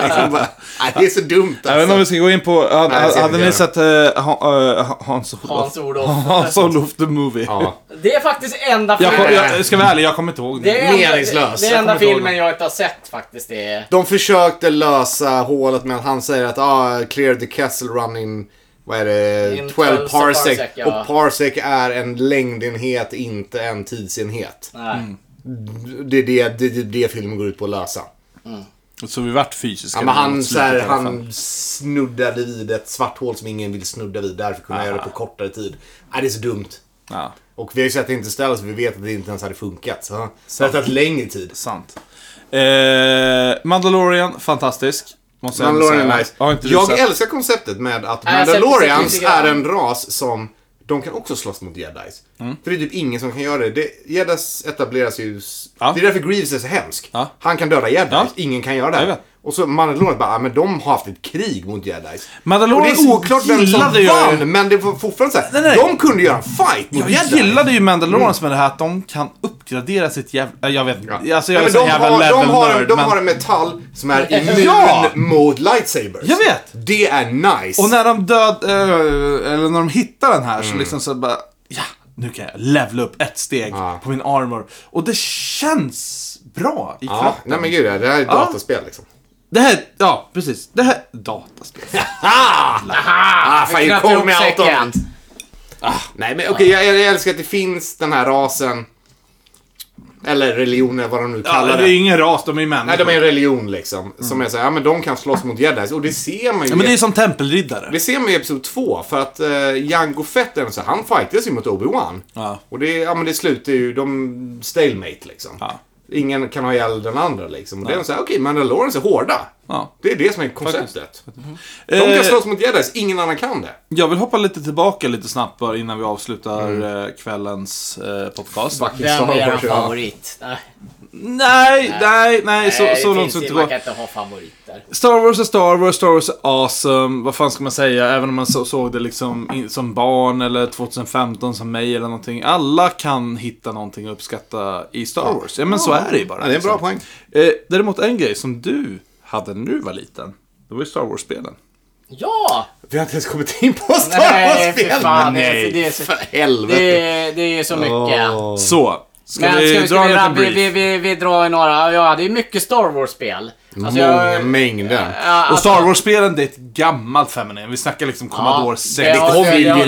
liksom bara, nej, det är så dumt Jag vet inte om vi alltså. ska gå in på, hade, Nej, jag ser hade inte ni det. sett eh, Han- eh, Hans Olof? Hans Olof. Hans Olof the Movie. Ja. Det är faktiskt enda Jag, filmen... kom, jag ska vara ärlig, jag kommer inte ihåg det är enda, meningslös. Det är Jag enda kommer inte ihåg filmen det. jag inte har sett faktiskt. Det är... De försökte lösa hålet med att han säger att ah, clear the castle running vad är In det? 12 12 parsec. parsec, ja. Och parsec är en längdenhet, inte en tidsenhet. Nej. Det är det, det, det, det filmen går ut på att lösa. Så vi vart fysiska. Ja, men han, mot så slutet i här, alla fall. han snuddade vid ett svart hål som ingen vill snudda vid. Därför kunde han göra det på kortare tid. Nej, det är så dumt. Ja, Och vi har ju sett Interstellar så vi vet att det inte ens hade funkat. Så så det har tagit längre tid. sant. Eh, Mandalorian, fantastisk. Måste jag ändå Mandalorian säga. är nice. Har inte du jag sett? älskar konceptet med att Nej, jag ser Mandalorians precis lite grann. är en ras som de kan också slåss mot jedis. Mm. För det är typ ingen som kan göra det. det jedis etableras ju... s- Ja. Det är därför Greaves är så hemsk. Ja. Han kan döda jedis. Ja. Ingen kan göra Jag det. vet. Och så Mandalorian bara, ah, men de har haft ett krig mot jedis. Och det Mandalorian är oklart vem som gillade ju- vann, men det var fortfarande såhär. Nej, nej. De kunde göra en fight mot Jag jedis. gillade ju Mm. Mandalorians med det här att de kan uppgradera sitt jävla... Jag vet inte. Alltså Nej, jag är men sån de, jävla har, de, har, level-nörd. de har Men... en metall som är immun Ja! mot lightsabers. Jag vet. Det är nice. Och när de död... eh, Eller när de hittar den här så Mm. liksom så bara... Ja, nu kan jag levla upp ett steg Ja. på min armor. Och det känns bra i ja, kroppen. nej men gud, det här är ett dataspel liksom. Det här... Ja, precis. Det här... Dataspel. Ah, fan, Vi jag knöt kom ihop med allt om... säcken. Nej men okej, jag, jag älskar att det finns den här rasen. Eller religionen, vad de nu Ja, kallar det det. är ingen ras, de är ju människor. Nej, de är en religion liksom. Som är såhär, ja men de kan slåss mot jedis. Och det ser man ju. Ja, men det är som tempelriddare. Det ser man i Episod 2 för att eh, Jango Fett, är en så han fightas ju mot Obi-Wan. Ja. Och det, ja, men det slutar ju, de stalemate liksom. Ja. Ingen kan ha ihjäl den andra liksom. Och det är så här, okej, Mandalorians är hårda. Ja. Det är det som är konceptet. De Eh, kan slåss mot jedis, ingen annan kan det. Jag vill hoppa lite tillbaka lite snabbt bara innan vi avslutar eh, kvällens eh, podcast. Vem är din favorit? Nej, Nej, nej, nej, så, nej, så det långt finns ska vi inte Man gå. kan inte ha favoriter. Star Wars är Star Wars, Star Wars är awesome. Vad fan ska man säga? Även om man så, såg det liksom in, som barn eller 2015 som mig eller någonting. Alla kan hitta någonting att uppskatta i Star Wars. Ja, men så är det ju bara. Ja, det är en bra poäng. Eh, däremot en grej som du hade när du var liten. Det var ju Star Wars-spelen. Ja! Vi har inte ens kommit in på Star Nej, Wars-spel. fy fan. alltså, Nej, det är- Det är så, För helvete. det är, det är så mycket. Så, ska Men vi ska vi, dra ska en vi, liten vi, brief? vi, vi, vi drar ju några. Ja, det är mycket Star Wars-spel. Alltså, Många jag- alltså, mängder. Och Star Wars-spelen, det är ett gammalt feminin. Vi snackar liksom Commodore Ja, 6. det har- det har- det har-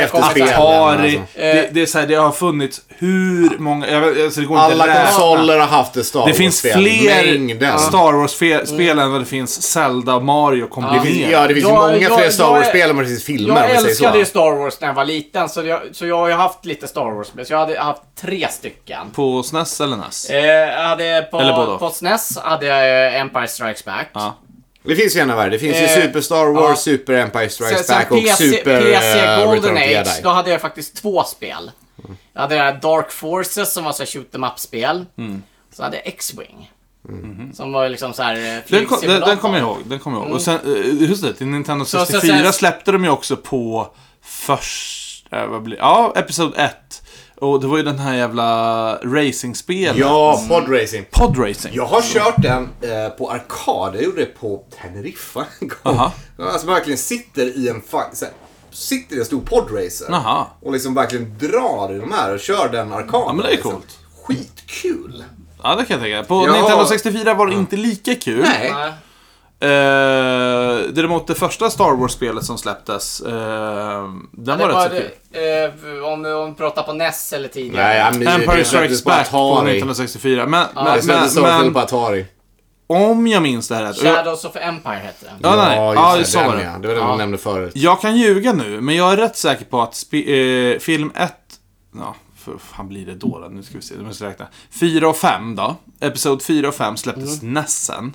det har- Atari. det har- det har- Atari. Eh, Det, det är så här, det har funnits hur många... Jag, vet- alltså det går inte Alla att räkna. konsoler har haft ett Star Det finns Wars-spel. fler Mängden. Star Wars-spel än vad det finns Zelda och Mario kombinerat. Ja, det finns ju Jag- många jag- fler Star jag- Wars-spel än vad det finns filmer. om Jag vi säger så. älskade ju Star Wars när jag var liten, så jag, så jag har ju haft lite Star Wars. Så jag hade haft tre stycken. På SNES eller E NES? Eh, jag hade Eller på, båda. på SNES hade jag eh, Empire Strikes Back. Ja. Det finns ju en av varje. Det finns ju Eh, Super Star Wars, ja. Super Empire Sen, Strikes sen Back och PC, Super PC eh, Return Golden of the Age, Jedi. då hade jag faktiskt två spel. Jag hade det här Dark Forces som var så här shoot em up-spel. Mm. Så hade jag X-Wing. Som var liksom så här eh, Mm-hmm. Den, kom, den, flygsimulator. den kommer jag ihåg. Den kommer jag ihåg. Och sen, eh, just det, till Nintendo Så- så 64 sen- släppte de ju också på först... eh, Vad blir, ja, Episod 1. Och det var ju den här jävla racing-spelet. Ja, podracing. Podracing. Jag har kört den eh, på arkad. Jag gjorde det på Teneriffa en gång. Aha. Alltså verkligen sitter i en fa- så här, sitter i en stor podracer. Aha. Och liksom verkligen drar i de här och kör den arkaden. Ja, men det är coolt. Skitkul. Ja, det kan jag tänka. På Ja. Nintendo 64 var det inte lika kul. Mm. Nej. Nej. Eh, däremot det första Star Wars-spelet som släpptes, eh, den Det var rätt var, så kul. eh, om, om vi pratar på NES eller tidigare. Nej, jag minns- Empire det släpptes Strikes på Back på Atari. 1964. Men, Jag men, släppte men, Star Wars men på Atari. om jag minns det här rätt. och jag- Shadows of Empire hette den. Ja, nej. Ja, just så det. var Den, det. ja. Det var den du nämnde förut. Jag kan ljuga nu, men jag är rätt säker på att spe- eh, film 1... Ja, för fan blir det då? då? Nu ska vi se, nu måste jag räkna. 4 och 5 då. Episod 4 och 5 släpptes näst sen.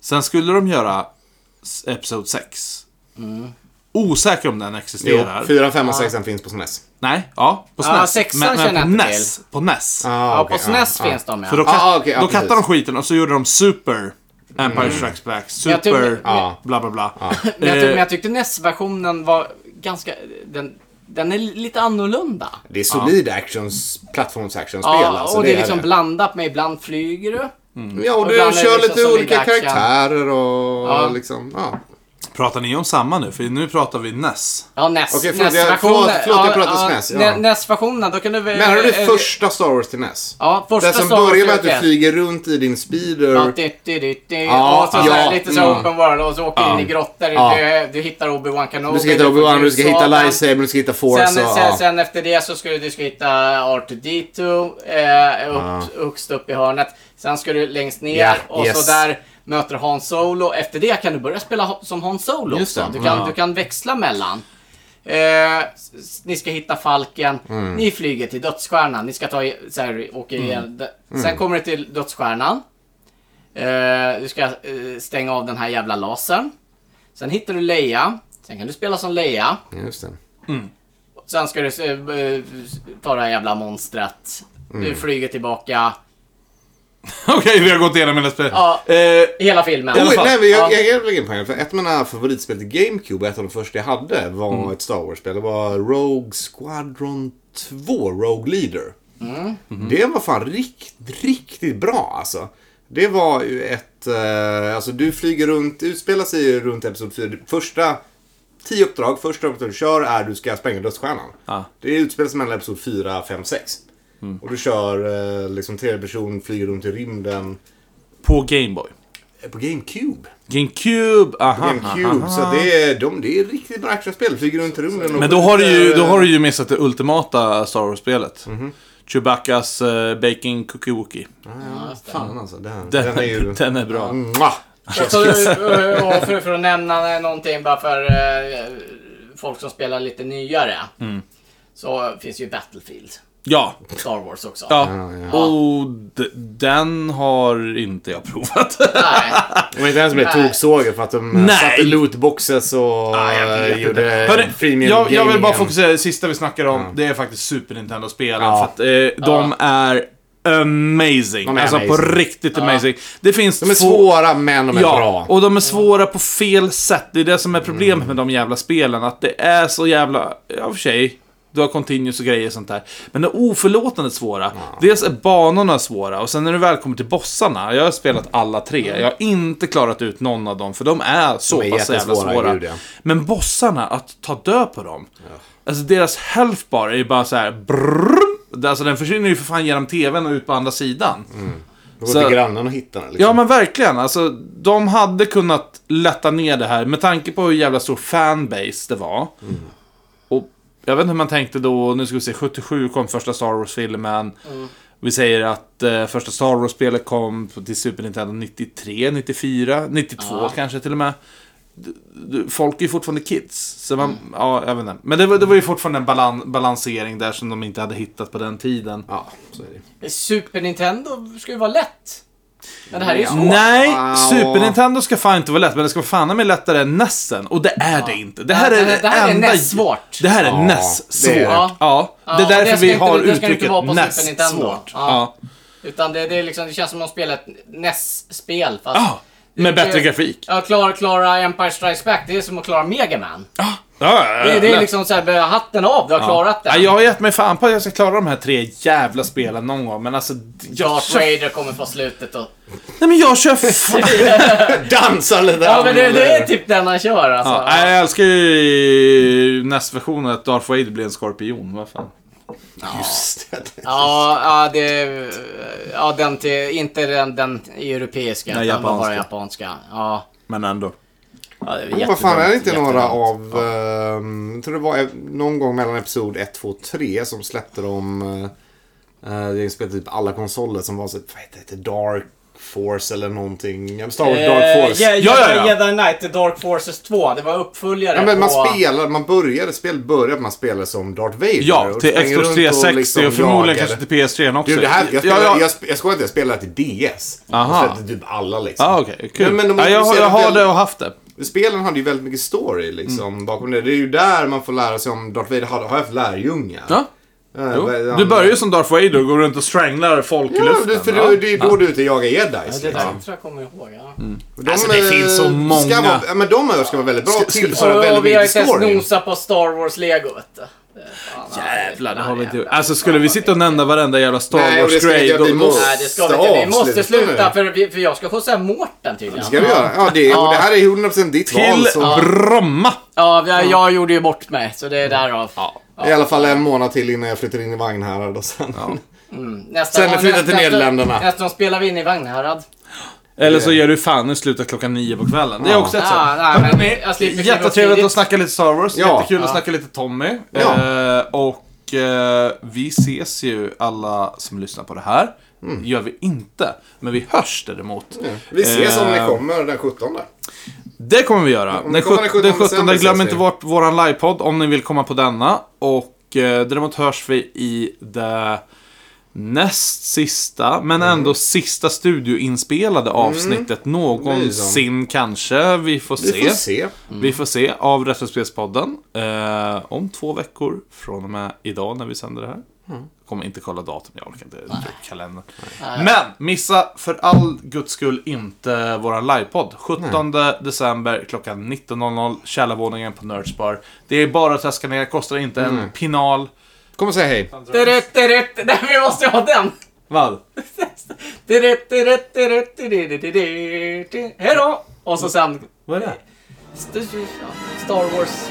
Sen skulle de göra s- Episod 6. Osäker om den Jo, existerar. 4, 5 och 6 finns på E SNES. Nej, ja, på Ja, SNES. sexan men känner men jag på inte NES. På NES. Ah, Ja, okej, på SNES ah, finns de ja. För då, Ah, kat- okej, ja, då precis. kattade de skiten och så gjorde de Super Empire Strikes Back, Jag tror- Super Ja. bla bla bla. Men jag, tyck- Eh, men jag tyckte NES-versionen var ganska... Den, den är lite annorlunda. Det är solida actions, plattforms-actionspel. Ja, alltså, och det är liksom det. blandat med ibland flyger du. Ja, och och du ibland är det kör liksom lite solid olika action. karaktärer och Ja. Eh, liksom, ja. Pratar ni om samma nu? För nu pratar vi E NES. Ja, NES. Okej, förlåt, NES-versioner. jag- förlåt, förlåt, jag pratar SNES, ja. Ne- NES-versionen, då kan du... väl- Menar du det eh, första Star Wars till NES? Ja, första det som Star Wars börjar med att du gjorde. flyger runt i din speeder. Ja, ditt, ditt, ditt, ditt. Ja, och så, så här, ja, lite så här mm. open world och så åker du in i grottor. Ja. Du, du hittar Obi-Wan Kenobi. du ska hitta får Obi-Wan, du ska hitta ljussagan. Lightsaber, du ska hitta Force Sen, och... sen, ja. sen efter det så ska du, du ska hitta R2D2 eh, upp, högst upp i hörnet. Sen ska du längst ner Ja, och yes. så där möter Han Solo. Efter det kan du börja spela ho- som Han Solo Just också. det, Du kan, ja. du kan växla mellan. Eh, s- s- ni ska hitta Falken, Mm. ni flyger till Dödsstjärnan. Ni ska ta i- så här, åka igen. D- Mm. Sen kommer du till Dödsstjärnan. Eh, du ska eh, stänga av den här jävla lasern. Sen hittar du Leia. Sen kan du spela som Leia. Just det. Sen ska du eh, eh, ta det här jävla monstret. Mm. Du flyger tillbaka. Okej, vi har gått igenom hela spelet. Ja. Eh, I hela filmen. alla Oj, fall. oh, nej, men jag, Ja. jag, jag lägger in pengar. För ett av mina favoritspel till GameCube, ett av de första jag hade, var Mm. ett Star Wars-spel. Det var Rogue Squadron 2, Rogue Leader. Mm. Mm-hmm. Det var fan riktigt, riktigt bra alltså. Det var ju ett, eh, alltså du flyger runt, utspelar sig ju runt Episod 4. Det Första tio uppdrag, första uppdraget du kör är du ska spränga dödsstjärnan. Ja. Mm. Det utspelar sig mellan Episod 4, 5, 6. Och du kör eh, liksom tredje person, flyger runt i rymden. På Gameboy. eh, På GameCube. GameCube, aha. GameCube. Så det är, de, det är riktigt bra actionspel. Flyger runt i rymden och Men då har, du ju, skjuter- då har du ju missat det ultimata Star Wars-spelet. Mhm. Chewbaccas eh, Baking Cookie Wookie. Fan alltså, den, Den, den är ju... den är bra. Mwah! Och så, eh, och för, för att nämna någonting bara för eh, folk som spelar lite nyare. Mm. Så finns ju Battlefield. Ja. Star Wars också. ja. Och d- den har inte jag provat. Nej. De var inte ens med toksågar för att de eh, Nej. satte lootboxes och Ah, jag vet eh, inte. gjorde Hörru, freemium jag, jag vill bara gaming. fokusera, det sista vi snackar om, det är faktiskt Super Nintendo-spelen. Ja. För att eh, de är amazing. De är alltså på amazing. riktigt amazing. Det finns De är svåra men de är ja, bra. Mm. och de är svåra på fel sätt. Det är det som är problemet med de jävla spelen. Att det är så jävla... Ja, för sig. Du har continuous och grejer och sånt där. Men det är oförlåtande svåra. Dels är banorna svåra och sen när du väl kommer till bossarna. Jag har spelat alla tre. Jag har inte klarat ut någon av dem för de är så Mm. är pass jävla jättesvåra, svåra. gud, ja. Men bossarna, att ta död på dem. Alltså deras health bar är ju bara så här. Brrrr, alltså den försvinner ju för fan genom tvn och ut på andra sidan. Då går till grannen Mm. och hittar den. Liksom. Ja men verkligen, alltså de hade kunnat lätta ner det här med tanke på hur jävla stor fanbase det var. Och jag vet inte hur man tänkte då, nu ska vi se, 77 kom första Star Wars-filmen. Vi säger att eh, första Star Wars-spelet kom till Super Nintendo 93, 94, 92 kanske till och med. Du- du- Folk är ju fortfarande kids. Så man, ja, jag vet inte. Men det var, det var ju fortfarande en balan, balansering där som de inte hade hittat på den tiden. ja, så är det. Super Nintendo ska ju vara lätt. Men det här är ju svårt. Nej, Wow. Super Nintendo ska fan inte vara lätt, men det ska fan mig lättare än NESen. Och det är det inte. Det här Nej, är det- det, det här är enda... NES-svårt. Det här är Ja, NES-svårt. det är Ja. det. Ja, det är därför det ska vi inte- har det ska inte uttrycket vara på Super Nintendo. NES-svårt. Ja. Ja. Utan det, det, är liksom, det känns som att de spelar ett NES-spel. Fast Ja, Ah, med bättre det- grafik. Ja, klara, klara Empire Strikes Back, det är som att klara Mega Man. Ja, det, det är lätt. liksom såhär, hatten av, du har klarat Ja, den. jag har gett mig fan på att jag ska klara de här tre jävla spelen någon gång, men alltså... Jag Darth kör... Vader kommer på slutet och... Nej, men jag kör fan... Dansar lite. Ja, men det, det är typ den han kör alltså. Ja, nej, jag älskar ju NES-versionen att Darth Vader blir en skorpion. Vad fan. Just det. Ja, ja, det, ja den till, inte den, den europeiska. Nej, Nej, den var bara japanska. japanska. Ja. Men ändå. ja det är Vad fan är det inte jättedumt, några jättedumt. av... ehm, jag tror det var eh, någon gång mellan episod 1, 2, 3 som släppte de... eh, eh, Det spelade typ alla konsoler som var så... Vad heter det? Dark Force eller någonting. Ja, Star Wars Dark Force. Eh, Ja, ja, ja. Jedi Knight, The Dark Forces 2. Det var uppföljare Ja, men man på... spelar, man började, spelet började man spela som Darth Vader. Ja, och liksom till sprang runt Xbox 360 och, förmodligen jagade. kanske till PS3 också. Du, det här, jag, ja, spelade, ja. Jag, sp- jag skojar inte, jag spelade till DS. Aha. Jag spelade typ alla liksom. Ah, okej, kul. Men- men de ja, jag, jag introducerade har väl- det och haft det. Spelen hade ju väldigt mycket story liksom Mm. bakom det. Det är ju där man får lära sig om Darth Vader har, har haft lärjungar. Ja. Eh, Jo. vad är det Du han- börjar ju som Darth Vader och går runt och stranglar folk i Ja, luften. det, för va? det, det är ju då du är ute och jagar jedis. Det liksom. där tror jag kommer ihåg. Ja. De, Alltså, det eh, finns så många. Ska vara, ja, men de här ska vara väldigt bra Ska- och ska- tillföra Och- väldigt och vi har mycket inte ens story. nosat på Star Wars-lego vet du. Det är fan, ja, Jävlar, det har vi jävlar. inte Alltså skulle vi sitta och nämna varenda jävla Star Nej, och det ska vi Wars-grej inte då... göra. Vi då- måste- Nej, det ska vi inte. Vi måste Sluta nu. sluta för, vi, för jag ska skjutsa Mårten tydligen. Ska du göra? Ja, det, och det här är 100% ditt val. Till Så Bromma! Ja, jag, jag gjorde ju bort mig, så det är Mm. därav. I alla fall en månad till innan jag flyttar in i Vagnhärad och sen... Nästa, Sen flyttar till nästa- Nederländerna. Nästa gång spelar vi in i Vagnhärad. Eller så gör du fan i slutet klockan nio på kvällen. Det är också ett sätt. Ja, nej, men Hörrni, jag slipper kliva upp Jättetrevligt tidigt. att snacka lite Star Wars. Ja. Jättekul att snacka lite Tommy. Ja. Eh, och eh, vi ses ju alla som lyssnar på det här. Gör vi inte. Men vi hörs däremot. Mm. Vi ses om ni Eh, kommer den 17. Det kommer vi göra. om Den vi kommer den 17, den 17 17 december glöm ses inte vi. vårt, våran livepodd om ni vill komma på denna. Och eh, däremot hörs vi i det näst sista, men Mm. ändå sista studioinspelade avsnittet någonsin kanske. Vi får Vi se. får se. Vi får se av Retrospelspodden eh, om två veckor från och med idag när vi sänder det här. Kommer inte kolla datum, jag orkar inte typ kalendern. Men missa för all guds skull inte våran livepodd. 17 december klockan 19.00, källarvåningen på Nerdspar. Det är bara att traska ner, kostar inte en pinal. Kom och säg hej. Tudutt, tudutt. Nej, vi måste ha den! Vad? Tudutt, tudutt, tudutt, tudutt, tudutt, tudutt. Hej då! Och så sen... Vad är det? Star Wars.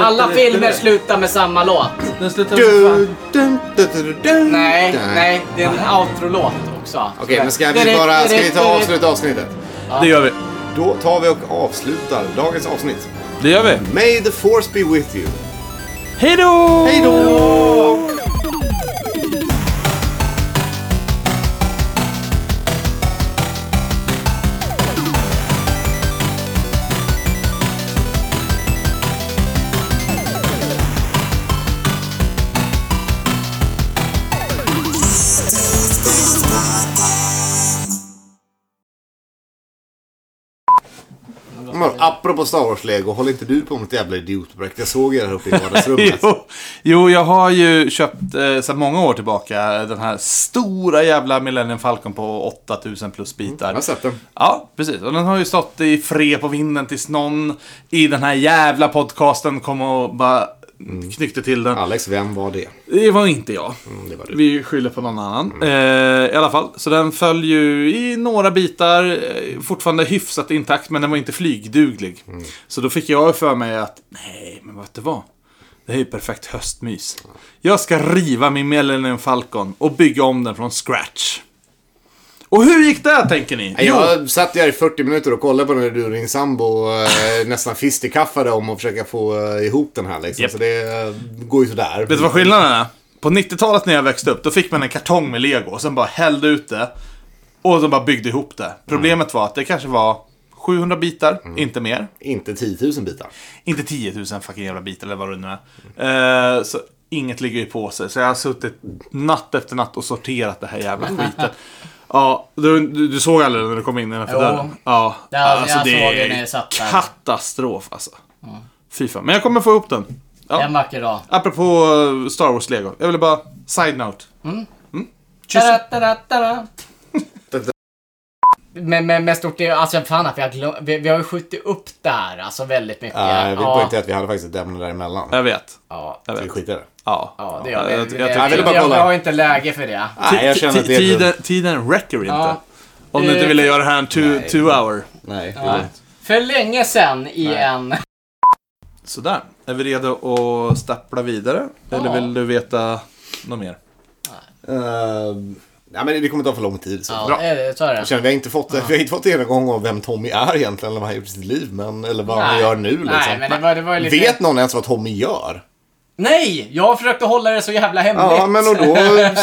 Alla filmer slutar med samma låt. Den slutar med Du, fan. dun, dun, dun, dun. Nej, nej, det är en outro-låt också. Okej, men ska vi bara... Ska vi ta och avsluta avsnittet? Det gör vi. Då tar vi och avslutar dagens avsnitt. Det gör vi. May the force be with you. Hej då! Hej då! Men apropå Star Wars-lego, håller inte du på med ett jävla idiotprojekt? Jag såg er här uppe i vardagsrummet. jo, jo, jag har ju köpt eh, sedan många år tillbaka eh, den här stora jävla Millennium Falcon på 8000 plus bitar. Jag har sett den. Ja, precis. Och den har ju stått i fred på vinden tills någon i den här jävla podcasten kom och bara knyckte till den. Alex, vem var det? Det var inte jag. Mm, det var du. Mm. Vi skyller på någon annan. Eh, I alla fall, så den föll ju i några bitar. eh, Fortfarande hyfsat intakt, men den var inte flygduglig. Mm. Så då fick jag för mig att, nej, men vet du vad? Det här är ju perfekt höstmys. Jag ska riva min Millennium Falcon och bygga om den från scratch. Och hur gick det tänker ni? Jag satt där i 40 minuter och kollade på när du och din sambo eh, nästan fistikaffade om att försöka få eh, ihop den här liksom. Japp. Så det eh, går ju sådär. Vet du vad skillnaden är? På 90-talet när jag växte upp, då fick man en kartong med lego och sen bara hällde ut det. Och så bara byggde ihop det. Problemet var att det kanske var 700 bitar, Mm. inte mer. Inte 10 000 bitar. Eh, Inte 10 000 fucking jävla bitar eller vad det nu är. Eh, så inget ligger ju på sig. Så jag har suttit natt efter natt och sorterat det här jävla skiten. Ja, du, du, du såg aldrig när du kom in innanför Jo. dörren? Ja, alltså, Ja, jag såg det när jag satt där. katastrof alltså. Fy fan, men jag kommer få ihop den. Ja. En vacker dag. Apropå eh, Star Wars-lego. Jag ville bara, side-note. Kyss. Tada, tada, tada. Men, men, men stort är alltså fan att vi har glömt, vi, vi har ju skjutit upp där alltså väldigt mycket. Ja, jag vill ja, poängtera att vi hade faktiskt ett ämne däremellan. Jag vet. ja, Jag Vi vet. skiter i det. Ja. ja, det gör vi. jag, Vi- jag, Jag tycker- ville bara vi- vi kolla. har inte läge för det. Nej, jag känner att det är tiden, tiden räcker inte. Ja. Om du inte Eh, ville göra det här en two, two hour. Nej, det är lugnt. För länge sedan i en... Sådär. Är vi redo att stappla vidare? Eller vill du veta något mer? Eh, ja, men det kommer ta för lång tid. Så. Ja, det- så är det. Jag känner, vi har inte fått, vi har inte fått en gång om vem Tommy är egentligen, eller vad han har gjort i sitt liv, men, eller vad han Nej. gör nu. Liksom. Nej, men det var- det var ju lite- Vet någon ens vad Tommy gör? Nej! Jag försökte hålla det så jävla hemligt. Ja, men och då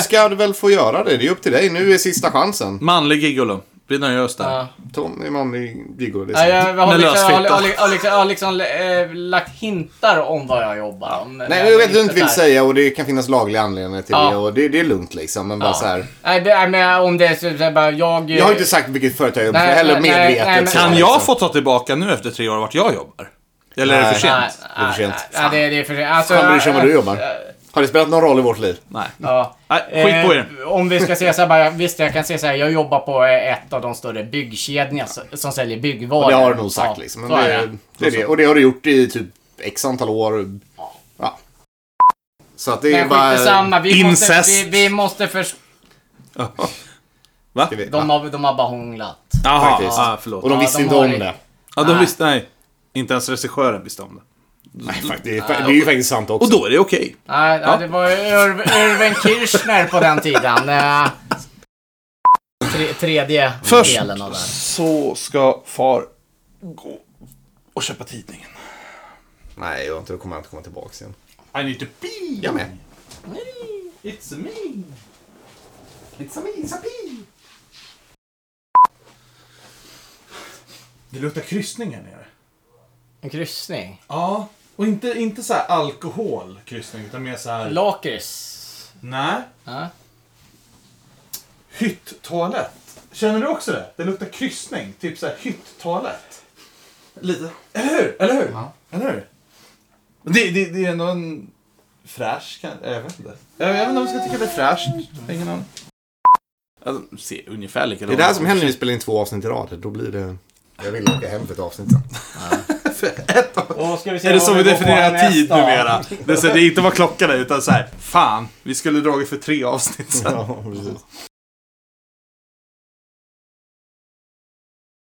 ska du väl få göra det. Det är upp till dig. Nu är sista chansen. Manlig Gigolo. Vi nöjer oss där. Ja. Tommy, manlig, Viggo, det Ja, är jag sant. har Med liksom, jag har, lösfitta. jag har, jag har liksom, jag har liksom eh, lagt hintar om vad jag jobbar om. Nej, men jag vet att du inte vill Där. säga och det kan finnas lagliga anledningar till Ja. det och det, det är lugnt liksom. Men bara så här. Nej, det, nej, men om det är så, så här bara jag... Jag har inte sagt vilket företag jag jobbar för Nej, heller nej, nej, medvetet. nej, men- så, Kan liksom. jag få ta tillbaka nu efter tre år vart jag jobbar? Eller är det för Nej. sent? Det är för sent. Nej, nej, det, det är för sent. Alltså, Fan bryr sig om vad du eh, jobbar? Har det spelat någon roll i vårt liv? Nej. Ja. Nej, skit på er. Eh, om vi ska säga så här bara, visst jag kan säga så här, jag jobbar på eh, ett av de större byggkedjorna s- som säljer byggvaror. Det har du nog sagt ja, liksom. Men så det, är det. är det är det. Och det har du gjort i typ x antal år. Ja. Så att det är Men bara... skitsamma, vi måste, Incest. vi, vi måste först... Va? vi- De har, de har bara hånglat. Jaha, Faktiskt. ja, Och förlåt. de Ja, visste de inte har om det. det. Ja, de visste, nej. Inte ens regissören visste om det. Nej, fakt- det, är, det är ju faktiskt sant också. Och då är det okej. Nej, nej, det var ju Ur- Urban Kirchner på den tiden. Eh, Tre, tredje Först. delen av det. här. Så ska far gå och köpa tidningen. Nej, jag inte, då kommer jag inte komma tillbaka igen. I need to pee! Jag med. It's me! It's a me, it's a me. Det luktar kryssning här nere. En kryssning. Ja, och inte, inte så här alkoholkryssning utan mer så här... Lakrits. Nej. Ja. Hytt-toalett. Känner du också det? Det luktar kryssning. Typ så här hytt-toalett. Lite. Eller hur? Eller hur? Eller hur? Men Det, det, det är ändå en fräsch kan- Jag vet inte. Jag, jag vet inte om jag ska tycka det är fräscht. Ingen aning. Alltså, ser ungefär Det är likadant det här som händer när vi spelar in två avsnitt i rad. Då blir det... Jag vill åka hem för ett avsnitt sen. Och ska vi se Är det vad så vi går på definierar nästa? tid numera? Det är, så, det är inte vad klockan är utan så här. Fan, vi skulle dragit för tre avsnitt sen. Ja, precis.